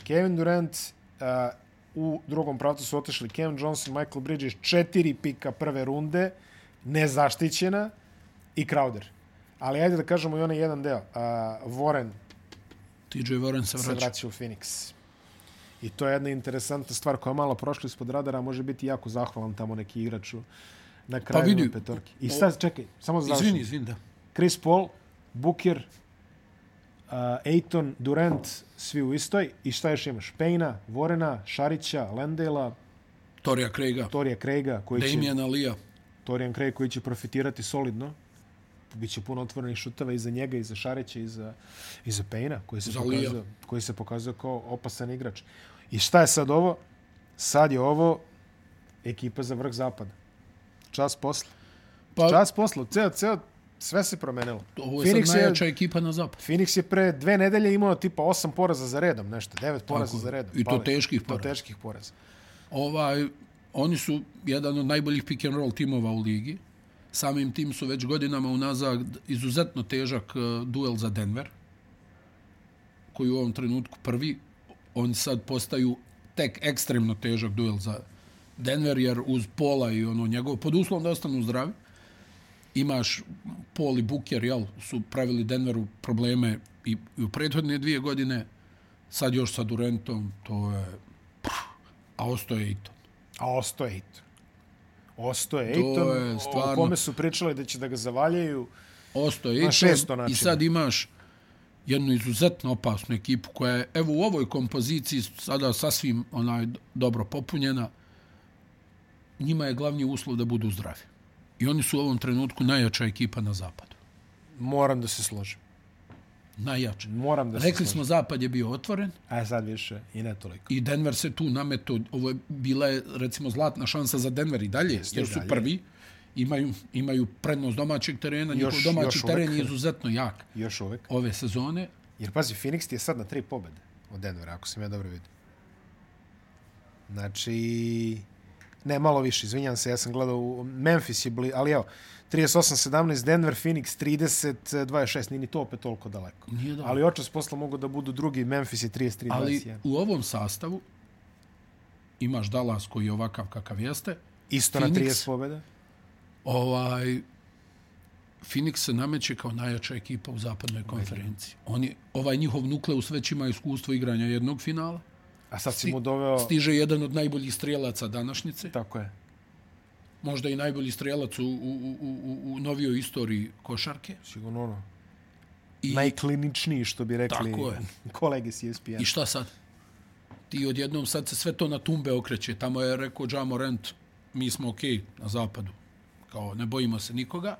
Speaker 1: Kevin Durant uh, u drugom pravcu su otešli Kevin Johnson, Michael Bridges, četiri pika prve runde, nezaštićena i Crowder. Ali ajde da kažemo i onaj jedan deo. Uh, Warren
Speaker 2: TJ Warren se
Speaker 1: se
Speaker 2: vraća.
Speaker 1: vraća u Phoenix. I to je jedna interesantna stvar koja je malo prošla ispod radara, a može biti jako zahvalan tamo neki igraču na kraju
Speaker 2: vidi,
Speaker 1: pa petorki. I sad, čekaj, samo završim.
Speaker 2: Izvini, izvini, da.
Speaker 1: Chris Paul, Booker, uh, Aiton, Durant, svi u istoj. I šta još imaš? Pejna, Vorena, Šarića, Lendela,
Speaker 2: Torija Craiga,
Speaker 1: Torija Craiga, koji će,
Speaker 2: Damijana Lija.
Speaker 1: Torijan Craig koji će profitirati solidno. Biće puno otvorenih šuteva i za njega, i za Šarića, i za, i za Pejna, koji se,
Speaker 2: Za Lea.
Speaker 1: pokazao, koji se pokazao kao opasan igrač. I šta je sad ovo? Sad je ovo ekipa za vrh zapada. Čas posla.
Speaker 2: Pa,
Speaker 1: Čas posla. Ceo, ceo, sve se promenilo.
Speaker 2: ovo je sad najjača ekipa na zapad.
Speaker 1: Phoenix je pre dve nedelje imao tipa osam poraza za redom, nešto, devet poraza
Speaker 2: Tako,
Speaker 1: za redom.
Speaker 2: i to
Speaker 1: Pali.
Speaker 2: teških
Speaker 1: I To
Speaker 2: poraza.
Speaker 1: teških poraza.
Speaker 2: Ovaj, oni su jedan od najboljih pick and roll timova u ligi. Samim tim su već godinama unazad izuzetno težak eh, duel za Denver, koji u ovom trenutku prvi. Oni sad postaju tek ekstremno težak duel za Denver, jer uz Pola i ono njegov, pod uslovom da ostanu zdravi, imaš Paul i Booker, jel, su pravili Denveru probleme i, i u prethodne dvije godine, sad još sa Durantom, to je... A ostao je Eaton.
Speaker 1: A ostao je Ejton. Ostao je
Speaker 2: To
Speaker 1: Ejton,
Speaker 2: je
Speaker 1: ono, o
Speaker 2: stvarno-
Speaker 1: kome su pričali da će da ga zavaljaju.
Speaker 2: Ostao je
Speaker 1: šesto
Speaker 2: Eaton
Speaker 1: načina.
Speaker 2: i sad imaš jednu izuzetno opasnu ekipu koja je evo u ovoj kompoziciji sada sasvim onaj dobro popunjena. Njima je glavni uslov da budu zdravi. I oni su u ovom trenutku najjača ekipa na zapadu.
Speaker 1: Moram da se složim.
Speaker 2: Najjača.
Speaker 1: Moram da se
Speaker 2: Rekli
Speaker 1: složim.
Speaker 2: smo zapad je bio otvoren
Speaker 1: A sad više i ne toliko.
Speaker 2: i Denver se tu nameto. Ovo je bila je recimo zlatna šansa za Denver i dalje, Jeste, jer su
Speaker 1: dalje.
Speaker 2: prvi. Imaju, imaju prednost domaćeg terena, njihov
Speaker 1: Još-
Speaker 2: domaći
Speaker 1: još
Speaker 2: teren
Speaker 1: uvek.
Speaker 2: je izuzetno jak
Speaker 1: Još uvek.
Speaker 2: ove sezone.
Speaker 1: Jer pazi, Phoenix ti je sad na tri pobede od Denvera, ako sam ja dobro vidio. Znači, ne, malo više, izvinjam se, ja sam gledao, u Memphis je bli, ali evo, 38-17, Denver, Phoenix 30-26, nije ni to opet toliko daleko.
Speaker 2: Nije dobro.
Speaker 1: Ali očas posla mogu da budu drugi, Memphis je 33-21.
Speaker 2: Ali u ovom sastavu imaš Dallas koji je ovakav kakav jeste.
Speaker 1: Isto
Speaker 2: Phoenix?
Speaker 1: na 30 pobjeda.
Speaker 2: Ovaj, Phoenix se nameće kao najjača ekipa u zapadnoj konferenciji. Oni, ovaj njihov nukleus već ima iskustvo igranja jednog finala.
Speaker 1: A sad si
Speaker 2: Sti-
Speaker 1: mu doveo...
Speaker 2: Stiže jedan od najboljih strelaca današnjice.
Speaker 1: Tako je.
Speaker 2: Možda i najbolji strelac u, u, u, u, u novijoj istoriji košarke.
Speaker 1: Sigurno ono.
Speaker 2: I-
Speaker 1: Najkliničniji, što bi rekli
Speaker 2: Tako je.
Speaker 1: kolege E s ESPN.
Speaker 2: I šta sad? Ti odjednom sad se sve to na tumbe okreće. Tamo je rekao Džamo Rent, mi smo okej na zapadu. Kao, ne bojimo se nikoga.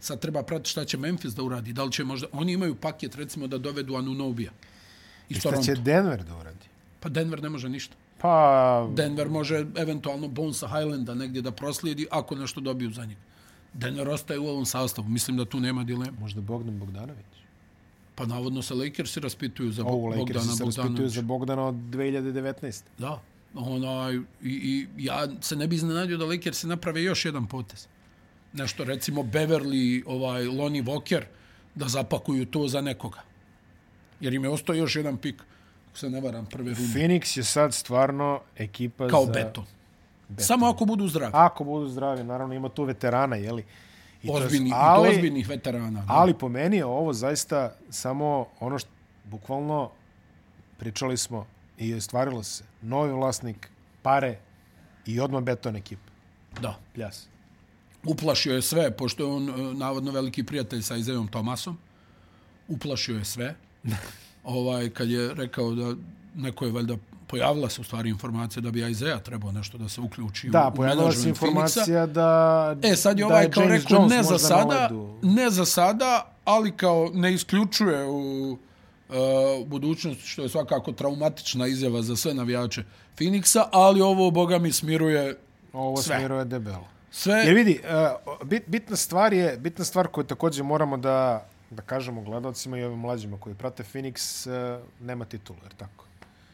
Speaker 2: Sad treba pratiti šta će Memphis da uradi. Da li će možda... Oni imaju paket, recimo, da dovedu Anunobija. Iz
Speaker 1: Šta
Speaker 2: Toronto.
Speaker 1: će Denver da uradi?
Speaker 2: Pa Denver ne može ništa.
Speaker 1: Pa,
Speaker 2: Denver može eventualno Bonesa Highlanda negdje da proslijedi ako nešto dobiju za njega. Denver ostaje u ovom sastavu. Mislim da tu nema dilema.
Speaker 1: možda Bogdan Bogdanović.
Speaker 2: Pa navodno se Lakersi raspituju za
Speaker 1: Ovo
Speaker 2: Bo-
Speaker 1: Lakersi
Speaker 2: Bogdana
Speaker 1: se
Speaker 2: Bogdanovića.
Speaker 1: raspituju za Bogdana od 2019.
Speaker 2: Da, onaj, i, i ja se ne bi iznenadio da Lakers se naprave još jedan potez. Nešto, recimo, Beverly, ovaj, Lonnie Walker, da zapakuju to za nekoga. Jer im je ostao još jedan pik, ako se ne varam, prve runde.
Speaker 1: Phoenix je sad stvarno ekipa
Speaker 2: Kao
Speaker 1: za...
Speaker 2: beton. Samo ako budu zdravi.
Speaker 1: Ako budu zdravi, naravno ima tu veterana, jeli? I to je-
Speaker 2: Ozbiljni, ali,
Speaker 1: ali,
Speaker 2: ozbiljnih veterana. da.
Speaker 1: ali po meni je ovo zaista samo ono što, bukvalno, pričali smo i ostvarilo se. Novi vlasnik, pare i odmah beton ekipa.
Speaker 2: Da.
Speaker 1: Pljas.
Speaker 2: Uplašio je sve, pošto je on e, navodno veliki prijatelj sa Izajom Tomasom. Uplašio je sve. ovaj, kad je rekao da neko je valjda pojavila se u stvari informacija da bi Aizeja trebao nešto da se uključi u-
Speaker 1: Da,
Speaker 2: u
Speaker 1: pojavila se
Speaker 2: menadžment Phoenixa.
Speaker 1: informacija da...
Speaker 2: E, sad je
Speaker 1: da
Speaker 2: ovaj kao
Speaker 1: James
Speaker 2: rekao,
Speaker 1: Jones
Speaker 2: ne za
Speaker 1: možda na
Speaker 2: sada,
Speaker 1: ledu.
Speaker 2: ne za sada, ali kao ne isključuje u uh, budućnost, što je svakako traumatična izjava za sve navijače Phoenixa, ali ovo, boga mi, smiruje
Speaker 1: Ovo
Speaker 2: sve.
Speaker 1: smiruje debelo.
Speaker 2: sve.
Speaker 1: Jer vidi, uh, bit, bitna stvar je, bitna stvar koju takođe moramo da, da kažemo gledalcima i ovim mlađima koji prate Phoenix, uh, nema titulu, jer tako?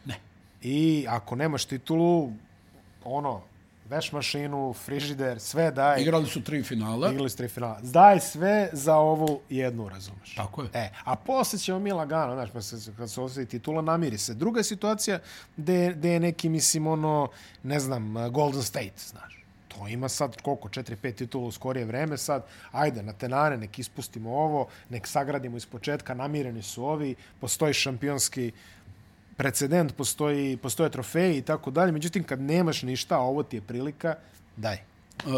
Speaker 2: Ne.
Speaker 1: I ako nemaš titulu, ono, veš mašinu, frižider, sve daj.
Speaker 2: Igrali su tri finala.
Speaker 1: Igrali su tri finala. Daj sve za ovu jednu, razumeš?
Speaker 2: Tako je.
Speaker 1: E, a posle ćemo mi lagano, znaš, pa se, kad se osvoji titula, namiri se. Druga je situacija gde, gde je neki, mislim, ono, ne znam, eh, Golden State, znaš. To ima sad koliko, 4-5 titula u skorije vreme sad, ajde, na tenane, nek ispustimo ovo, nek sagradimo iz početka, namireni su ovi, postoji šampionski precedent, postoji, postoje trofeji i tako dalje. Međutim, kad nemaš ništa, a ovo ti je prilika, daj.
Speaker 2: Uh,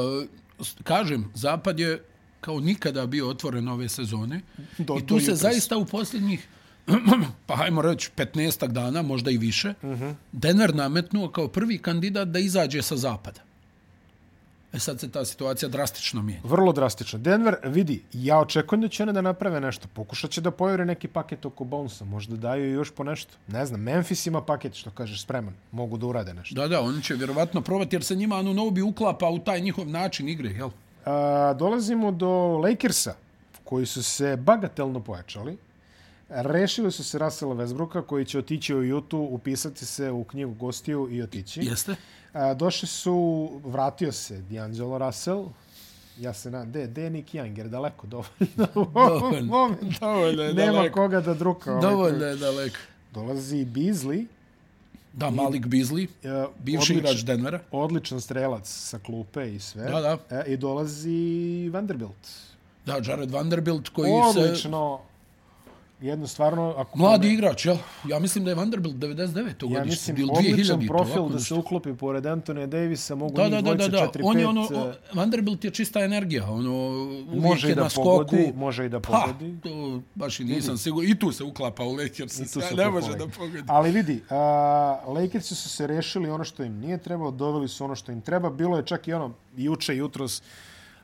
Speaker 2: kažem, Zapad je kao nikada bio otvoren ove sezone
Speaker 1: Do-
Speaker 2: i
Speaker 1: do
Speaker 2: tu se
Speaker 1: jutros.
Speaker 2: zaista u posljednjih pa hajmo reći 15 dana, možda i više, uh -huh. Denver nametnuo kao prvi kandidat da izađe sa zapada. E sad se ta situacija drastično mijenja.
Speaker 1: Vrlo drastično. Denver, vidi, ja očekujem da će one da naprave nešto. Pokušat će da pojure neki paket oko Bonesa. Možda daju još po nešto. Ne znam, Memphis ima paket, što kažeš, spreman. Mogu da urade nešto.
Speaker 2: Da, da, oni će vjerovatno probati jer se njima Anunobi uklapa u taj njihov način igre, jel?
Speaker 1: A, dolazimo do Lakersa, koji su se bagatelno pojačali. Rešili su se Russella Westbrooka, koji će otići u Jutu, upisati se u knjigu gostiju i otići.
Speaker 2: Jeste?
Speaker 1: A, došli su, vratio se D'Angelo Russell, Ja se nadam, gde gde je Nick Young, jer daleko dovoljno u ovom
Speaker 2: Dovoljno.
Speaker 1: momentu.
Speaker 2: Dovoljno
Speaker 1: Nema koga da druka. ovaj,
Speaker 2: Dovoljno je daleko.
Speaker 1: Dolazi Beasley,
Speaker 2: Da, Malik Beasley,
Speaker 1: e,
Speaker 2: bivši
Speaker 1: odlič-
Speaker 2: igrač Denvera.
Speaker 1: odličan strelac sa klupe i sve.
Speaker 2: Da, da.
Speaker 1: E, I dolazi Vanderbilt.
Speaker 2: Da, Jared Vanderbilt koji se...
Speaker 1: Odlično. Jedno stvarno... Ako
Speaker 2: Mladi igrač, jel? Ja mislim da je Vanderbilt 99.
Speaker 1: Ja
Speaker 2: godište,
Speaker 1: mislim,
Speaker 2: ili
Speaker 1: odličan
Speaker 2: 2000.
Speaker 1: profil
Speaker 2: ovako
Speaker 1: da se
Speaker 2: nešto.
Speaker 1: uklopi pored Antonija Davisa, mogu
Speaker 2: Da,
Speaker 1: njih
Speaker 2: da, da, da,
Speaker 1: dvojica,
Speaker 2: da.
Speaker 1: četiri,
Speaker 2: On
Speaker 1: pet,
Speaker 2: je ono,
Speaker 1: e,
Speaker 2: o- Vanderbilt je čista energija, ono, uvijek
Speaker 1: može
Speaker 2: je
Speaker 1: i da
Speaker 2: na skoku.
Speaker 1: pogodi, može i da
Speaker 2: Pa,
Speaker 1: pogodi.
Speaker 2: to baš i nisam siguran. I tu se uklapa u Lakers,
Speaker 1: tu se
Speaker 2: ne može
Speaker 1: pohvali.
Speaker 2: da pogodi.
Speaker 1: Ali vidi, uh, Lakersi su se rešili ono što im nije trebalo, doveli su ono što im treba. Bilo je čak i ono juče, jutros,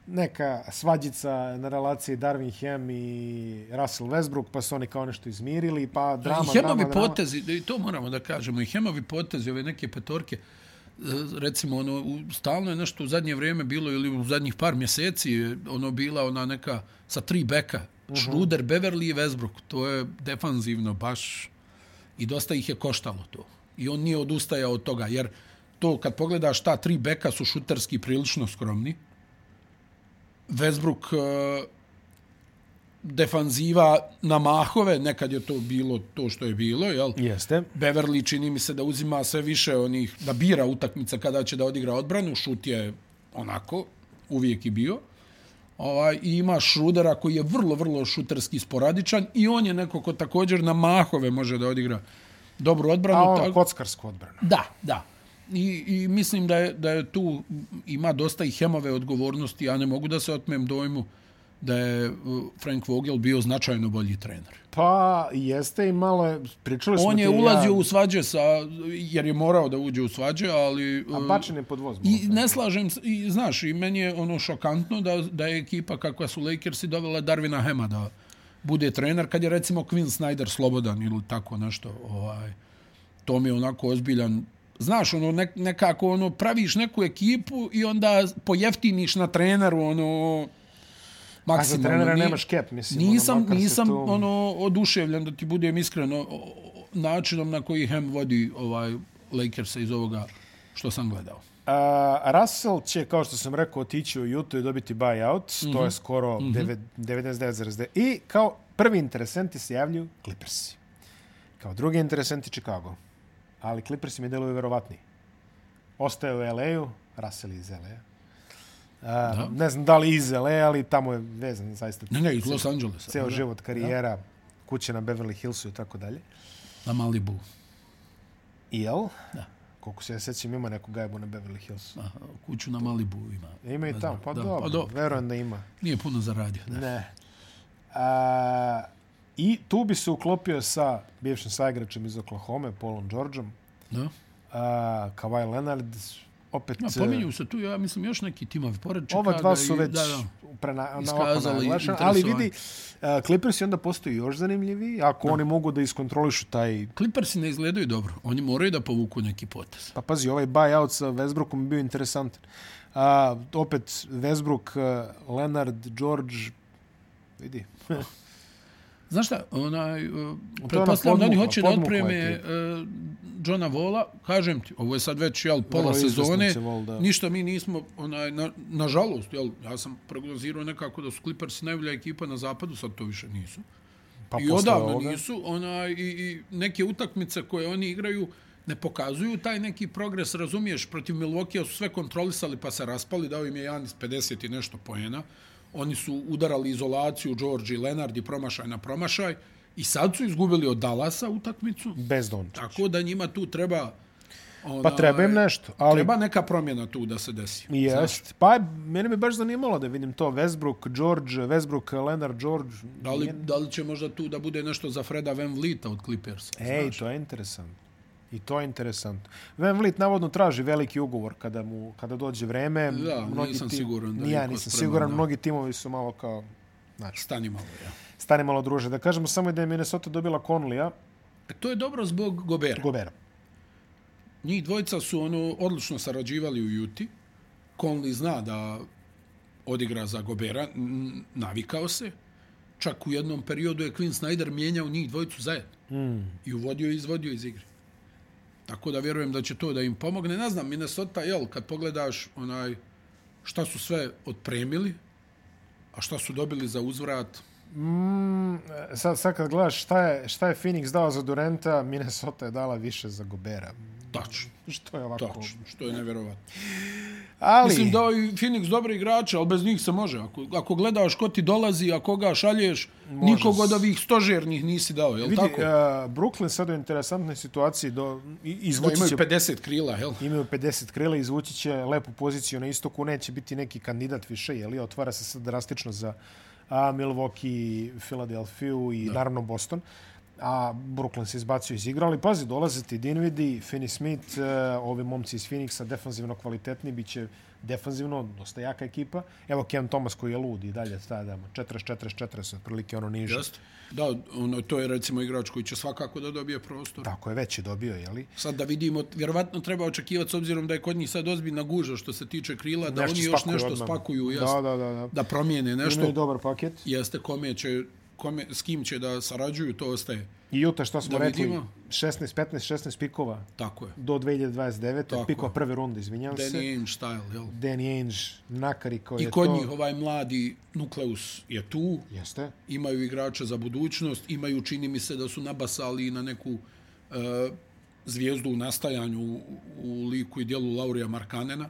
Speaker 1: neka svađica na relaciji Darvin Ham i Russell Westbrook, pa su oni kao nešto izmirili, pa drama,
Speaker 2: I
Speaker 1: drama,
Speaker 2: Hemovi
Speaker 1: drama.
Speaker 2: potezi, i to moramo da kažemo, i Hemovi potezi, ove neke petorke, e, recimo, ono, u- stalno je nešto u zadnje vrijeme bilo, ili u zadnjih par mjeseci, je ono, bila ona neka sa tri beka, Schruder, Beverly i Westbrook, to je defanzivno baš, i dosta ih je koštalo to. I on nije odustajao od toga, jer to kad pogledaš ta tri beka su šuterski prilično skromni, Westbrook e, defanziva na mahove, nekad je to bilo to što je bilo, jel?
Speaker 1: Jeste.
Speaker 2: Beverly čini mi se da uzima sve više onih, da bira utakmica kada će da odigra odbranu, šut je onako, uvijek i bio. Ovaj, I ima Šrudera koji je vrlo, vrlo šuterski sporadičan i on je neko ko također na mahove može da odigra dobru odbranu.
Speaker 1: A ono,
Speaker 2: tako-
Speaker 1: kockarsku odbranu.
Speaker 2: Da, da. I, i mislim da je, da je tu ima dosta i hemove odgovornosti. Ja ne mogu da se otmem dojmu da je uh, Frank Vogel bio značajno bolji trener.
Speaker 1: Pa jeste i malo, je- pričali smo
Speaker 2: On
Speaker 1: ti
Speaker 2: je
Speaker 1: i ja,
Speaker 2: ulazio u svađe sa, jer je morao da uđe u svađe, ali...
Speaker 1: A
Speaker 2: uh,
Speaker 1: bačen je pod voz.
Speaker 2: I ne slažem se, i znaš, i meni je ono šokantno da, da je ekipa kakva su Lakersi dovela Darvina Hema da bude trener, kad je recimo Quinn Snyder slobodan ili tako nešto. Ovaj, to mi je onako ozbiljan Znaš, ono, nek, nekako ono, praviš neku ekipu i onda pojeftiniš na treneru, ono, maksimalno.
Speaker 1: A za trenera
Speaker 2: Nije-
Speaker 1: nemaš kep, mislim. ono,
Speaker 2: Nisam,
Speaker 1: makar se
Speaker 2: nisam
Speaker 1: tu-
Speaker 2: ono oduševljen da ti budem iskreno o- o- načinom na koji Hem vodi ovaj Lakersa iz ovoga što sam gledao.
Speaker 1: Uh, Russell će, kao što
Speaker 2: Mhm.
Speaker 1: sam rekao, otići u Utah i dobiti buyout. Mm -hmm. To je skoro mm -hmm. 99,9. I kao Prvi interesenti se javljaju Clippersi. Kao drugi interesenti Chicago. Ali Clippersi mi deluju verovatniji. Ostaje u LA-u, Russell je iz LA-a. A, ne znam da li iz LA, ali tamo je vezan zaista
Speaker 2: Ne, ne, iz Los Angelesa.
Speaker 1: ceo
Speaker 2: Da,
Speaker 1: život, karijera, kuće na Beverly Hillsu i tako dalje.
Speaker 2: Na Malibu.
Speaker 1: I jel?
Speaker 2: Da.
Speaker 1: Koliko se ja sećam, ima neku gajbu na Beverly Hillsu.
Speaker 2: Aha, kuću na Malibu ima.
Speaker 1: Ima i tamo, pa
Speaker 2: da,
Speaker 1: dobro,
Speaker 2: pa dobro.
Speaker 1: verujem da ima.
Speaker 2: Nije puno zaradio. Da.
Speaker 1: Ne. A, I tu bi se uklopio sa bivšim saigračem iz Oklahoma, Paulom Georgeom,
Speaker 2: da.
Speaker 1: a, Kawhi Leonard, opet... e,
Speaker 2: Ja, pominju se tu, ja mislim, još neki timovi pored Chicago.
Speaker 1: Ova dva su
Speaker 2: i-
Speaker 1: već
Speaker 2: Da, da.
Speaker 1: prena, na oko
Speaker 2: Iskazali
Speaker 1: naglašena, ali
Speaker 2: interesovanje.
Speaker 1: vidi, a, Clippersi onda postaju još zanimljiviji, ako oni mogu da iskontrolišu taj...
Speaker 2: Clippersi ne izgledaju dobro. Oni moraju da povuku neki potez.
Speaker 1: Pa pazi, ovaj buyout sa Westbrookom je bio interesantan. A, opet, Westbrook, a, Leonard, George, vidi,
Speaker 2: Znaš šta, onaj, e,
Speaker 1: podmukla,
Speaker 2: pretpostavljam da oni hoće da
Speaker 1: podmukla je
Speaker 2: otpreme e, Johna Vola, kažem ti, ovo je sad već jel, pola
Speaker 1: Vrlo izvesno
Speaker 2: sezone,
Speaker 1: će Wall, da.
Speaker 2: ništa mi nismo, onaj, na, nažalost, jel, ja sam prognozirao nekako da su Clippersi najbolja ekipa na zapadu, sad to više nisu.
Speaker 1: pa
Speaker 2: I
Speaker 1: posle
Speaker 2: odavno
Speaker 1: ovoga-
Speaker 2: nisu, onaj, i, i neke utakmice koje oni igraju ne pokazuju taj neki progres, razumiješ, protiv Milwaukee su sve kontrolisali pa se raspali, dao im je Janis 50 i nešto poena, oni su udarali izolaciju George i Lenard i promašaj na promašaj i sad su izgubili od Dallasa utakmicu,
Speaker 1: Bez Dončića.
Speaker 2: tako da njima tu treba onaj,
Speaker 1: Pa treba im nešto, ali
Speaker 2: e, Treba neka promjena tu da se desi. Znaš,
Speaker 1: Jest. Pa mene bi baš zanimalo da vidim to. Westbrook, George, Westbrook, Leonard, George.
Speaker 2: da, li, da li će možda tu da bude nešto za Freda Van Vlita od Clippersa?
Speaker 1: Ej, to je interesantno. I to je interesantno. Van Vliet navodno traži veliki ugovor kada mu kada dođe vreme.
Speaker 2: Da, nisam siguran da
Speaker 1: Ni
Speaker 2: je
Speaker 1: ja
Speaker 2: iko
Speaker 1: nisam
Speaker 2: spreman,
Speaker 1: siguran.
Speaker 2: da.
Speaker 1: Mnogi timovi su malo kao...
Speaker 2: Stani malo, ja.
Speaker 1: Stani malo druže. Da kažemo samo da je Minnesota dobila Conleya,
Speaker 2: E, To je dobro zbog Gobera.
Speaker 1: Gobera.
Speaker 2: Njih dvojica su ono odlično sarađivali u Juti. Conley zna da odigra za Gobera, n- navikao se. Čak u jednom periodu je Quinn Snyder mijenjao njih dvojicu zajedno. Mm. I uvodio i izvodio iz igre. Tako da vjerujem da će to da im pomogne. Ne znam, Minnesota, jel, kad pogledaš onaj, šta su sve otpremili, a šta su dobili za uzvrat,
Speaker 1: Mm, sad, sad kad gledaš šta je, šta je Phoenix dao za Durenta, Minnesota je dala više za Gobera.
Speaker 2: tačno,
Speaker 1: Što je ovako?
Speaker 2: tačno, što je nevjerovatno.
Speaker 1: Ali,
Speaker 2: Mislim da i Phoenix dobri igrače, ali bez njih se može. Ako, ako gledaš ko ti dolazi, a koga šalješ, može nikog od ovih stožernih nisi dao, jel
Speaker 1: vidi,
Speaker 2: tako?
Speaker 1: uh, Brooklyn sad u interesantnoj situaciji do, i-
Speaker 2: Da,
Speaker 1: izvući
Speaker 2: imaju
Speaker 1: će
Speaker 2: 50 krila, jel?
Speaker 1: imaju 50 krila, izvući će lepu poziciju na istoku, neće biti neki kandidat više, jeli, otvara se sad drastično za a, Milwaukee, Filadelfiju i da. naravno Boston. A Brooklyn se izbacio iz igra, ali pazi, dolaze ti Dinvidi, Finney Smith, e, ovi momci iz Phoenixa, defanzivno kvalitetni, bit će defanzivno dosta jaka ekipa. Evo Ken Thomas koji je lud i dalje, tada, 40-40-40, otprilike ono niže.
Speaker 2: Jeste. Da, ono, to je recimo igrač koji će svakako da dobije prostor.
Speaker 1: Tako je, već je dobio, jeli?
Speaker 2: Sad da vidimo, vjerovatno treba očekivati s obzirom da je kod njih sad ozbiljna guža što se tiče krila, da
Speaker 1: Nešto
Speaker 2: oni još
Speaker 1: spakuju
Speaker 2: nešto
Speaker 1: odmah.
Speaker 2: spakuju,
Speaker 1: Da,
Speaker 2: jeste,
Speaker 1: da, da. da.
Speaker 2: da promijene
Speaker 1: Imaju
Speaker 2: nešto,
Speaker 1: dobar paket.
Speaker 2: jeste kome će, kome, s kim će da sarađuju, to ostaje.
Speaker 1: I Utah, što smo
Speaker 2: Da
Speaker 1: rekli,
Speaker 2: vidimo.
Speaker 1: 16, 15, 16 pikova
Speaker 2: Tako je.
Speaker 1: do 2029. Tako.
Speaker 2: Tako
Speaker 1: Pikova
Speaker 2: je.
Speaker 1: prve runde, izvinjam se.
Speaker 2: Danny Ainge style, jel?
Speaker 1: Danny Ainge, Nakari koji
Speaker 2: I
Speaker 1: je
Speaker 2: kod
Speaker 1: to...
Speaker 2: njih ovaj mladi nukleus je tu,
Speaker 1: Jeste.
Speaker 2: imaju igrače za budućnost, imaju, čini mi se, da su nabasali na neku e, zvijezdu u nastajanju u, u liku i dijelu Laurija Markanena,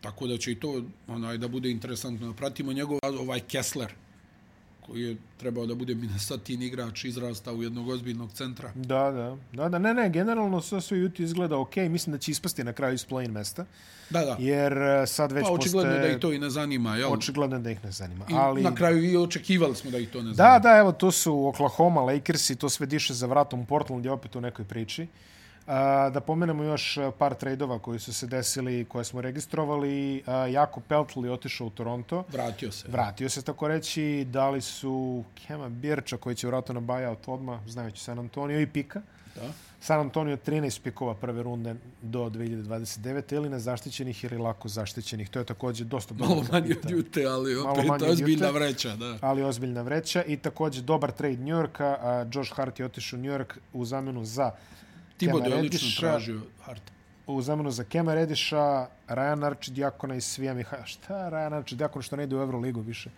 Speaker 2: tako da će i to onaj, da bude interesantno. Pratimo njegov ovaj Kessler, koji je trebao da bude Minnesotin igrač, izrasta u jednog ozbiljnog centra.
Speaker 1: Da, da. Da, da. Ne, ne, generalno sve sve Utah izgleda ok. Mislim da će ispasti na kraju iz play-in mesta.
Speaker 2: Da, da,
Speaker 1: Jer eh, sad već
Speaker 2: pa očigledno
Speaker 1: postaje...
Speaker 2: da i to i ne zanima, jel?
Speaker 1: Očigledno je da ih ne zanima.
Speaker 2: I
Speaker 1: Ali...
Speaker 2: Na kraju i očekivali smo da i to ne
Speaker 1: Da,
Speaker 2: zanima.
Speaker 1: da, evo, tu su Oklahoma, Lakers i to sve diše za vratom. Portland je opet u nekoj priči. A, da pomenemo još a, par trejdova koji su se desili, koje smo registrovali. A, Jako Peltl je otišao u Toronto.
Speaker 2: Vratio se.
Speaker 1: Vratio se, tako reći. Dali su Kema Birča koji će vratno na buyout odmah, znajući San Antonio i Pika.
Speaker 2: Da.
Speaker 1: San Antonio 13 pikova prve runde do 2029. ili nezaštićenih ili lako zaštićenih. To je također dosta dobro.
Speaker 2: Malo manje od Jute, ali
Speaker 1: Malo
Speaker 2: opet
Speaker 1: manje od
Speaker 2: ozbiljna
Speaker 1: Jute.
Speaker 2: vreća, da.
Speaker 1: ali ozbiljna vreća i takođe dobar trade New Yorka. A Josh Hart je otišao u New York u zamenu za
Speaker 2: Tibo
Speaker 1: Kema
Speaker 2: je odlično
Speaker 1: Reddiša.
Speaker 2: tražio Harta.
Speaker 1: u zamenu za Kema Rediša, Rajan Arčidjakona i Svija Miha... Šta Rajan Arčidjakon što ne ide u Euroligu više?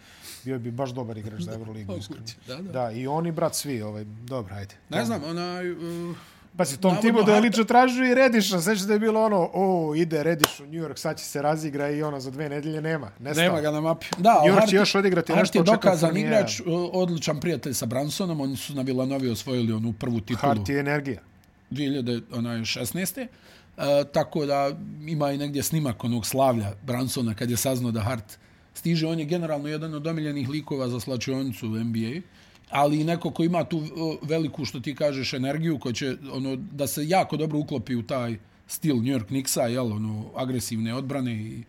Speaker 1: Bio bi baš dobar igrač za Euroligu, iskreno.
Speaker 2: moguće, da, da.
Speaker 1: Da, i oni, brat, svi, ovaj, dobro, ajde.
Speaker 2: Ne znam, onaj... Uh,
Speaker 1: Pa si tom
Speaker 2: Navodno
Speaker 1: timu da je
Speaker 2: Harta-
Speaker 1: lično tražio i Rediša. Sveće da je bilo ono, o, ide Rediš u New York, sad će se razigra i ono, za dve nedelje nema. Nestao.
Speaker 2: nema ga na mapi. Da,
Speaker 1: Jurčić
Speaker 2: Hart-
Speaker 1: još odigrati
Speaker 2: Hart
Speaker 1: nešto
Speaker 2: je
Speaker 1: od
Speaker 2: dokazan
Speaker 1: Četvrtfinija.
Speaker 2: igrač, uh, odličan prijatelj sa Bransonom. Oni su na Villanovi osvojili onu prvu titulu.
Speaker 1: Hart je energija.
Speaker 2: 2016. Uh, tako da ima i negdje snimak onog slavlja Bransona kad je saznao da Hart stiže. On je generalno jedan od omiljenih likova za slačionicu u NBA, ali i neko ko ima tu uh, veliku, što ti kažeš, energiju, ko će ono, da se jako dobro uklopi u taj stil New York Knicksa, jel, ono, agresivne odbrane i,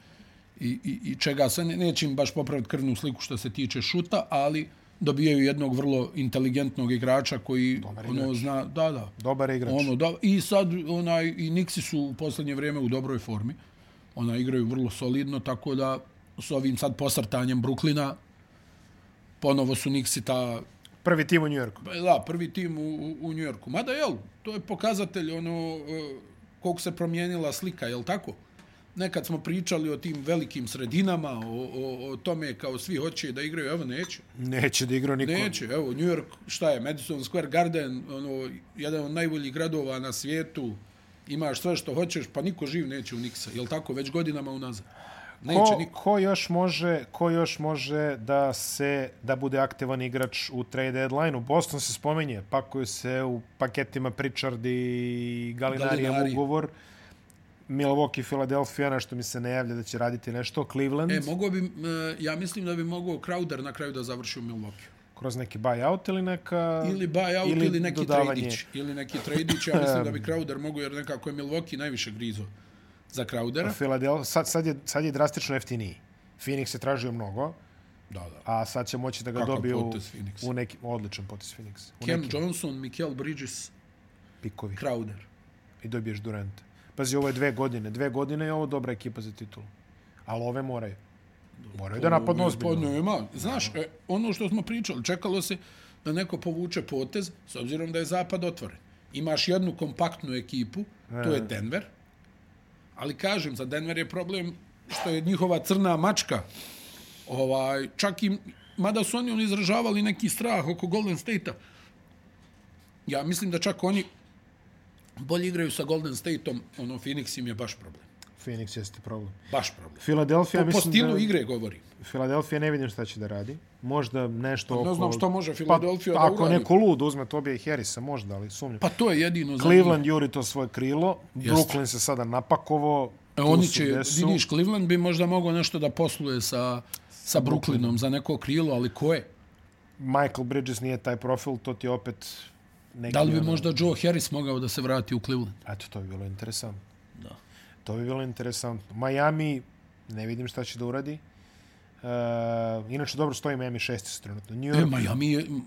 Speaker 2: i, i, i čega se ne, neće im baš popraviti krvnu sliku što se tiče šuta, ali dobijaju jednog vrlo inteligentnog igrača koji ono zna da da
Speaker 1: Dobar je igrač.
Speaker 2: Ono, da, I sad, onaj, i Nixi su u posljednje vrijeme u dobroj formi. Ona igraju vrlo solidno, tako da s ovim sad posrtanjem Bruklina ponovo su Nixi ta
Speaker 1: Prvi tim u New Yorku.
Speaker 2: Pa, Da, prvi tim u, u, u Njujorku. Mada, jel, to je pokazatelj ono, e, koliko se promijenila slika, jel tako? Nekad smo pričali o tim velikim sredinama, o, o, o tome kao svi hoće da igraju, evo neće.
Speaker 1: Neće da igra niko.
Speaker 2: Neće, evo, New York, šta je, Madison Square Garden, ono, jedan od najboljih gradova na svijetu, imaš sve što hoćeš, pa niko živ neće u Niksa, jel tako, već godinama unazad. Neće
Speaker 1: Ko,
Speaker 2: niko.
Speaker 1: ko, još može, ko još može da se da bude aktivan igrač u trade deadline-u? Boston se spomenje, pakuju se u paketima Pritchard i Galinarijem
Speaker 2: Galinari.
Speaker 1: ugovor. Milwaukee, Philadelphia, nešto mi se ne javlja da će raditi nešto. Cleveland,
Speaker 2: E, mogo bi, e, ja mislim da bi mogao Crowder na kraju da završi u Milwaukee.
Speaker 1: kroz neki buyout ili neka...
Speaker 2: Ili buyout ili, ili neki
Speaker 1: dodavanje.
Speaker 2: trejdić. Ili neki trejdić, ja mislim da bi Crowder mogu, jer nekako je Milwaukee najviše grizo za Crowdera.
Speaker 1: Philadelphia, sad, sad, je, sad je drastično jeftiniji. Phoenix je tražio mnogo,
Speaker 2: Da, da.
Speaker 1: a sad će moći da ga
Speaker 2: Kakav
Speaker 1: dobiju u,
Speaker 2: potez Phoenixa.
Speaker 1: u neki odličan potes Phoenix. U
Speaker 2: Cam
Speaker 1: nekim
Speaker 2: Johnson, Mikel Bridges,
Speaker 1: pikovi.
Speaker 2: Crowder.
Speaker 1: i dobiješ Durant. Pazi, ovo je dve godine. Dve godine je ovo dobra ekipa za titulu. Ali ove moraju. Moraju da napadnu
Speaker 2: Podno
Speaker 1: ozbiljno.
Speaker 2: ima. Znaš, e, ono što smo pričali, čekalo se da neko povuče potez, s obzirom da je zapad otvoren. Imaš jednu kompaktnu ekipu, to
Speaker 1: E.
Speaker 2: je Denver, ali kažem, za Denver je problem što je njihova crna mačka. Ovaj, čak i, mada su oni ono izražavali neki strah oko Golden State-a, ja mislim da čak oni bolje igraju sa Golden State-om, ono, Phoenix im je baš problem.
Speaker 1: Phoenix jeste problem.
Speaker 2: Baš problem.
Speaker 1: Philadelphia,
Speaker 2: Po
Speaker 1: mislim
Speaker 2: stilu
Speaker 1: da...
Speaker 2: igre govorim.
Speaker 1: Philadelphia ne vidim šta će da radi. Možda nešto oko...
Speaker 2: ne znam što može Philadelphia
Speaker 1: pa,
Speaker 2: da
Speaker 1: Ako
Speaker 2: uradi.
Speaker 1: neko lud uzme Tobija i Harrisa, možda, ali sumnjam.
Speaker 2: Pa to je jedino za
Speaker 1: Cleveland juri to svoje krilo. Brooklyn se sada napakovo.
Speaker 2: njih. E,
Speaker 1: Tu
Speaker 2: Oni
Speaker 1: su
Speaker 2: će,
Speaker 1: gde su.
Speaker 2: vidiš, Cleveland bi možda mogao nešto da posluje sa, sa Brooklynom za neko krilo, ali ko je?
Speaker 1: Michael Bridges nije taj profil, to ti je opet... Neki
Speaker 2: Da li bi
Speaker 1: ono-
Speaker 2: možda Joe Harris mogao da se vrati u Cleveland?
Speaker 1: Eto, to bi bilo interesantno. Da. To bi bilo interesantno. Miami, ne vidim šta će da uradi. Uh, inače, dobro stoji Miami šesti trenutno. New
Speaker 2: E,
Speaker 1: York,
Speaker 2: Miami je m,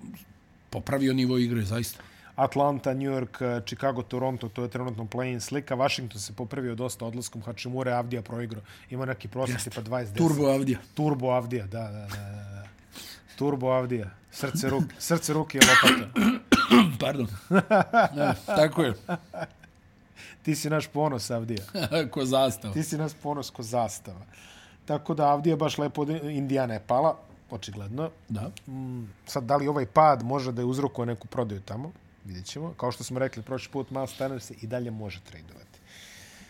Speaker 2: popravio nivo igre, zaista.
Speaker 1: Atlanta, New York, eh, Chicago, Toronto, to je trenutno play-in slika. Washington se popravio dosta odlaskom Hačimure, Avdija proigrao. Ima neki prosjek, pa 20
Speaker 2: Turbo Avdija.
Speaker 1: Turbo Avdija, da, da, da. da. da. Turbo Avdija. Srce, ruk, srce ruke je lopata.
Speaker 2: Pardon. Ja, tako je.
Speaker 1: Ti si naš ponos, Avdija.
Speaker 2: Ko zastava.
Speaker 1: Ti si nas ponos ko zastava. Tako da Avdija baš lepo, Indijana je pala, očigledno.
Speaker 2: Da.
Speaker 1: Sad, da li ovaj pad može da je uzrokuo neku prodaju tamo? Vidjet ćemo. Kao što smo rekli prošli put, Miles Turner se i dalje može tradovati.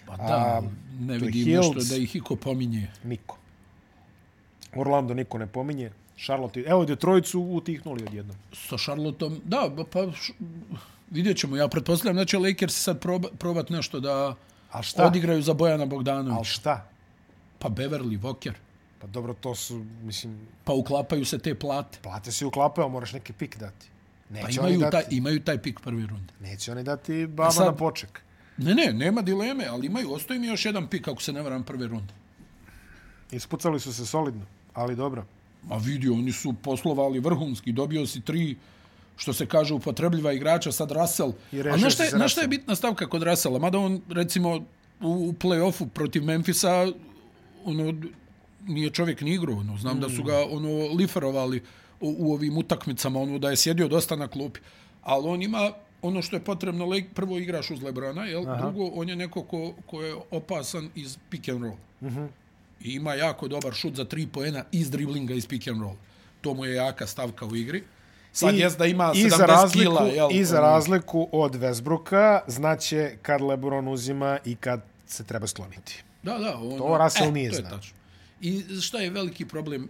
Speaker 2: Pa da, ne
Speaker 1: to je
Speaker 2: vidim nešto
Speaker 1: Hills.
Speaker 2: da ih iko pominje.
Speaker 1: Niko. Orlando niko ne pominje. Charlotte, evo Detroit su utihnuli odjednom.
Speaker 2: sa Charlottom, da, ba- pa š, vidjet ćemo. Ja pretpostavljam da će Lakers sad proba, probat nešto da
Speaker 1: A šta?
Speaker 2: odigraju za Bojana
Speaker 1: Ali
Speaker 2: Bogdanovića.
Speaker 1: šta?
Speaker 2: Pa Beverly, Voker.
Speaker 1: Pa dobro, to su, mislim,
Speaker 2: Pa uklapaju se te plate.
Speaker 1: plate se uklapaju, ali moraš neki pik dati.
Speaker 2: Pa
Speaker 1: Neće, oni
Speaker 2: imaju,
Speaker 1: dati,
Speaker 2: taj, imaju taj pik prve runde.
Speaker 1: neće oni dati baba
Speaker 2: sad-
Speaker 1: na poček.
Speaker 2: Ne, ne, nema dileme, ali imaju, ostaje mi još jedan pik ako se ne varam prve runde.
Speaker 1: Ispucali su se solidno, ali dobro.
Speaker 2: Ma vidio, oni su poslovali vrhunski, dobio si tri što se kaže upotrebljiva igrača, sad Russell.
Speaker 1: I
Speaker 2: A
Speaker 1: rešio
Speaker 2: znaš
Speaker 1: si
Speaker 2: šta, je,
Speaker 1: za
Speaker 2: znaš šta je
Speaker 1: Russella.
Speaker 2: bitna stavka kod Russella? Mada on, recimo, u, u play-offu protiv Memphisa, ono, nije čovjek ni igrao, ono, znam mm. da su ga, ono, liferovali u, u ovim utakmicama, ono, da je sjedio dosta na klupi. Ali on ima ono što je potrebno, leg, prvo igraš uz Lebrona, jel? Aha. drugo, on je neko ko, ko je opasan iz pick and roll. Uh -huh. I ima jako dobar šut za tri poena iz driblinga iz pick and roll. To mu je jaka stavka u igri. Sad I, jest da ima
Speaker 1: I
Speaker 2: 70
Speaker 1: za razliku,
Speaker 2: kila. Jel?
Speaker 1: I za
Speaker 2: ono.
Speaker 1: razliku od Vesbruka, znaće kad Lebron uzima i kad se treba skloniti.
Speaker 2: Da, da. Ono,
Speaker 1: To Russell nije
Speaker 2: to je
Speaker 1: znao.
Speaker 2: tačno. I šta je veliki problem,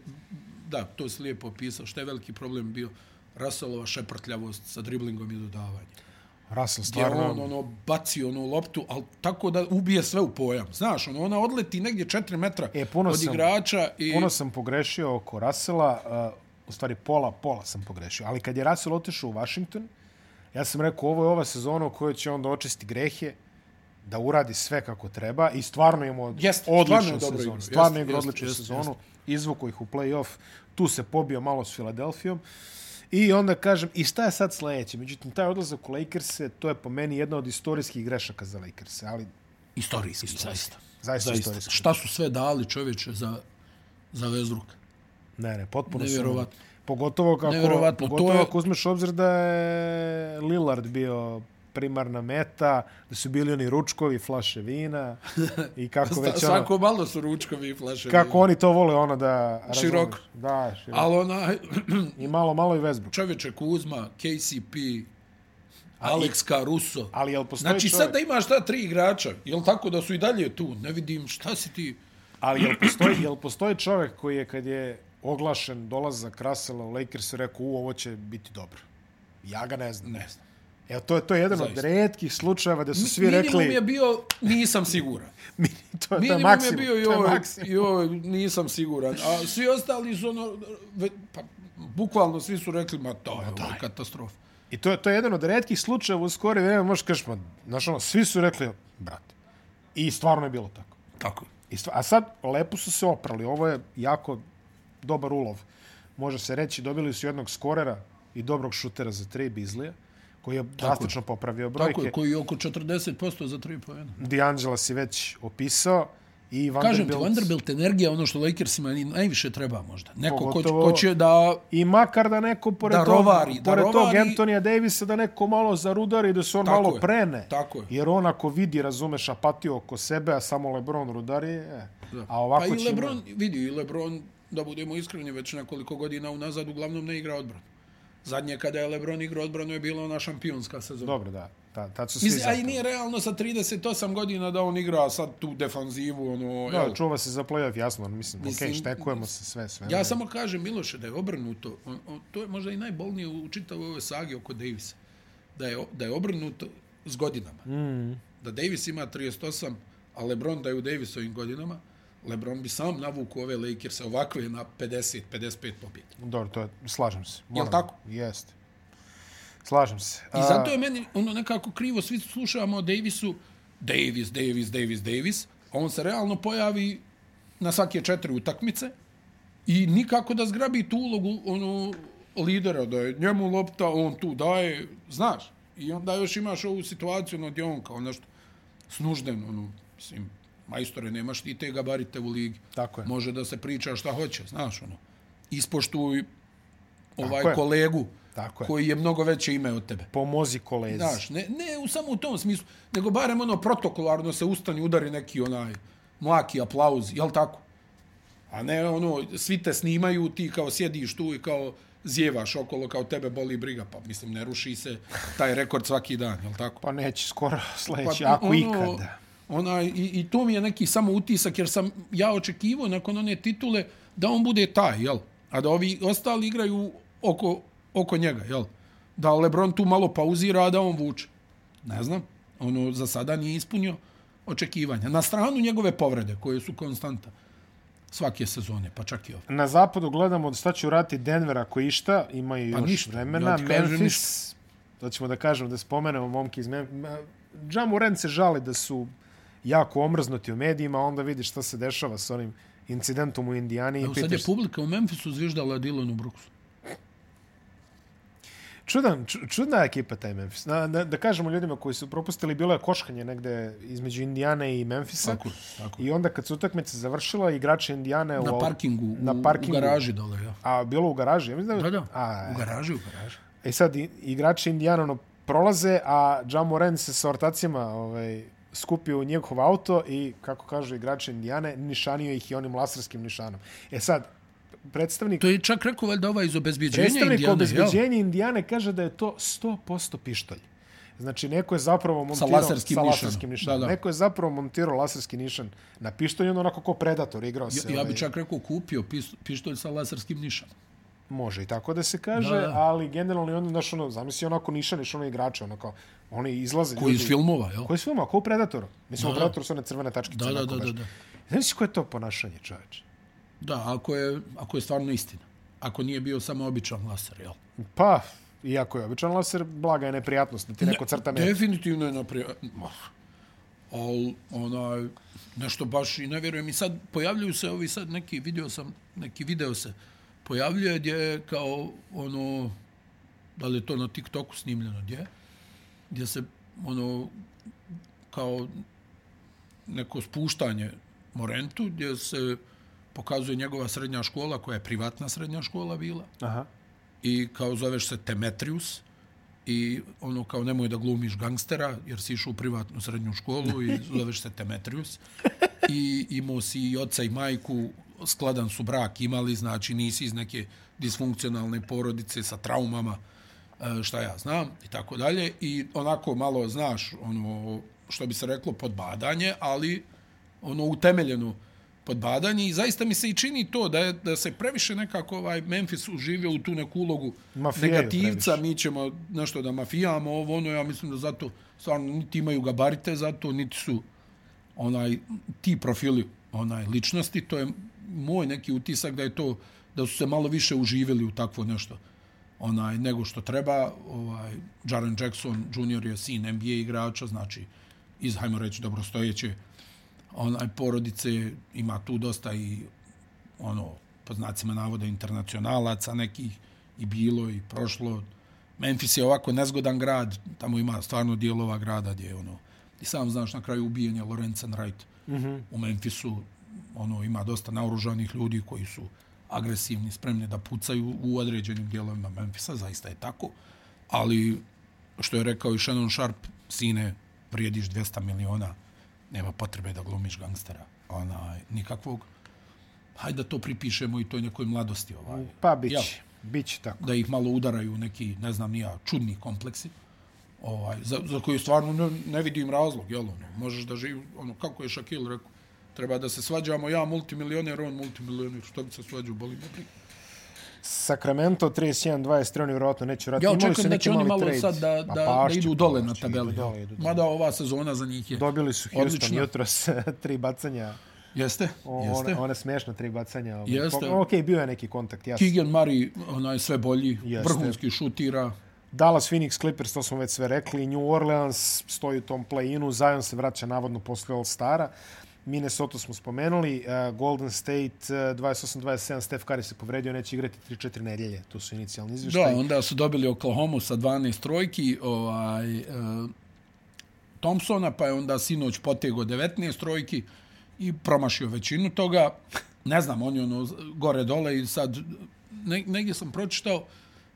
Speaker 2: da, to si lijepo opisao, šta je veliki problem bio Russellova šeprtljavost sa driblingom i dodavanjem.
Speaker 1: Russell
Speaker 2: Gdje
Speaker 1: stvarno...
Speaker 2: on ono, baci onu loptu, ali tako da ubije sve u pojam. Znaš, ono, ona odleti negdje 4 metra
Speaker 1: E, puno
Speaker 2: od
Speaker 1: sam-
Speaker 2: igrača i...
Speaker 1: Puno sam pogrešio oko Rasela, uh, u stvari pola, pola sam pogrešio. Ali kad je Rasel otišao u Washington, ja sam rekao ovo je ova sezona u kojoj će onda očisti grehe, da uradi sve kako treba i stvarno imamo
Speaker 2: Jeste,
Speaker 1: odličnu
Speaker 2: stvarno je dobro
Speaker 1: sezonu.
Speaker 2: igrao.
Speaker 1: Stvarno je
Speaker 2: Jeste,
Speaker 1: igrao
Speaker 2: jeste,
Speaker 1: odličnu
Speaker 2: jeste,
Speaker 1: sezonu, izvuko ih u play-off, tu se pobio malo s Filadelfijom. I onda kažem, i šta je sad sledeće? Međutim, taj odlazak u Lakers-e, to je po meni jedna od istorijskih grešaka za Lakers-e, ali
Speaker 2: Istorijski, zaista.
Speaker 1: zaista,
Speaker 2: zaista.
Speaker 1: istorijski.
Speaker 2: Šta su sve dali čoveče za, za Vezruka?
Speaker 1: Ne, ne, potpuno sam...
Speaker 2: Nevjerovatno.
Speaker 1: Pogotovo kako,
Speaker 2: Nevjerovatno, to
Speaker 1: pogotovo
Speaker 2: je-
Speaker 1: ako uzmeš u obzir da je Lillard bio primarna meta, da su bili oni ručkovi, flaše vina i kako
Speaker 2: Sta,
Speaker 1: već ono,
Speaker 2: svako malo su ručkovi i flaše.
Speaker 1: kako oni to vole ono da razumeš.
Speaker 2: Široko.
Speaker 1: Da, široko.
Speaker 2: Ali ona,
Speaker 1: I malo, malo i Westbrook.
Speaker 2: čoveče Kuzma, KCP, Alex Caruso.
Speaker 1: Ali jel postoji
Speaker 2: Znači
Speaker 1: čovjek,
Speaker 2: sad da imaš ta tri igrača, jel tako da su i dalje tu? Ne vidim šta si ti...
Speaker 1: ali jel postoji, jel postoji čovjek koji je kad je oglašen dolazak Russella u Lakers rekao u ovo će biti dobro. Ja ga ne znam.
Speaker 2: Ne znam.
Speaker 1: Evo, to je, to je jedan
Speaker 2: Zaista.
Speaker 1: od redkih slučajeva da su svi
Speaker 2: Minimum
Speaker 1: rekli...
Speaker 2: je bio, nisam siguran.
Speaker 1: to, je, to je
Speaker 2: Minimum je
Speaker 1: maksimum.
Speaker 2: bio i
Speaker 1: to je
Speaker 2: ovo,
Speaker 1: maksimum.
Speaker 2: i ovo, nisam siguran. A svi ostali su ono, ve- pa, bukvalno svi su rekli, ma to je ovo, katastrofa.
Speaker 1: I to, je- to je jedan od redkih slučajeva u skore vreme, možeš kažeš, ma, znaš ono, svi su rekli, brate. I stvarno je bilo tako.
Speaker 2: Tako.
Speaker 1: I stva, a sad, lepo su se oprali. Ovo je jako dobar ulov. Može se reći, dobili su jednog skorera i dobrog šutera za tri Bizlija, koji je drastično popravio brojke.
Speaker 2: Tako je, koji je oko 40% za 3 pojena.
Speaker 1: D'Angela si već opisao i
Speaker 2: Kažem ti,
Speaker 1: Vanderbilt.
Speaker 2: Vanderbilt energija je ono što Lakersima ni- najviše treba možda. Neko ko će,
Speaker 1: Pogotovo-
Speaker 2: ko će da
Speaker 1: I makar da neko pored,
Speaker 2: Da
Speaker 1: tog,
Speaker 2: rovari, da
Speaker 1: pored tog
Speaker 2: rovari.
Speaker 1: Antonija Davisa da neko malo zarudari, da se on
Speaker 2: Tako
Speaker 1: malo
Speaker 2: je,
Speaker 1: prene.
Speaker 2: tako je.
Speaker 1: Jer on ako vidi, razumeš, apatiju oko sebe, a samo Lebron rudari, e. a ovako
Speaker 2: pa i
Speaker 1: će...
Speaker 2: LeBron, vidi, i LeBron, da budemo iskreni, već nekoliko godina unazad uglavnom ne igra odbranu. Zadnje kada je LeBron igrao odbranu je bila ona šampionska sezona.
Speaker 1: Dobro, da. Ta, tad su svi
Speaker 2: Mislim, a i
Speaker 1: zapravo.
Speaker 2: nije realno sa 38 godina da on igra sad tu defanzivu, ono, jel?
Speaker 1: Da, čuva se za play-off, jasno. Mislim, mislim
Speaker 2: Mislim-
Speaker 1: okej, štekujemo se sve, sve.
Speaker 2: Ja samo kažem, Miloše, da je obrnuto. On, on, to je možda i najbolnije u čitavoj ovoj sagi oko Davisa. Da je, da je obrnuto s godinama. Mm. Da Davis ima 38, a Lebron da je u Davisovim godinama, Lebron bi sam navukao ove Lakerse ovakve na 50, 55 pobjede.
Speaker 1: Dobro, to je, slažem se. Moram-
Speaker 2: tako?
Speaker 1: Jeste. Slažem se.
Speaker 2: I zato je meni ono nekako krivo, svi slušamo o Davisu, Davis, Davis, Davis, Davis, a on se realno pojavi na svake četiri utakmice i nikako da zgrabi tu ulogu ono, lidera, da je njemu lopta, on tu daje, znaš. I onda još imaš ovu situaciju, ono, gdje on kao nešto snužden, ono, mislim, majstore, nemaš ti te gabarite u ligi.
Speaker 1: Tako je.
Speaker 2: Može da se priča šta hoće, znaš, ono. Ispoštuj ovaj
Speaker 1: Tako je.
Speaker 2: kolegu
Speaker 1: Tako je.
Speaker 2: koji je mnogo veće ime od tebe.
Speaker 1: Pomozi kolezi.
Speaker 2: Znaš, ne, ne u samo u tom smislu, nego barem ono protokolarno se ustani, udari neki onaj mlaki aplauz, jel tako? A ne ono, svi te snimaju, ti kao sjediš tu i kao zjevaš okolo, kao tebe boli briga, pa mislim ne ruši se taj rekord svaki dan, jel tako?
Speaker 1: Pa neće skoro sledeći, ako ikada.
Speaker 2: Ona, i, Pa, ono, I to mi je neki samo utisak, jer sam ja očekivao nakon one titule da on bude taj, jel? A da ovi ostali igraju oko, oko njega, jel? Da Lebron tu malo pauzira, a da on vuče. Ne znam, ono za sada nije ispunio očekivanja. Na stranu njegove povrede, koje su konstanta svake sezone, pa čak i ove.
Speaker 1: Na zapadu gledamo šta će urati Denver ako išta, ima i
Speaker 2: Pa
Speaker 1: još
Speaker 2: ništa,
Speaker 1: vremena.
Speaker 2: ja ti kažem
Speaker 1: Memphis, to ćemo da kažemo, da spomenemo momke iz Memphis. Džamurent se žali da su jako omrznuti u medijima, a onda vidi šta se dešava s onim incidentom u Indijani. i
Speaker 2: Evo sad je
Speaker 1: pitaš se-
Speaker 2: publika u Memphisu zviždala Dylanu Brooksu.
Speaker 1: Čudan, ču- čudna ekipa taj Memphis. Na, da, da kažemo ljudima koji su propustili, bilo je koškanje negde između Indijane i Memphisa.
Speaker 2: Tako je, tako je.
Speaker 1: I onda kad su utakmica završila, igrači Indijane u,
Speaker 2: Na
Speaker 1: au-
Speaker 2: parkingu,
Speaker 1: na parkingu
Speaker 2: u garaži dole, ja.
Speaker 1: A e. bilo u garaži, ja mislim da...
Speaker 2: Da, da,
Speaker 1: A,
Speaker 2: u garaži, u garaži.
Speaker 1: E sad, i- igrači Indijana ono, prolaze, a Jamoran se sa ortacima ovaj, skupio u njegov auto i, kako kažu igrači Indijane, nišanio ih i onim laserskim nišanom. E sad, predstavnik
Speaker 2: To je čak rekao valjda ovaj iz obezbjeđenja
Speaker 1: Predstavnik
Speaker 2: Indijane, jel?
Speaker 1: obezbeđenja Indijane kaže da je to 100% pištolj. Znači, neko je zapravo montirao...
Speaker 2: laserskim nišanom.
Speaker 1: laserskim nišanom.
Speaker 2: Da, da.
Speaker 1: Neko je zapravo montirao laserski nišan na pištolju, onda onako ko predator igrao se.
Speaker 2: Ja, ja
Speaker 1: ovaj,
Speaker 2: bi čak rekao kupio pis- pištolj sa laserskim nišom.
Speaker 1: Može i tako da se kaže, da,
Speaker 2: Da, da.
Speaker 1: da. ali generalno, i onda, znaš, ono, zamisli onako nišaniš ono igrače, onako, oni izlaze...
Speaker 2: Koji iz filmova, jel?
Speaker 1: Koji iz filma, ko u Predatoru. Mislim,
Speaker 2: Da,
Speaker 1: u
Speaker 2: da.
Speaker 1: Predatoru su one crvene tačkice.
Speaker 2: Da, da,
Speaker 1: onako
Speaker 2: da,
Speaker 1: baš.
Speaker 2: da, da.
Speaker 1: Znaš koje je to ponašanje, čoveče?
Speaker 2: Da, ako je, ako je stvarno istina. Ako nije bio samo običan laser, jel?
Speaker 1: Pa, iako je običan laser, blaga je neprijatnost, da ti neko crta ne...
Speaker 2: Definitivno je naprije... Ma, Al, onaj, nešto baš i ne vjerujem. I sad pojavljuju se ovi sad neki, video sam, neki video se pojavljuje gdje je kao ono, da li je to na TikToku snimljeno, gdje? Gdje se ono, kao neko spuštanje Morentu, gdje se pokazuje njegova srednja škola, koja je privatna srednja škola bila
Speaker 1: Aha.
Speaker 2: i kao zoveš se Temetrius i ono kao nemoj da glumiš gangstera jer si išao u privatnu srednju školu i zoveš se Temetrius i imao si i oca i majku skladan su brak imali znači nisi iz neke disfunkcionalne porodice sa traumama e, šta ja znam i tako dalje i onako malo znaš ono što bi se reklo podbadanje ali ono utemeljeno podbadanje i zaista mi se i čini to da je, da se previše nekako ovaj Memphis uživio u tu neku ulogu
Speaker 1: Mafijeju
Speaker 2: negativca, mi ćemo nešto da mafijamo ovo ono ja mislim da zato stvarno niti imaju gabarite zato niti su onaj ti profili onaj ličnosti to je moj neki utisak da je to da su se malo više uživjeli u takvo nešto onaj nego što treba ovaj Jaren Jackson Jr. je sin NBA igrača znači iz hajmo reći dobrostojeće onaj porodice ima tu dosta i ono po znacima navoda internacionalaca nekih i bilo i prošlo Memphis je ovako nezgodan grad tamo ima stvarno dijelova grada gdje je ono i sam znaš na kraju ubijen je Lorenzen Wright u Memphisu ono ima dosta naoružanih ljudi koji su agresivni, spremni da pucaju u određenim dijelovima Memphisa, zaista je tako. Ali, što je rekao i Shannon Sharp, sine, vrijediš 200 miliona, nema potrebe da glumiš gangstera. Onaj, nikakvog. Hajde da to pripišemo i toj nekoj mladosti. Ovaj.
Speaker 1: Pa, bić.
Speaker 2: Jel?
Speaker 1: Bić tako.
Speaker 2: da ih malo udaraju neki, ne znam nija, čudni kompleksi, ovaj, za, za koji stvarno ne, ne vidim razlog, jel ono, možeš da živi, ono, kako je Shaquille rekao, treba da se svađamo, ja multimilioner, on multimilioner, što bi se svađao, boli me briga.
Speaker 1: Sacramento 31-23, oni vjerovatno neće vratiti.
Speaker 2: Ja
Speaker 1: Imali su
Speaker 2: očekujem da
Speaker 1: neki
Speaker 2: će oni
Speaker 1: mali
Speaker 2: malo
Speaker 1: trade. Pa
Speaker 2: sad da,
Speaker 1: Ma
Speaker 2: da, da
Speaker 1: pašće,
Speaker 2: Pa idu dole na
Speaker 1: pašće,
Speaker 2: tabeli.
Speaker 1: idu dole, idu dole.
Speaker 2: Mada ova sezona za njih je.
Speaker 1: Dobili su Houston
Speaker 2: Odlično.
Speaker 1: Odlično. jutros tri bacanja.
Speaker 2: Jeste,
Speaker 1: O,
Speaker 2: jeste.
Speaker 1: Ona, ona smešna tri bacanja. Ovaj.
Speaker 2: Jeste.
Speaker 1: Po, ok, bio je neki kontakt, jasno.
Speaker 2: Keegan Murray, onaj sve bolji,
Speaker 1: Jeste.
Speaker 2: vrhunski šutira.
Speaker 1: Dallas, Phoenix, Clippers, to smo već sve rekli. New Orleans stoji u tom play-inu. Zion se vraća navodno posle All-Stara. Minnesota smo spomenuli. Uh, Golden State uh, 28-27. Steph Curry se povredio, neće igrati 3-4 nedjelje. Tu su inicijalni
Speaker 2: Da,
Speaker 1: izvještaj.
Speaker 2: onda su dobili Oklahoma sa 12 trojki, ovaj, e, Thompsona, pa je onda sinoć potegao 19 trojki i promašio većinu toga. Ne znam, on je ono gore-dole i sad ne, negdje sam pročitao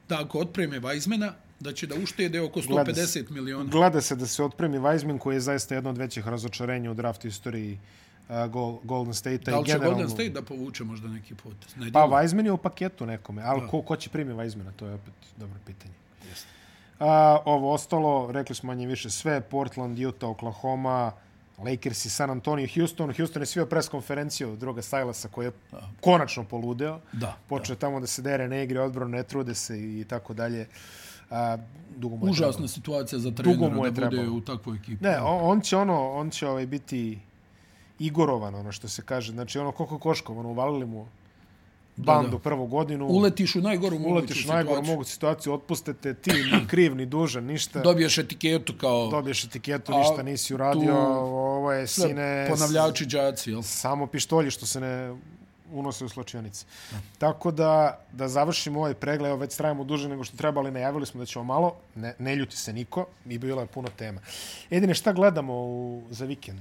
Speaker 2: da ako otpreme Weizmana, da će da uštede oko
Speaker 1: Gleda se.
Speaker 2: 150 miliona.
Speaker 1: Gleda se da se otpremi Weizman koji je zaista jedno od većih razočarenja u draft istoriji uh, Gol- Golden State-a.
Speaker 2: Da
Speaker 1: i
Speaker 2: li će
Speaker 1: generalno-
Speaker 2: Golden State da povuče možda neki potez?
Speaker 1: Pa
Speaker 2: Ne djelujem.
Speaker 1: Weizman je u paketu nekome, ali ko, ko će primi Weizmana, to je opet dobro pitanje. A, ovo ostalo, rekli smo manje više sve, Portland, Utah, Oklahoma, Lakers i San Antonio, Houston. Houston je svio pres konferenciju druga Stylasa koji je konačno poludeo.
Speaker 2: Da,
Speaker 1: Počeo je tamo da se dere, ne igre odbranu, ne trude se i tako dalje. A, dugo mu je
Speaker 2: Užasna
Speaker 1: trebalo.
Speaker 2: situacija za
Speaker 1: Dugo mu
Speaker 2: trenera
Speaker 1: je
Speaker 2: da bude
Speaker 1: trebalo.
Speaker 2: u takvoj ekipi.
Speaker 1: Ne, on, on će ono, on će ovaj biti igorovan, ono što se kaže. Znači, ono, koliko koškov, ono, uvalili mu bandu
Speaker 2: da.
Speaker 1: prvu godinu.
Speaker 2: Uletiš u najgoru moguću
Speaker 1: uletiš u najgoru
Speaker 2: situaciju.
Speaker 1: moguću situaciju, otpustete ti, ni kriv, ni dužan, ništa.
Speaker 2: Dobiješ etiketu kao...
Speaker 1: Dobiješ etiketu,
Speaker 2: A
Speaker 1: ništa nisi uradio,
Speaker 2: tu-
Speaker 1: ovo je
Speaker 2: Sve
Speaker 1: sine...
Speaker 2: ponavljači đaci, jel?
Speaker 1: Samo pištolji što se ne unose u slačionice. Tako da, da završimo ovaj pregled, evo već trajamo duže nego što trebali, najavili smo da ćemo malo, ne, ne ljuti se niko, i bilo je puno tema. Edine, šta gledamo u, za vikend?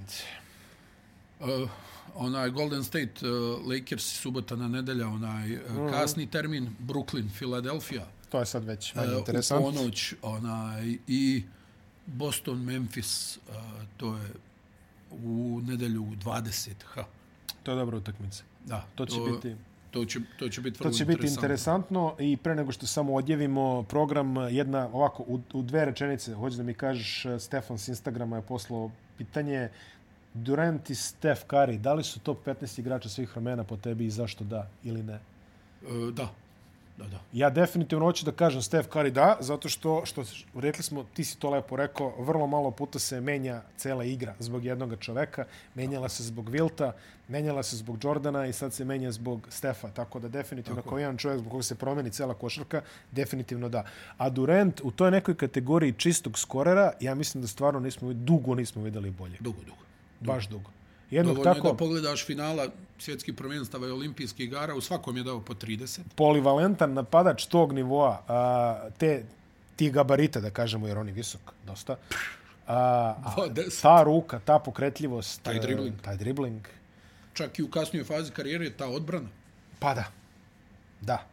Speaker 2: Uh, onaj Golden eh,
Speaker 1: Mm.
Speaker 2: State uh, Lakers subota na nedelja, onaj uh, kasni termin, Brooklyn, Philadelphia.
Speaker 1: to je sad već manje
Speaker 2: e, u
Speaker 1: interesantno.
Speaker 2: ponoć onaj, i Boston, Memphis, e, to je u nedelju u 20. Ha.
Speaker 1: To je dobra utakmica.
Speaker 2: Da,
Speaker 1: To će biti-
Speaker 2: To će, to će biti
Speaker 1: To
Speaker 2: vrlo
Speaker 1: će biti interesantno i pre nego što samo odjavimo program, jedna ovako, u, u dve rečenice, hoću da mi kažeš, e, Stefan s Instagrama je poslao pitanje Durant i Steph Curry, da li su top 15 igrača svih vremena po tebi i zašto da ili ne?
Speaker 2: E, da, da, da.
Speaker 1: Ja definitivno hoću da kažem Steph Curry da, zato što, što rekli smo, ti si to lepo rekao, vrlo malo puta se menja cela igra zbog jednog čoveka. Menjala se zbog Vilta, menjala se zbog Jordana i sad se menja zbog Stefa. Tako da definitivno Tako. kao jedan čovjek zbog koga se promeni cela košarka, definitivno da. A Durant u toj nekoj kategoriji čistog skorera, ja mislim da stvarno nismo, dugo nismo videli bolje.
Speaker 2: Dugo, dugo.
Speaker 1: Baš dugo. Jednog
Speaker 2: Dovoljno
Speaker 1: tako...
Speaker 2: je da pogledaš finala svjetskih prvenstava i olimpijskih igara, u svakom je dao po 30.
Speaker 1: polivalentan napadač tog nivoa, a, te, ti gabarita, da kažemo, jer on je visok, dosta. A, a
Speaker 2: Dvadeset.
Speaker 1: ta ruka, ta pokretljivost,
Speaker 2: Taj
Speaker 1: e,
Speaker 2: dribling.
Speaker 1: taj dribling,
Speaker 2: Čak i u kasnijoj fazi karijere ta odbrana.
Speaker 1: pa da. Da.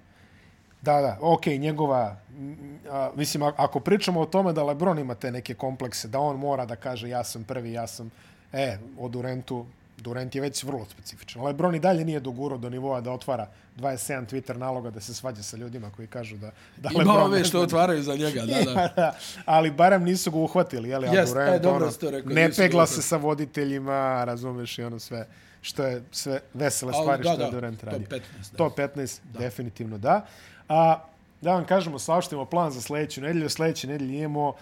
Speaker 1: Da, da, ok, njegova, m, a, mislim, a- ako pričamo o tome da Lebron ima te neke komplekse, da on mora da kaže ja sam prvi, ja sam, e, o Durantu, Durant je već vrlo specifičan. Lebron i dalje nije dogurao do nivoa da otvara 27 Twitter naloga da se svađa sa ljudima koji kažu da, da
Speaker 2: Ima
Speaker 1: Lebron ne
Speaker 2: ove što
Speaker 1: zna
Speaker 2: otvaraju za njega, da, da.
Speaker 1: da, ali barem nisu ga uhvatili, jel? a
Speaker 2: Jest,
Speaker 1: Durant,
Speaker 2: e, dobro
Speaker 1: ono,
Speaker 2: ste rekao,
Speaker 1: ne
Speaker 2: nisu ga
Speaker 1: pegla se
Speaker 2: uhvatili.
Speaker 1: sa voditeljima, razumeš i ono sve što je sve vesele
Speaker 2: Ali
Speaker 1: stvari
Speaker 2: da,
Speaker 1: što je
Speaker 2: da,
Speaker 1: Durant
Speaker 2: top
Speaker 1: radi.
Speaker 2: 15, da.
Speaker 1: Top 15, definitivno da. A, da vam kažemo, saopštimo plan za sljedeću nedjelju. Sljedeće nedjelje imamo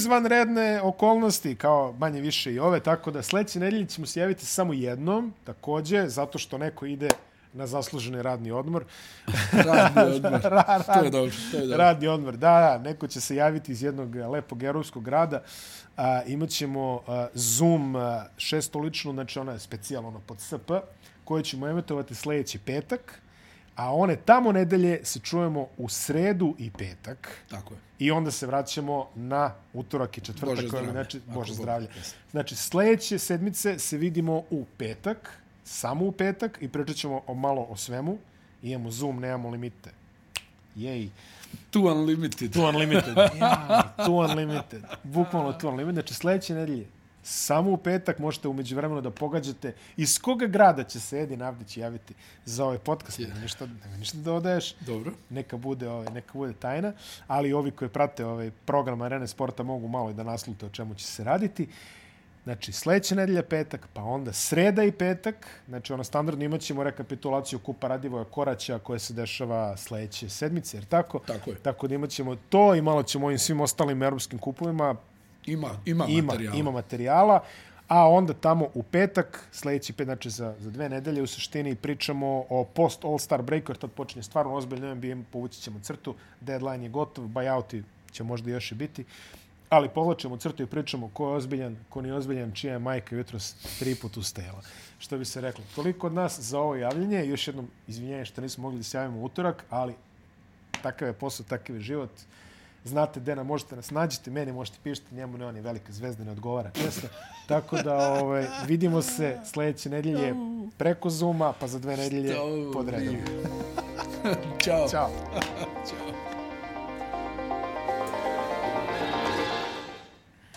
Speaker 1: izvanredne okolnosti, kao manje više i ove, tako da sljedeće nedjelje ćemo se javiti samo jednom, takođe, zato što neko ide na zasluženi radni odmor.
Speaker 2: Radni odmor. To je dobro, to je dobro.
Speaker 1: Radni odmor, da, da, neko će se javiti iz jednog eh, lepog europskog grada. A, imat ćemo a, Zoom a, šestoličnu, znači ona je specijalno ono, pod SP, koju ćemo emitovati sljedeći petak. A one tamo nedelje se čujemo u sredu i petak.
Speaker 2: Tako je.
Speaker 1: I onda se vraćamo na utorak i četvrtak.
Speaker 2: Bože
Speaker 1: koji je
Speaker 2: zdravlje,
Speaker 1: Znači,
Speaker 2: ako
Speaker 1: Bože
Speaker 2: Bog.
Speaker 1: zdravlje.
Speaker 2: Jeste.
Speaker 1: Znači, sljedeće sedmice se vidimo u petak, samo u petak i pričat ćemo o malo o svemu. Imamo Zoom, nemamo limite. Jej.
Speaker 2: Tu unlimited.
Speaker 1: Tu Unlimited. ja, tu Unlimited. Bukvalno tu Unlimited. Znači, sljedeće nedelje, samo u petak možete umeđu vremenu da pogađate iz koga grada će se Edin Avdić javiti za ovaj podcast. Nema ništa, nema ništa da odaješ.
Speaker 2: Dobro.
Speaker 1: Neka bude, ovaj, neka bude tajna, ali ovi koji prate ovaj program Arene Sporta mogu malo i da naslute o čemu će se raditi. Znači, sledeća nedelja petak, pa onda sreda i petak. Znači, ono, standardno imat ćemo rekapitulaciju Kupa Radivoja Koraća koja se dešava sledeće sedmice, jer tako?
Speaker 2: Tako je.
Speaker 1: Tako da imat ćemo to i malo ćemo ovim svim ostalim europskim kupovima.
Speaker 2: Ima, ima,
Speaker 1: Ima,
Speaker 2: materijala.
Speaker 1: ima materijala. A onda tamo u petak, sledeći pet, znači za, za dve nedelje u suštini pričamo o post All-Star breaku, jer tad počinje stvarno ozbiljno NBA, povući ćemo crtu, deadline je gotov, buyouti će možda još i biti. Ali povlačemo crtu i pričamo ko je ozbiljan, ko nije ozbiljan, čija je majka jutros tri put ustajala. Što bi se reklo. Toliko od nas za ovo javljanje. Još jednom izvinjenje što nismo mogli da se javimo u utorak, ali takav je posao, takav je život. Znate gde nam možete nas nađete, meni možete pišete, njemu ne, on je velika zvezda, ne odgovara često. Tako da ovaj, vidimo se sledeće nedelje preko Zuma, pa za dve nedelje
Speaker 2: Šta ovo
Speaker 1: pod redom.
Speaker 2: Ćao.
Speaker 1: Ćao.
Speaker 2: Ćao.